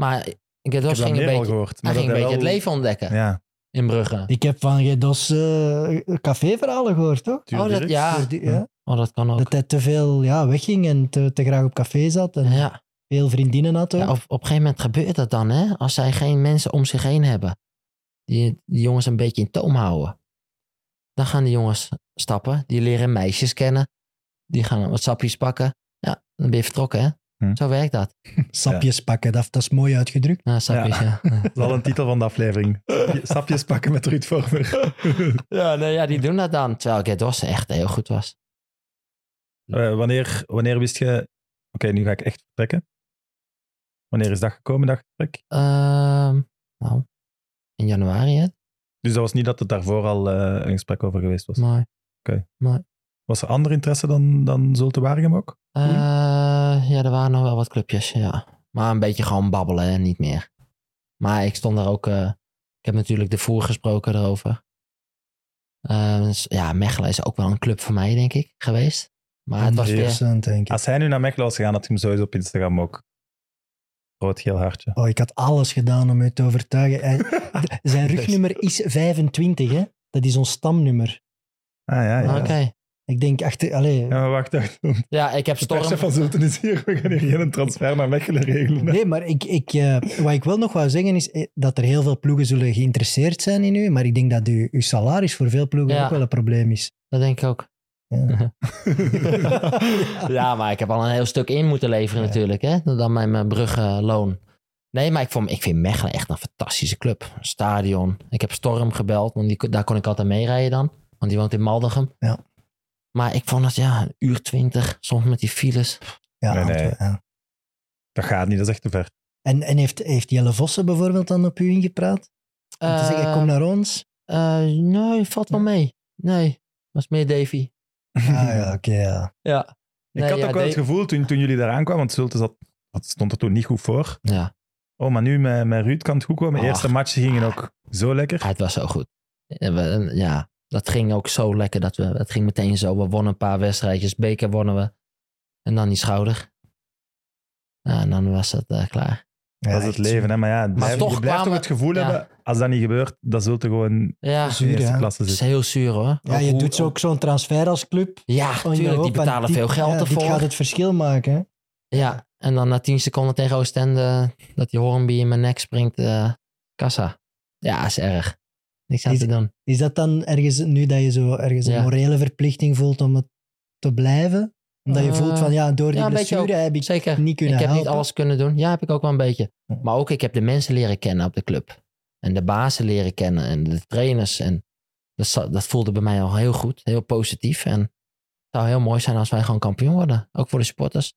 Maar
Ik heb
Gedos
dat
ging
meer
een
al
beetje,
gehoord.
hij
dat
ging een beetje
wel-
het leven ontdekken
Ja,
in Brugge.
Ik heb van Gedos eh caféverhalen gehoord, toch?
Tuur
Oh, dat-
Dirks.
ja.
Door die- ja.
Oh, dat kan ook.
Dat hij te veel ja, wegging en te, te graag op café zat en
ja.
veel vriendinnen had ook.
Ja, op, op een gegeven moment gebeurt dat dan, hè? Als zij geen mensen om zich heen hebben. Die, die jongens een beetje in toom houden. Dan gaan die jongens stappen. Die leren meisjes kennen. Die gaan wat sapjes pakken. Ja, dan ben je vertrokken, hè?
Hm.
Zo werkt dat.
Sapjes pakken, dat, dat is mooi uitgedrukt.
Ja, sapjes, ja. Ja.
Dat is al een titel van de aflevering. Sapje- Sapjes pakken met Ruud Vormer.
nee, ja, die doen dat dan. Terwijl Gedos echt heel goed was.
Eh, wanneer, wanneer wist je... Oké, nu ga ik echt vertrekken. Wanneer is dat gekomen, dat vertrek?
Ehm, nou, in januari, hè?
Dus dat was niet dat het daarvoor al eh, een gesprek over geweest was.
Mooi.
Was er ander interesse dan, dan Zulte Waregem ook?
Eh, ja, er waren nog wel wat clubjes, ja. Maar een beetje gewoon babbelen, hè, niet meer. Maar ik stond daar ook... eh, ik heb natuurlijk de voer gesproken erover. Eh, dus ja, Mechelen is ook wel een club voor mij, denk ik, geweest. Maar Ah, het was weer...
Interessant, denk ik.
Als hij nu naar Mechelen was gegaan, had hij hem sowieso op Instagram ook. Rood geel hartje.
Oh, ik had alles gedaan om u te overtuigen. Hij- d- zijn rugnummer is 25, hè? Dat is ons stamnummer.
Ah ja, ja.
Oké.
Ik denk achter. Allee,
Ja, maar wacht, wacht. De
Ja, ik heb
perschef
Storm...
van Zulten is hier. We gaan hier geen transfer naar Mechelen regelen. hè.
Nee, maar ik, ik, eh, wat ik wel nog wou zeggen is eh, dat er heel veel ploegen zullen geïnteresseerd zijn in u. Maar ik denk dat uw, uw salaris voor veel ploegen
Ja.
ook wel een probleem is.
Dat denk ik ook. Ja, maar ik heb al een heel stuk in moeten leveren natuurlijk, hè. Dan mijn, mijn bruggenloon. Nee, maar ik, vond, ik vind Mechelen echt een fantastische club. Een Stadion. Ik heb Storm gebeld, want die, daar kon ik altijd mee rijden dan. Want die woont in Maldegem.
Ja.
Maar ik vond het, ja, een uur twintig, soms met die files.
ja,
Nee, nee.
Antwerpen, ja.
Dat gaat niet, dat is echt te ver.
En, en heeft, heeft Jelle Vossen bijvoorbeeld dan op u ingepraat? Om te zeggen, kom naar ons.
Eh, eh, nee, valt wel mee. Nee, was meer Davy.
Ah ja, oké, ja.
Ja.
Ik
Nee,
had
ja,
ook wel het
Dave-
gevoel toen, toen jullie daar aankwamen, want Zulte zat, dat stond er toen niet goed voor.
Ja,
Oh, maar nu met, met Ruud kan het goed komen. De
Ach.
eerste matchen gingen ook zo lekker.
het was zo goed. En we- Ja, dat ging ook zo lekker. Dat we, het ging meteen zo. We wonnen een paar wedstrijdjes. Beker wonnen we. En dan die schouder. Ja, en dan was het eh, klaar.
dat is het leven, hè. Maar ja, het blijft-
toch
je blijft toch
kwamen-
het gevoel
ja.
hebben, als dat niet gebeurt, dan zult je gewoon
Ja,
in de
Zuur,
eerste
ja.
klasse
het is
zitten.
heel zuur hoor.
Ja, je
Hoe-
doet zo ook zo'n transfer als club.
Ja,
Oh, in de
tuurlijk. Die
hoop van
betalen
dit-
veel geld
ja,
ervoor.
Dit gaat het verschil maken. hè.
Ja, en dan na 10 seconden tegen Oostende eh, dat die Hornby in mijn nek springt. eh, kassa. Ja, is erg. Niks aan
Is-
te doen.
Is dat dan ergens, nu dat je zo ergens
Ja.
een morele verplichting voelt om het te blijven? Omdat je
Eh,
voelt van, ja, door die
ja, een beetje
blessure heb ik
Zeker.
niet kunnen
ik heb
helpen.
niet alles kunnen doen. Ja, heb ik ook wel een beetje.
Ja.
Maar ook, ik heb de mensen leren kennen op de club. En de bazen leren kennen en de trainers. En dat, za- dat voelde bij mij al heel goed, heel positief. En het zou heel mooi zijn als wij gewoon kampioen worden. Ook voor de supporters.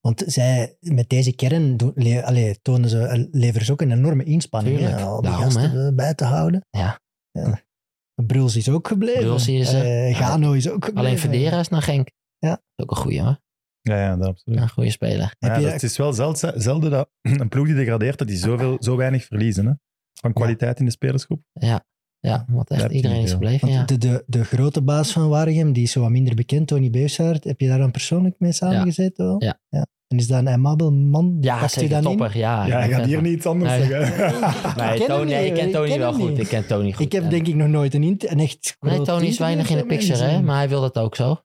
Want zij, met deze kern doen, le- allee, tonen ze, leveren ze ook een enorme inspanning.
Tuurlijk,
hè, om die
daarom,
gasten eh, bij te houden.
Ja.
ja. Bruls is ook gebleven.
Bruls is, eh,
Eh, Gano is ook gebleven.
Alleen Verdera is naar Genk.
Ja.
Dat is ook een goeie hoor.
Ja, ja, dat absoluut.
Ja, een goede speler.
Heb
Ja,
je-
dat- het is wel zeldza- zelden dat een ploeg die degradeert, dat die zoveel, zo weinig verliezen. Hè? Van kwaliteit in de spelersgroep.
Ja, want
Daar
echt
heb je
iedereen
niet
is
veel.
gebleven.
Want
Ja.
de, de, de grote baas van Waregem, die is zo wat minder bekend, Tony Beusaert. Heb je daar dan persoonlijk mee samengezeten? wel?
Ja.
En is dat een amabel man?
Ja,
Pakt u
zeker
dat in?
topper. Ja,
ja,
ik
je gaat
ben-
hier niet iets anders
Nee.
zeggen.
Nee,
Ik ken
Tony,
hem niet,
nee, ik ken
ik
Tony
ken
wel
hem
goed.
niet.
Ik ken Tony goed.
Ik heb
ja.
denk ik nog nooit een, int- een echt
Nee,
groot
Tony is
interview
weinig in de
met hem
picture, hè,
gezien.
maar hij wil dat ook zo.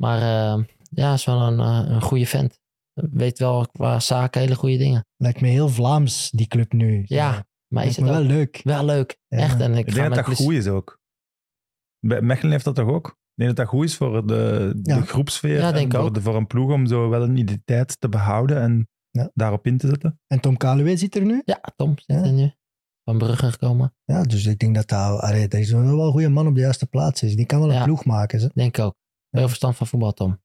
Maar eh, ja, is wel een, eh, een goede vent. Weet wel qua zaken hele goede dingen.
Lijkt me heel Vlaams, die club nu.
Ja, maar is
Lijkt
het
me
wel,
wel leuk.
wel leuk.
Ja.
Echt. En ik,
Ik
ga
denk dat
met
dat
plezier-
goed is ook. Bij Mechelen heeft dat toch ook? Ik denk dat dat goed is voor de, de
Ja.
groepsfeer.
Ja,
en
denk ik
voor,
ook.
de- voor een ploeg om zo wel een identiteit te behouden en
Ja.
daarop in te zetten.
En Tom Kaluwe zit er nu.
Ja, Tom zit
Ja.
er nu. Van Brugge gekomen.
Ja, dus ik denk dat dat, allee, dat is wel wel een goede man op de juiste plaats is. Die kan wel een
Ja.
ploeg maken. Ze.
Denk ik ook. Heel verstand van voetbal, Tom.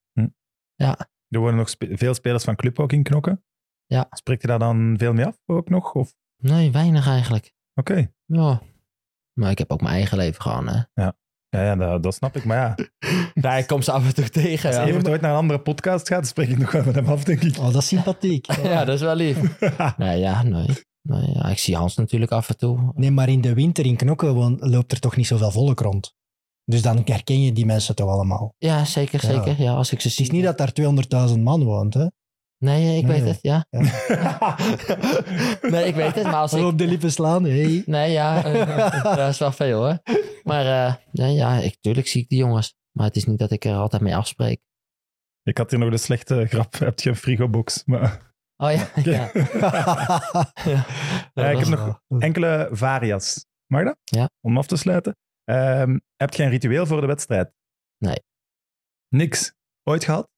Er worden nog spe- veel spelers van club ook in knokken.
Ja.
Spreekt je daar dan veel mee af ook nog? Of?
Nee, weinig eigenlijk.
Oké.
Ja. Maar ik heb ook mijn eigen leven gewoon, hè.
Ja, ja dat, dat snap ik. Maar ja,
Daar komt ze af en toe tegen.
als
Ja,
Evert ooit naar een andere podcast gaat, spreek ik nog wel met hem af, denk ik.
Oh, dat is sympathiek.
ja dat is wel lief. Nee, ja, nee. nee ja. Ik zie Hans natuurlijk af en toe.
Nee, maar in de winter in Knokken woon- loopt er toch niet zoveel volk rond. Dus dan herken je die mensen toch allemaal.
Ja, zeker,
Ja.
zeker. Ja, als ik ze
Het
zie.
is niet dat daar 200.000 man woont. Hè?
Nee, ik
Nee.
weet het, ja. Nee, ik weet het, maar als
Al
ik...
op de lippen slaan. Hey.
Nee, ja, eh, dat is wel veel, hoor. Maar eh, nee, ja, ik, tuurlijk zie ik die jongens. Maar het is niet dat ik er altijd mee afspreek.
Ik had hier nog de slechte grap. Heb je een frigobox? Maar...
Oh ja, ja. ja.
Ja, ik
dat
heb
is-
nog enkele varias. Mag dat?
Ja.
Om af te sluiten. Ehm, heb je een ritueel voor de wedstrijd?
Nee.
Niks? Ooit gehad?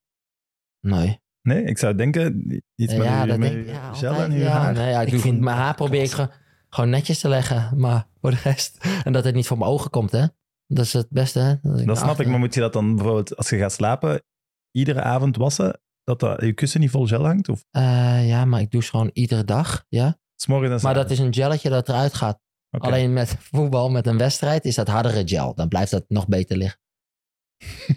Nee.
Nee, ik zou denken iets met
ja,
uw,
dat
met
denk ik.
uw
Ja,
gel
altijd,
en uw
ja.
haar.
Nee, ja, ik
Ik
doe,
vind-
mijn haar probeer ik gewoon, gewoon netjes te leggen. Maar voor de rest... En dat het niet voor mijn ogen komt, hè. Dat is het beste, hè. Dat,
Dat snap ik, maar moet je dat dan bijvoorbeeld als je gaat slapen, iedere avond wassen, dat, dat je kussen niet vol gel hangt? Of
Eh, ja, maar ik douche gewoon iedere dag, ja.
smorgen en
Maar dat is een gelletje dat eruit gaat.
Oké.
Alleen met voetbal, met een wedstrijd, is dat hardere gel. Dan blijft dat nog beter liggen.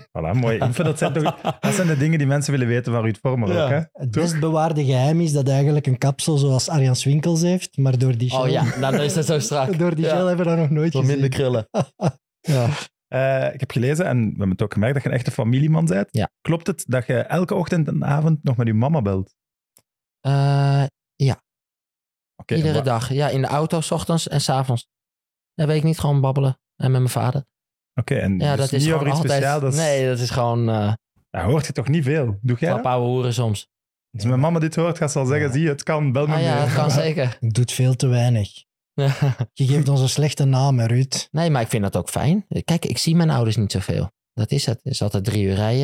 Voilà, mooie info. Dat zijn, toch, dat zijn de dingen die mensen willen weten van Ruud Vormer
Ja.
ook, hè?
Het best bewaarde geheim is dat eigenlijk een kapsel zoals Arjan Swinkels heeft. Maar door die
Oh
gel-
ja, nou, dan is dat zo strak.
door die
Ja.
gel hebben we dat nog nooit
Door
gezien.
minder krullen.
Eh, ik heb gelezen, en we hebben het ook gemerkt, dat je een echte familieman bent.
Ja.
Klopt het dat je elke ochtend en avond nog met je mama belt?
Eh,
Oké,
iedere
en wa-
dag. Ja, in de auto, s ochtends en s avonds. Ja, weet ik niet, gewoon babbelen. En met mijn vader.
Oké, en
Ja,
dus
dat
niet
is gewoon
over iets
altijd...
speciaals. Dat is-
Nee, dat is gewoon eh
Daar hoort je toch niet veel? Doe jij dat?
flap ouwe hoeren soms.
Als mijn mama dit hoort, gaat ze al zeggen,
Ja.
zie je, het kan, bel me
Ah ja,
meer.
dat kan zeker.
Doet veel te weinig. Je geeft ons een slechte naam, hè, Ruud.
nee, maar ik vind dat ook fijn. Kijk, ik zie mijn ouders niet zoveel. Dat is het. Het is altijd drie uur rijden.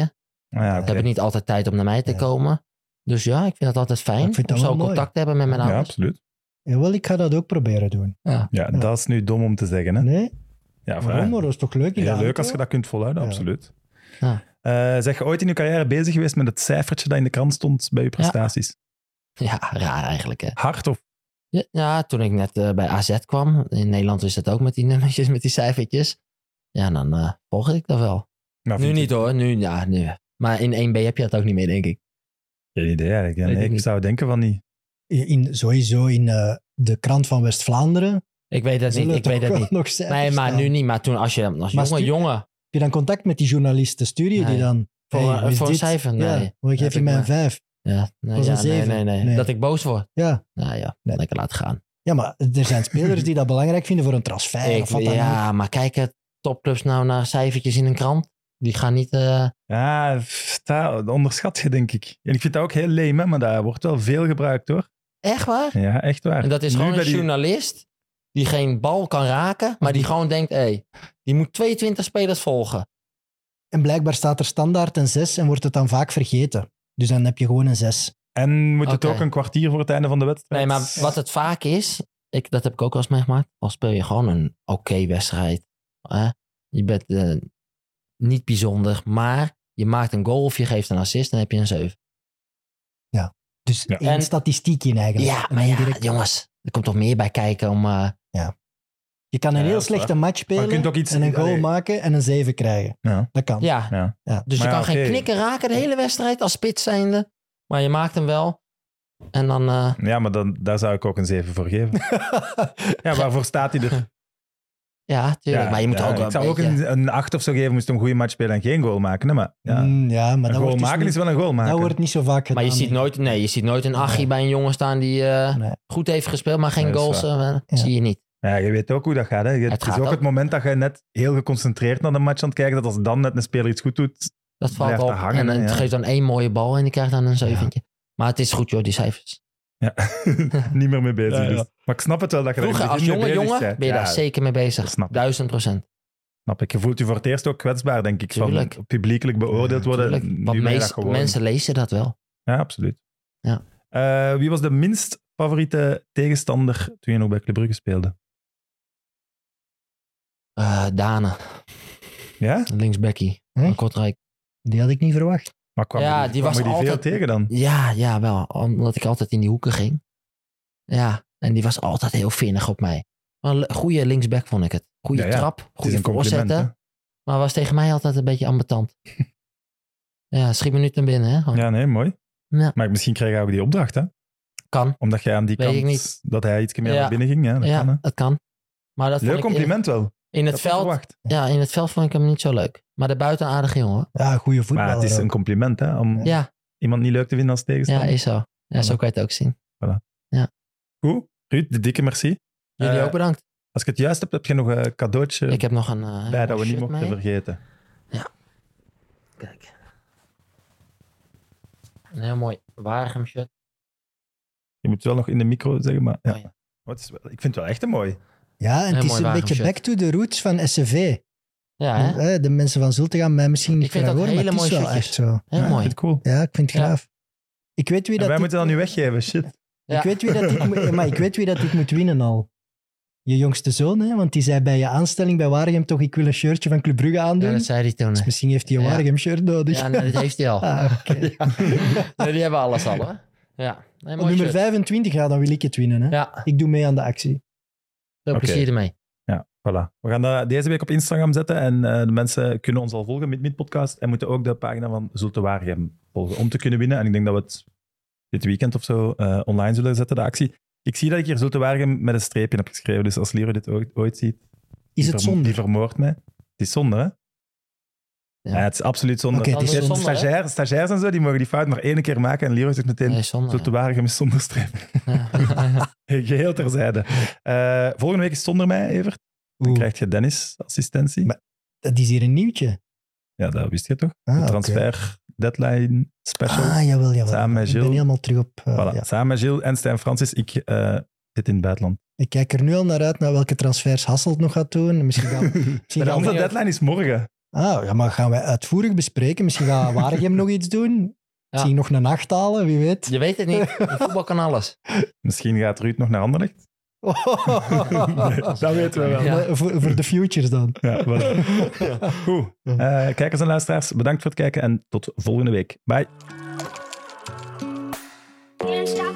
Ah ja, oké.
Ze hebben niet altijd tijd om naar mij te
Ja.
komen. Dus ja, ik vind dat altijd fijn.
Ik vind dat
om zo
wel mooi.
contact te hebben met mijn
ja,
ouders.
absoluut.
Jawel, Eh, ik ga dat ook proberen doen.
Ja, dat is nu dom om te zeggen, hè?
Nee?
Ja,
Waarom? Maar dat is toch leuk in de
Heel leuk
auto?
als je dat kunt volhouden,
Ja.
absoluut.
Ja.
Eh, zeg je ooit in je carrière bezig geweest met het cijfertje dat in de krant stond bij je prestaties?
Ja, raar eigenlijk hè.
Hard of?
Ja, ja, toen ik net eh, bij AZ kwam. In Nederland is dat ook met die nummertjes, met die cijfertjes. Ja, dan eh volgde ik dat wel.
Nou,
nu
vind
niet
ik-
hoor, nu, ja, nu. Maar in 1B heb je dat ook niet meer, denk ik.
Geen idee eigenlijk. Ja,
Weet
nee,
ik
ik
niet.
zou denken van niet.
In, sowieso in eh, de krant van West-Vlaanderen.
Ik weet dat niet,
zullen
ik weet
toch
dat
wel
niet.
Nog cijfers
Nee, maar
staan.
nu niet. Maar toen als je als
Maar
jongen,
stu-
jongen.
Heb je dan contact met die journalisten? Stuur je
Nee.
die dan?
Voor,
Hey,
eh,
wist
voor een
dit?
cijfer? Nee.
Ja, dan
Heb
geef je
ik
mij een
maar.
vijf.
Ja, nee,
Was
ja,
een
nee,
zeven.
nee, nee,
Nee.
Dat ik boos word.
Ja.
Nou ja, lekker laten gaan.
Ja, maar er zijn spelers die dat belangrijk vinden voor een transfer
Ik-
of wat dan ook.
ja, maar kijken topclubs nou naar cijfertjes in een krant? Die gaan niet... eh,
Ja, pff, dat onderschat je, denk ik. En ik vind dat ook heel leem, hè, maar dat wordt wel veel gebruikt, hoor.
echt waar?
Ja, echt waar.
En dat is
Nu
gewoon
bij
een
die- Mhm.
journalist die geen bal kan raken, maar die gewoon denkt, hé, die moet 22 spelers volgen.
En blijkbaar staat er standaard een 6 en wordt het dan vaak vergeten. Dus dan heb je gewoon een 6.
En moet het
Oké.
ook een kwartier voor het einde van de wedstrijd?
Nee, maar wat het vaak is, ik, dat heb ik ook wel eens meegemaakt, al speel je gewoon een oké wedstrijd. hè? Je bent eh, niet bijzonder, maar je maakt een goal of je geeft een assist, dan heb je een 7.
Dus
Ja.
één
En-
statistiek in eigenlijk.
Ja,
En
maar
dan
ja,
direct-
jongens, er komt toch meer bij kijken om... eh,
Je kan een
Ja,
heel
dat is
slechte
waar.
match
je
spelen
kunt ook iets-
en een goal
Allee.
maken en een 7 krijgen.
Ja.
Dat kan.
ja.
Ja.
Ja.
Dus
Maar
je
ja,
kan geen
oké.
knikken raken de hele wedstrijd als spits zijnde, maar je maakt hem wel. En dan... eh,
Ja, maar dan, daar zou ik ook een 7 voor geven. ja, waarvoor staat hij er?
ja, tuurlijk,
Ja,
maar je moet
ja,
ook wel
Ik zou
een
ook
beetje-
een, een 8 of zo geven, moest hij een goede match spelen en geen goal maken. Hè? Maar, ja.
Mm, ja, maar
een
dat
goal
wordt, dus
maken
niet,
is wel een goal maken.
dat wordt niet zo vaak gedaan.
Maar je ziet,
denk ik.
nooit, nee, je ziet nooit een achie
Nee.
bij een jongen staan die eh,
Nee.
goed heeft gespeeld, maar geen
Nee, dat is
goals. eh, Zie je niet.
Ja, je weet ook hoe dat gaat. Hè? Je- Het,
Het
is
gaat
ook
ook.
het moment dat je net heel geconcentreerd naar de match aan het kijken, dat als dan net een speler iets goed doet,
Dat valt
Blijft
op.
daar hangen,
en dan-
hè,
het
ja.
geeft dan één mooie bal en die krijgt dan een zeventje. Maar het is goed joh, die cijfers.
niet meer mee bezig
Ja, ja.
is. Maar ik snap het wel dat je er in het
Vroeger als
begin mee
jonge
bezig
jongen
bent.
ben je
Ja,
daar zeker mee bezig.
dat snap ik.
Duizend procent.
Snap ik. Je voelt je voor het eerst ook kwetsbaar, denk ik. Van
Tuurlijk.
publiekelijk beoordeeld worden.
Tuurlijk,
Nu
Want
ben je
meest-
dat gewoon.
mensen lezen dat wel.
Ja, absoluut.
Ja.
Eh, wie was de minst favoriete tegenstander toen je nog bij Club Brugge speelde?
Eh Dane,
Ja?
linksbackie,
Hm?
van Kortrijk.
Die had ik niet verwacht.
Maar kwam
Ja,
die,
die
kwam
was
je die
altijd-
veel tegen dan?
Ja, ja, wel. Omdat ik altijd in die hoeken ging. Ja, en die was altijd heel vinnig op mij. Maar een goede linksback vond ik het. Goede
Ja, ja.
trap,
Het is
goede
een compliment,
voorzetten.
hè?
Maar was tegen mij altijd een beetje ambetant. ja, schiet me nu ten binnen, hè?
Ja, nee, mooi.
Ja.
Maar misschien kreeg hij ook die opdracht, hè?
Kan.
Omdat jij aan die
Weet ik
kant,
niet.
dat hij iets meer
Ja.
naar binnen ging. Ja, dat
ja,
kan, hè?
dat kan. Maar dat
Leuk
vond ik in-
compliment wel.
In, het
Dat had ik
veld,
verwacht.
ja, in het veld vond ik hem niet zo leuk. Maar de buiten een aardige jongen. hoor.
Ja, goede voetballer.
Maar het is
ook.
een compliment, hè? Om
Ja,
iemand niet leuk te vinden als
ja,
tegenstander.
is zo. Ja, zo kan je het ook zien.
Goed. Ruud, de dikke merci.
Jullie
Eh,
ook bedankt.
Als ik het juist heb, heb je nog een cadeautje
Ik heb nog een... eh,
bij dat we niet
shirt
mochten
mee.
vergeten.
Kijk. Een heel mooi Waregem shirt.
Je moet het wel nog in de micro zeggen, maar ja.
Oh, ja.
Maar het is wel- ik vind het wel echt een mooi.
Ja, en
Heel
het is
mooi
een
wagen
beetje
shirt.
back to the roots van SCV.
Ja, hè?
Eh, De mensen van Zulte gaan mij misschien niet
Ik vind
graag
dat
horen, maar het
hele
is
mooie
wel echt
shirtjes.
zo.
Heel
Ja, ik
mooi.
vind het cool.
Ja, ik vind het
Ja.
graaf. Ik weet wie
En wij
dat dit-
moeten dat nu weggeven, shit.
Ja.
Ik weet wie dat dit, moet- eh, maar ik weet wie dat dit moet winnen al. Je jongste zoon, hè? want die zei bij je aanstelling bij Waregem toch ik wil een shirtje van Club Brugge aandoen.
Ja, dat zei hij toen.
Dus
hè.
misschien heeft hij een
Ja.
Waregem shirt nodig.
Ja, nee, dat heeft hij al.
Ah, oké.
Nee, die hebben alles al, hoor. Ja, nee,
Op
mooi
nummer
shirt.
25, ja, dan wil ik het winnen. Hè?
Ja,
Ik doe mee aan de actie.
veel
Oké.
plezier ermee.
Ja, voilà. We gaan dat deze week op Instagram zetten en eh, de mensen kunnen ons al volgen met Mid Podcast en moeten ook de pagina van Zulte Waregem volgen om te kunnen winnen. En ik denk dat we het dit weekend of zo eh, online zullen zetten, de actie. Ik zie dat ik hier Zulte Waregem met een streepje heb geschreven, dus als Lero dit ooit, ooit ziet,
Is
die
het
vermo-
zonde?
Die vermoordt mij. Het is zonde, hè? Ja. het is absoluut zonde.
Oké, het is
Kijk,
zonde, hè?
stagiair, stagiairs en zo, die mogen die fout maar één keer maken en Leroy zegt meteen,
Nee,
Zulte
zonder.
Waregem is zonder streep.
Ja.
Geheel terzijde. Eh, volgende week is zonder mij, Evert. Dan
Oeh,
krijg je Dennis assistentie.
Maar- Dat is hier een nieuwtje.
Ja, dat wist je toch?
Ah,
de
oké.
transfer deadline special.
Ah, jawel, jawel.
Samen met
Ik
Gilles.
ben helemaal terug op... eh,
Voilà.
ja.
Samen met Gilles en Stijn Francis. Ik eh, zit in het buitenland.
Ik kijk er nu al naar uit naar welke transfers Hasselt nog gaat doen. Misschien gaan, misschien
Maar de
gaan
andere
we-
deadline is morgen.
Ah, ja, maar gaan wij uitvoerig bespreken. Misschien gaat Waregem nog iets doen. Misschien nog een nacht halen, wie weet.
Je weet het niet. Voetbal kan alles.
Misschien gaat Ruud nog naar Anderlecht. Nee, dat weten we wel.
Ja.
Maar Voor, voor de futures dan.
Ja, voilà. Goed. Eh, kijkers en luisteraars, bedankt voor het kijken en tot volgende week. Bye.
Can't stop